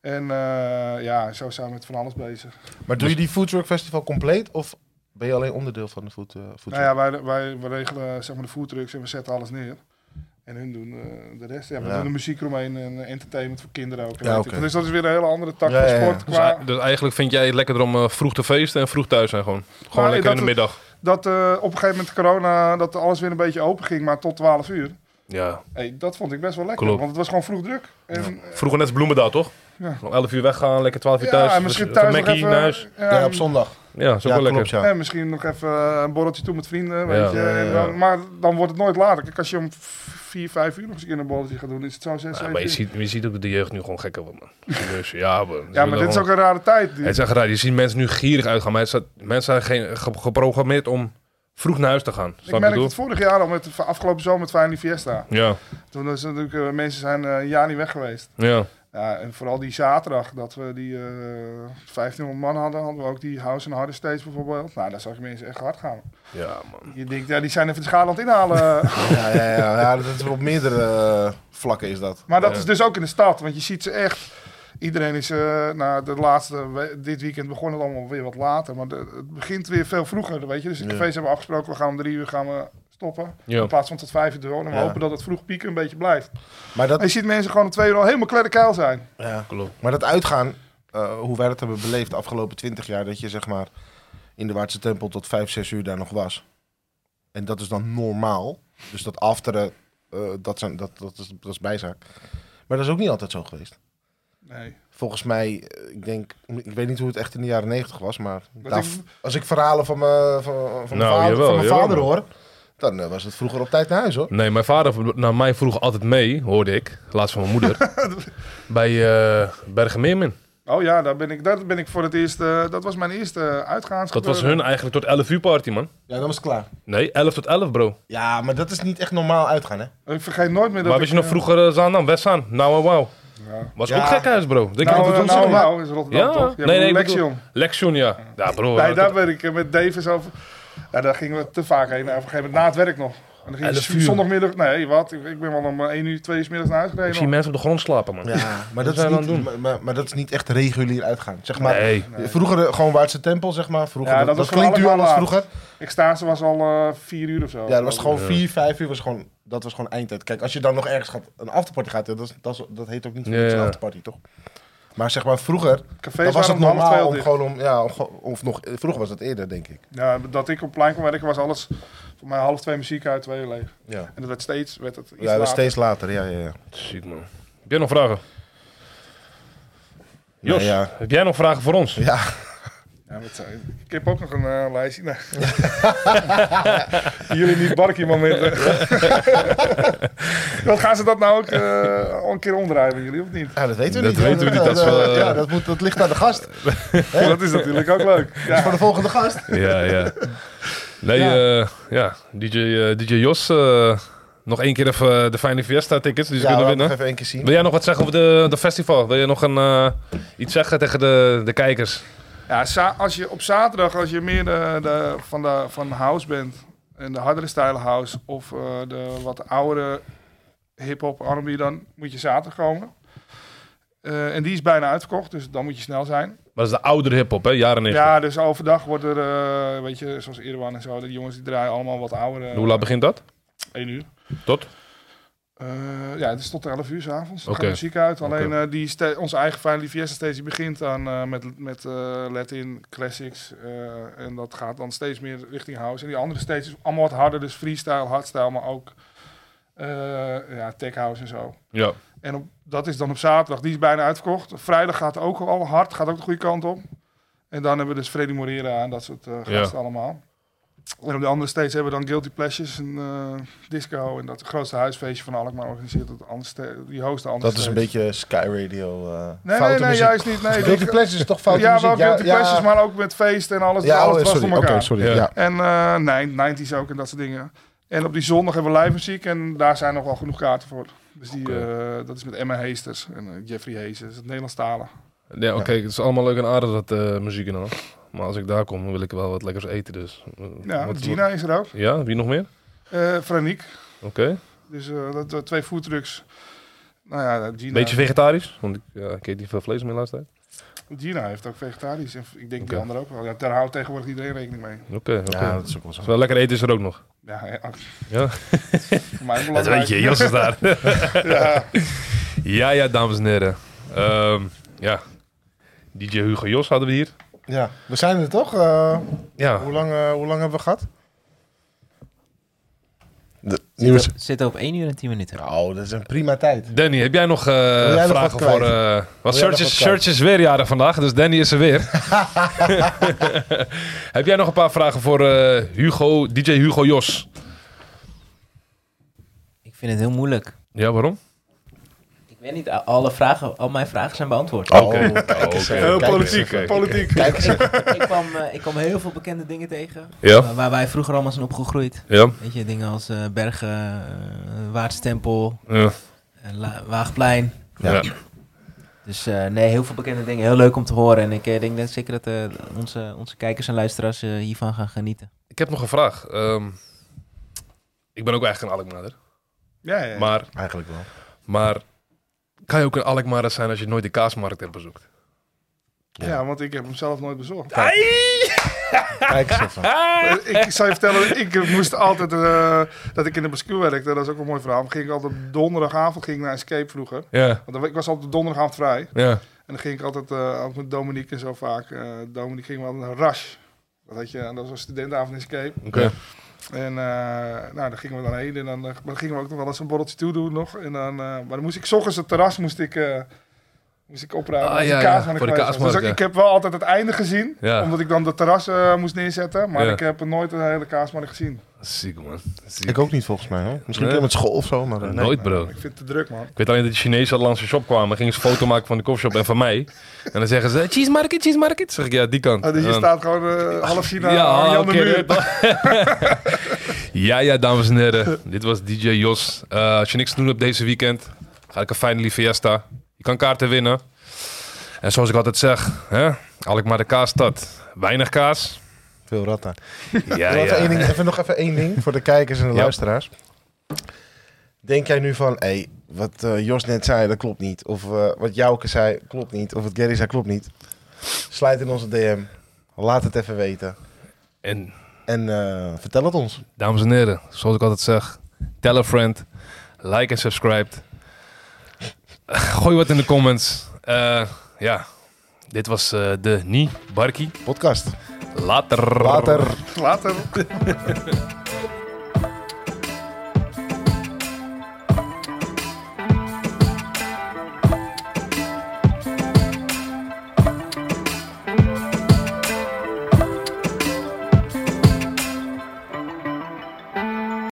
S3: En eh, ja, zo zijn we met van alles bezig.
S2: Maar doe je die Foodtruck Festival compleet of ben je alleen onderdeel van de food, eh, foodtruck?
S3: Nou ja, wij, wij, wij regelen zeg maar, de foodtrucks en we zetten alles neer. En hun doen eh, de rest. Ja, we
S2: Ja.
S3: doen de muziek eromheen en eh, entertainment voor kinderen ook. en
S2: Ja,
S3: weet ik.
S2: oké.
S3: Dus dat is weer een hele andere tak
S2: Ja,
S3: van
S2: ja, ja.
S3: sport.
S1: Dus,
S3: Qua,
S1: ei- dus eigenlijk vind jij het lekkerder om eh, vroeg te feesten en vroeg thuis zijn gewoon. Gewoon
S3: Nou,
S1: lekker in de
S3: dat-
S1: middag.
S3: dat eh, op een gegeven moment corona, dat alles weer een beetje open ging, maar tot 12 uur.
S1: Ja.
S3: Hey, dat vond ik best wel lekker,
S1: Klopt.
S3: want het was gewoon vroeg druk. En, eh,
S1: Vroeger net als Bloemendaal, toch?
S3: Ja.
S1: Om 11 uur weggaan, lekker 12 uur thuis.
S3: en misschien
S1: even- even
S3: thuis nog
S1: Mackie
S3: even...
S1: naar huis.
S3: ja,
S2: ja, op zondag.
S1: Ja, is ook
S2: ja,
S1: wel lekker.
S2: klopt, ja.
S3: En misschien nog even eh, een borreltje toe met vrienden, weet
S1: Ja.
S3: je.
S2: Ja, ja,
S3: en
S2: ja.
S3: dan- maar dan wordt het nooit later. Kijk, als je om 4, 5 uur nog eens een keer een borreltje gaat doen, is het zo 6,
S1: Ja,
S3: 7
S1: maar je
S3: uur.
S1: ziet, je ziet ook dat de jeugd nu gewoon gekker wordt,
S3: *laughs*
S1: man. Dus ja, man.
S3: Ja, maar dit is ook een rare tijd. Die,
S1: Het is echt raar. Je ziet mensen nu gierig uitgaan. Maar het is dat- mensen zijn geen, ge- geprogrammeerd om vroeg naar huis te gaan. Snap je
S3: ik
S1: wat ik
S3: merkte
S1: bedoel?
S3: het vorig jaar al, met, afgelopen zomer met Feyenoord Fiesta.
S1: Ja,
S3: Toen is natuurlijk, eh, mensen zijn eh, een jaar niet weg geweest.
S1: ja.
S3: Ja, en vooral die zaterdag, dat we die eh 1500 man hadden, hadden we ook die House and Harder States bijvoorbeeld. Nou, daar zag je mensen echt hard gaan.
S1: Ja, man.
S3: Je denkt, ja, die zijn even de schaal aan het inhalen.
S2: Ja, ja, ja, ja, dat is op meerdere eh, vlakken is dat.
S3: maar dat
S1: Ja.
S3: is dus ook in de stad, want je ziet ze echt. Iedereen is, eh nou, de laatste, we- dit weekend begon het allemaal weer wat later. Maar de- het begint weer veel vroeger, weet je. Dus de
S2: Ja.
S3: cafés hebben afgesproken, we gaan om drie uur gaan we stoppen.
S1: Ja.
S3: In plaats van tot vijf uur door. En we
S2: Ja.
S3: hopen dat het vroeg pieken een beetje blijft.
S2: Maar
S3: En je
S2: dat,
S3: ziet mensen gewoon om twee uur al helemaal kledderkeil zijn.
S2: ja.
S1: Klopt.
S2: maar dat uitgaan, eh, hoe wij dat hebben beleefd de afgelopen twintig jaar, dat je zeg maar in de Waardse Tempel tot vijf, zes uur daar nog was. En dat is dan normaal. Dus dat afteren, eh, dat, zijn, dat, dat, is, dat is bijzaak. Maar dat is ook niet altijd zo geweest.
S3: Nee.
S2: Volgens mij, eh, ik denk, ik weet niet hoe het echt in de jaren negentig was, maar
S3: Dat
S2: daar-
S3: ik-
S2: als ik verhalen van mijn, van, van mijn
S1: Nou,
S2: vader,
S1: jawel,
S2: van mijn
S1: jawel,
S2: vader
S1: man.
S2: hoor, dan eh, was het vroeger op tijd naar huis hoor.
S1: Nee, mijn vader nam mij vroeg altijd mee, hoorde ik. Laatst van mijn
S3: *laughs*
S1: moeder. bij eh Bergenmeermin.
S3: Oh ja, daar ben ik, daar ben ik voor het eerst. eh, dat was mijn eerste uitgaans.
S1: Dat was hun eigenlijk tot 11 uur party, man.
S2: Ja, dan was het klaar.
S1: Nee, 11 tot 11, bro.
S2: Ja, maar dat is niet echt normaal uitgaan, hè?
S3: Ik vergeet nooit meer dat.
S1: maar
S3: ik,
S1: weet je nog
S3: eh,
S1: vroeger eh, Zaandam, Westzaan, nou en wauw.
S3: Ja.
S1: Was
S2: Ja.
S1: ook gekhuis, bro. Denk
S3: Nou,
S1: je
S2: het
S3: eh,
S2: ons
S3: nou,
S2: doen.
S3: nou, is Rotterdam
S1: Ja.
S3: toch? Ja,
S1: Nee, nee, ik
S3: Lexion.
S1: Lexion, ja. Ja, bro.
S3: Nee,
S1: eh,
S3: daar
S1: tot
S3: ben ik eh, met Davis over. Ja, daar gingen we te vaak heen. En Op een gegeven moment na het werk nog. En dan ging
S1: Elf
S3: je
S1: uur.
S3: zondagmiddag. Nee, wat? Ik, ik ben wel om eh, 1 uur, 2 uur 's middags naar huis
S1: Ik
S3: gereden.
S1: zie
S3: hoor.
S1: mensen op de grond slapen, man.
S2: Ja, maar dat,
S1: zou
S2: is
S1: je
S2: niet,
S1: dan doen?
S2: Maar, maar, maar dat is niet echt regulier uitgaan. Zeg maar,
S1: Nee.
S3: Nee.
S2: Vroeger eh, gewoon Waardse Tempel, zeg maar. Vroeger,
S3: Ja,
S2: dat,
S3: dat
S2: dat
S3: was
S2: klinkt nu
S3: gewoon
S2: anders
S3: allemaal
S2: vroeger.
S3: Extase was al eh, 4 uur of zo.
S2: Ja, dat was het gewoon
S1: Ja.
S2: vier, vijf uur. Was gewoon, dat was gewoon eindtijd. Kijk, als je dan nog ergens gaat, een afterparty gaat, ja, dat, is, dat, is- dat heet ook niet voor
S1: Ja,
S2: niets een
S1: ja.
S2: afterparty, toch? Maar zeg maar, vroeger
S3: Cafés
S2: dan was
S3: waren
S2: het
S3: om half
S2: normaal
S3: twee al
S2: om
S3: dicht.
S2: gewoon om, ja, om gewoon- of nog, eh, vroeger was dat eerder, denk ik.
S3: Ja, dat ik op plein kwam werken was alles voor mij half twee muziek uit, twee uur leeg.
S2: Ja,
S3: En dat werd steeds, werd het iets
S2: ja dat was
S3: later.
S2: steeds later, ja, ja, ja.
S1: Ziek, man. Heb jij nog vragen? Jos,
S2: Ja, ja.
S1: heb jij nog vragen voor ons?
S2: Ja,
S3: Ja, wat zei- ik heb ook nog een eh, lijstje. Nee. *laughs* Jullie niet barkie momenten. *laughs* Wat gaan ze dat nou ook eh, al een keer omdraaien bij jullie, of niet?
S2: Ja, dat weten we
S1: Dat
S2: niet.
S1: weten we
S2: Ja,
S1: niet, dat is wel, eh,
S2: ja, dat, moet, dat ligt aan de gast. Dat
S3: Dat is natuurlijk ook leuk.
S2: is voor
S3: Ja.
S2: de volgende gast.
S1: ja, ja. Nee, ja,
S2: Ja.
S1: ja. DJ, eh, DJ Jos, eh, nog één keer even eh, de Fijne Fiesta tickets die ze
S2: ja,
S1: kunnen
S2: laten we
S1: winnen.
S2: even één keer zien.
S1: Wil jij nog wat zeggen over de, de festival? Wil je nog een, eh, iets zeggen tegen de, de kijkers?
S3: Ja, za- als je op zaterdag, als je meer de, de- van, de, van house bent, en de hardere stijl house, of eh, de wat oudere hip-hop R&B, dan moet je zaterdag komen. Eh, en die is bijna uitverkocht, dus dan moet je snel zijn.
S1: Maar dat is de oudere hip-hop, hè? Jaren 90.
S3: Ja, dus overdag wordt er, eh, weet je, zoals Irwan en zo, de jongens die draaien allemaal wat ouder. eh,
S1: Hoe laat begint dat?
S3: één uur.
S1: Tot?
S3: Eh, ja, het is tot 11 uur s'avonds. Dan
S1: Oké.
S3: gaat muziek uit. Alleen
S1: Oké.
S3: eh, die ste- onze eigen Final Fiesta steeds die begint aan eh, met, met eh, Latin Classics. eh, en dat gaat dan steeds meer richting house. En die andere steeds is allemaal wat harder. Dus freestyle, hardstyle, maar ook eh, ja, tech house en zo.
S1: Ja.
S3: En op, dat is dan op zaterdag. Die is bijna uitverkocht. Vrijdag gaat ook al hard. Gaat ook de goede kant op. En dan hebben we dus Freddy Morera en dat soort eh, gasten
S1: Ja.
S3: allemaal. En op de andere steeds hebben we dan Guilty Pleasures en eh, disco. En dat het grootste huisfeestje van Alkmaar organiseert. Dat andere ste- die hosten andere
S2: Dat is een
S3: steeds.
S2: beetje Sky Radio. eh
S3: Nee,
S2: foute
S3: nee, nee,
S2: muziek.
S3: juist niet. Nee,
S2: Guilty
S3: die-
S2: Pleasures is toch foute
S3: ja,
S2: muziek?
S3: wel Guilty Pleasures, maar ook met feest en alles.
S2: Ja,
S3: alles
S2: oh,
S3: was voor
S2: sorry. Oké,
S3: elkaar.
S2: sorry.
S1: Ja.
S2: Ja.
S3: En eh, nee, 90s ook en dat soort dingen. En op die zondag hebben we live muziek en daar zijn nog wel genoeg kaarten voor. Dus die,
S1: Oké.
S3: eh, dat is met Emma Heesters en eh, Jeffrey Heesters, het Nederlands talen.
S1: Ja, oké. Het is allemaal leuk en aardig dat eh, muziek en alles. Maar als ik daar kom, wil ik wel wat lekkers eten, dus... eh,
S3: Ja,
S1: wat-
S3: Gina is er ook.
S1: Ja, wie nog meer?
S3: Eh Franiek.
S1: Oké.
S3: Dus eh, dat, dat twee foodtrucks. Nou ja, Gina,
S1: Beetje vegetarisch, want ik, ja, ik eet niet veel vlees meer de laatste tijd.
S3: Gina heeft ook vegetarisch. En ik denk
S1: Oké.
S3: die andere ook wel. Ja, daar houdt tegenwoordig iedereen rekening mee.
S1: Oké, oké.
S2: Ja, dat is ook wel zo.
S1: Dus wel lekker eten is er ook nog.
S3: Ja, *laughs* ja,
S1: Ja.
S3: voor
S1: *laughs*
S3: mij
S1: Dat
S3: belangrijk.
S1: weet je, Jos is *laughs* daar.
S3: Ja,
S1: ja, ja, dames en heren. Ehm, ja. DJ Hugo Jos hadden we hier.
S2: Ja, we zijn er toch? Eh,
S1: Ja,
S2: hoe, lang, eh, hoe lang hebben we gehad? De,
S4: Zitten zitten op 1 uur en 10 minuten.
S2: Nou, dat is een prima tijd.
S1: Danny, heb jij nog eh,
S2: nog wat
S1: vragen
S2: kwijt?
S1: voor... eh want
S2: nog
S1: Search
S2: wat
S1: is,
S2: kwijt?
S1: Search is weer jarig vandaag, dus Danny is er
S2: *laughs*
S1: weer. *laughs* heb jij nog een paar vragen voor eh, Hugo, DJ Hugo Jos?
S4: Ik vind het heel moeilijk.
S1: Ja, waarom?
S4: Ik weet niet, alle vragen, al mijn vragen zijn beantwoord.
S2: Oh,
S1: Oké.
S2: kijk eens,
S1: Oké.
S2: eh,
S3: heel
S2: kijk
S3: politiek.
S1: Kijk,
S3: politiek.
S2: Kijk eens.
S4: ik, kwam, eh, ik kwam heel veel bekende dingen tegen.
S1: Ja,
S4: Waar, waar wij vroeger allemaal zijn opgegroeid.
S1: ja,
S4: Weet je, dingen als eh, Bergen, eh, Waardstempel,
S1: ja.
S4: eh, La- Waagplein.
S1: ja.
S4: Dus eh, nee, heel veel bekende dingen. Heel leuk om te horen. En ik eh, denk dat zeker dat eh, onze, onze kijkers en luisteraars eh, hiervan gaan genieten.
S1: Ik heb nog een vraag. Ehm, ik ben ook eigenlijk een Alkmaarder.
S3: Ja, ja.
S1: Maar,
S2: Eigenlijk wel.
S1: maar kan je ook een Alkmaarder zijn als je nooit de kaasmarkt hebt bezoekt?
S3: ja, want ik heb hem zelf nooit bezorgd.
S2: Kijk eens even.
S3: Ik zou je vertellen, ik moest altijd, eh, dat ik in de bascule werkte, dat is ook een mooi verhaal. Ging ik altijd op donderdagavond ging ik naar Escape vroeger.
S1: Ja,
S3: Want dan- ik was altijd op donderdagavond vrij.
S1: ja.
S3: En dan ging ik altijd, eh, ook met Dominique en zo vaak, eh Dominique ging wel een rush. Dat, had je, en dat was een studentenavond in Escape.
S1: *laughs* Oké.
S3: En eh, nou, daar gingen we dan heen. En dan, eh, maar dan gingen we ook nog wel eens een borreltje toe doen nog. En dan, eh, maar dan moest ik, s ochtends het terras moest ik, eh, moest ik opruimen.
S1: Ah,
S3: als de
S1: ja, ja,
S3: kaasmarkt
S1: voor de
S3: geweest was. Dus
S1: kaasmarkt,
S3: ik-
S1: ja.
S3: ik heb wel altijd het einde gezien.
S1: Ja.
S3: Omdat ik dan de terras eh, moest neerzetten. Maar
S1: Ja.
S3: ik heb nooit de hele kaasmarkt gezien.
S1: Ziek, man. Ziek.
S2: Ik ook niet volgens mij. Hè? Misschien een
S1: Nee.
S2: keer met school of zo, maar eh, nee.
S1: Nooit, bro.
S3: Ik vind het te druk, man.
S1: Ik weet alleen dat de Chinezen langs de shop kwamen. Gingen ze een foto maken van de koffieshop en van mij. En dan zeggen ze, cheese market, cheese market. Zeg ik, ja, die kant.
S3: Ah, dus
S1: En
S3: hier
S1: dan-
S3: staat gewoon eh, half China aan
S1: hallo,
S3: Jan de muur.
S1: kerel. ja, ja, dames en heren. Dit was DJ Jos. Eh, als je niks te doen hebt deze weekend, ga ik een Finally Fiesta. Je kan kaarten winnen. En zoals ik altijd zeg, hè, Alkmaar de kaasstad. Weinig kaas.
S2: Veel ratten.
S1: *laughs* Ja,
S2: Nog even, één
S1: ja.
S2: ding, even nog even één ding voor de kijkers en de
S1: Ja.
S2: luisteraars. Denk jij nu van, hé, wat eh, Jos net zei, dat klopt niet. Of eh, wat Jouke zei, klopt niet. Of wat Gary zei, klopt niet. Slijt in onze DM. Laat het even weten.
S1: En
S2: En eh, vertel het ons.
S1: dames en heren, zoals ik altijd zeg, tell a friend, like en subscribe. Gooi wat in de comments. Eh, ja, dit was eh, de Nie Barkie.
S2: Podcast.
S1: Later.
S2: Later.
S3: Later.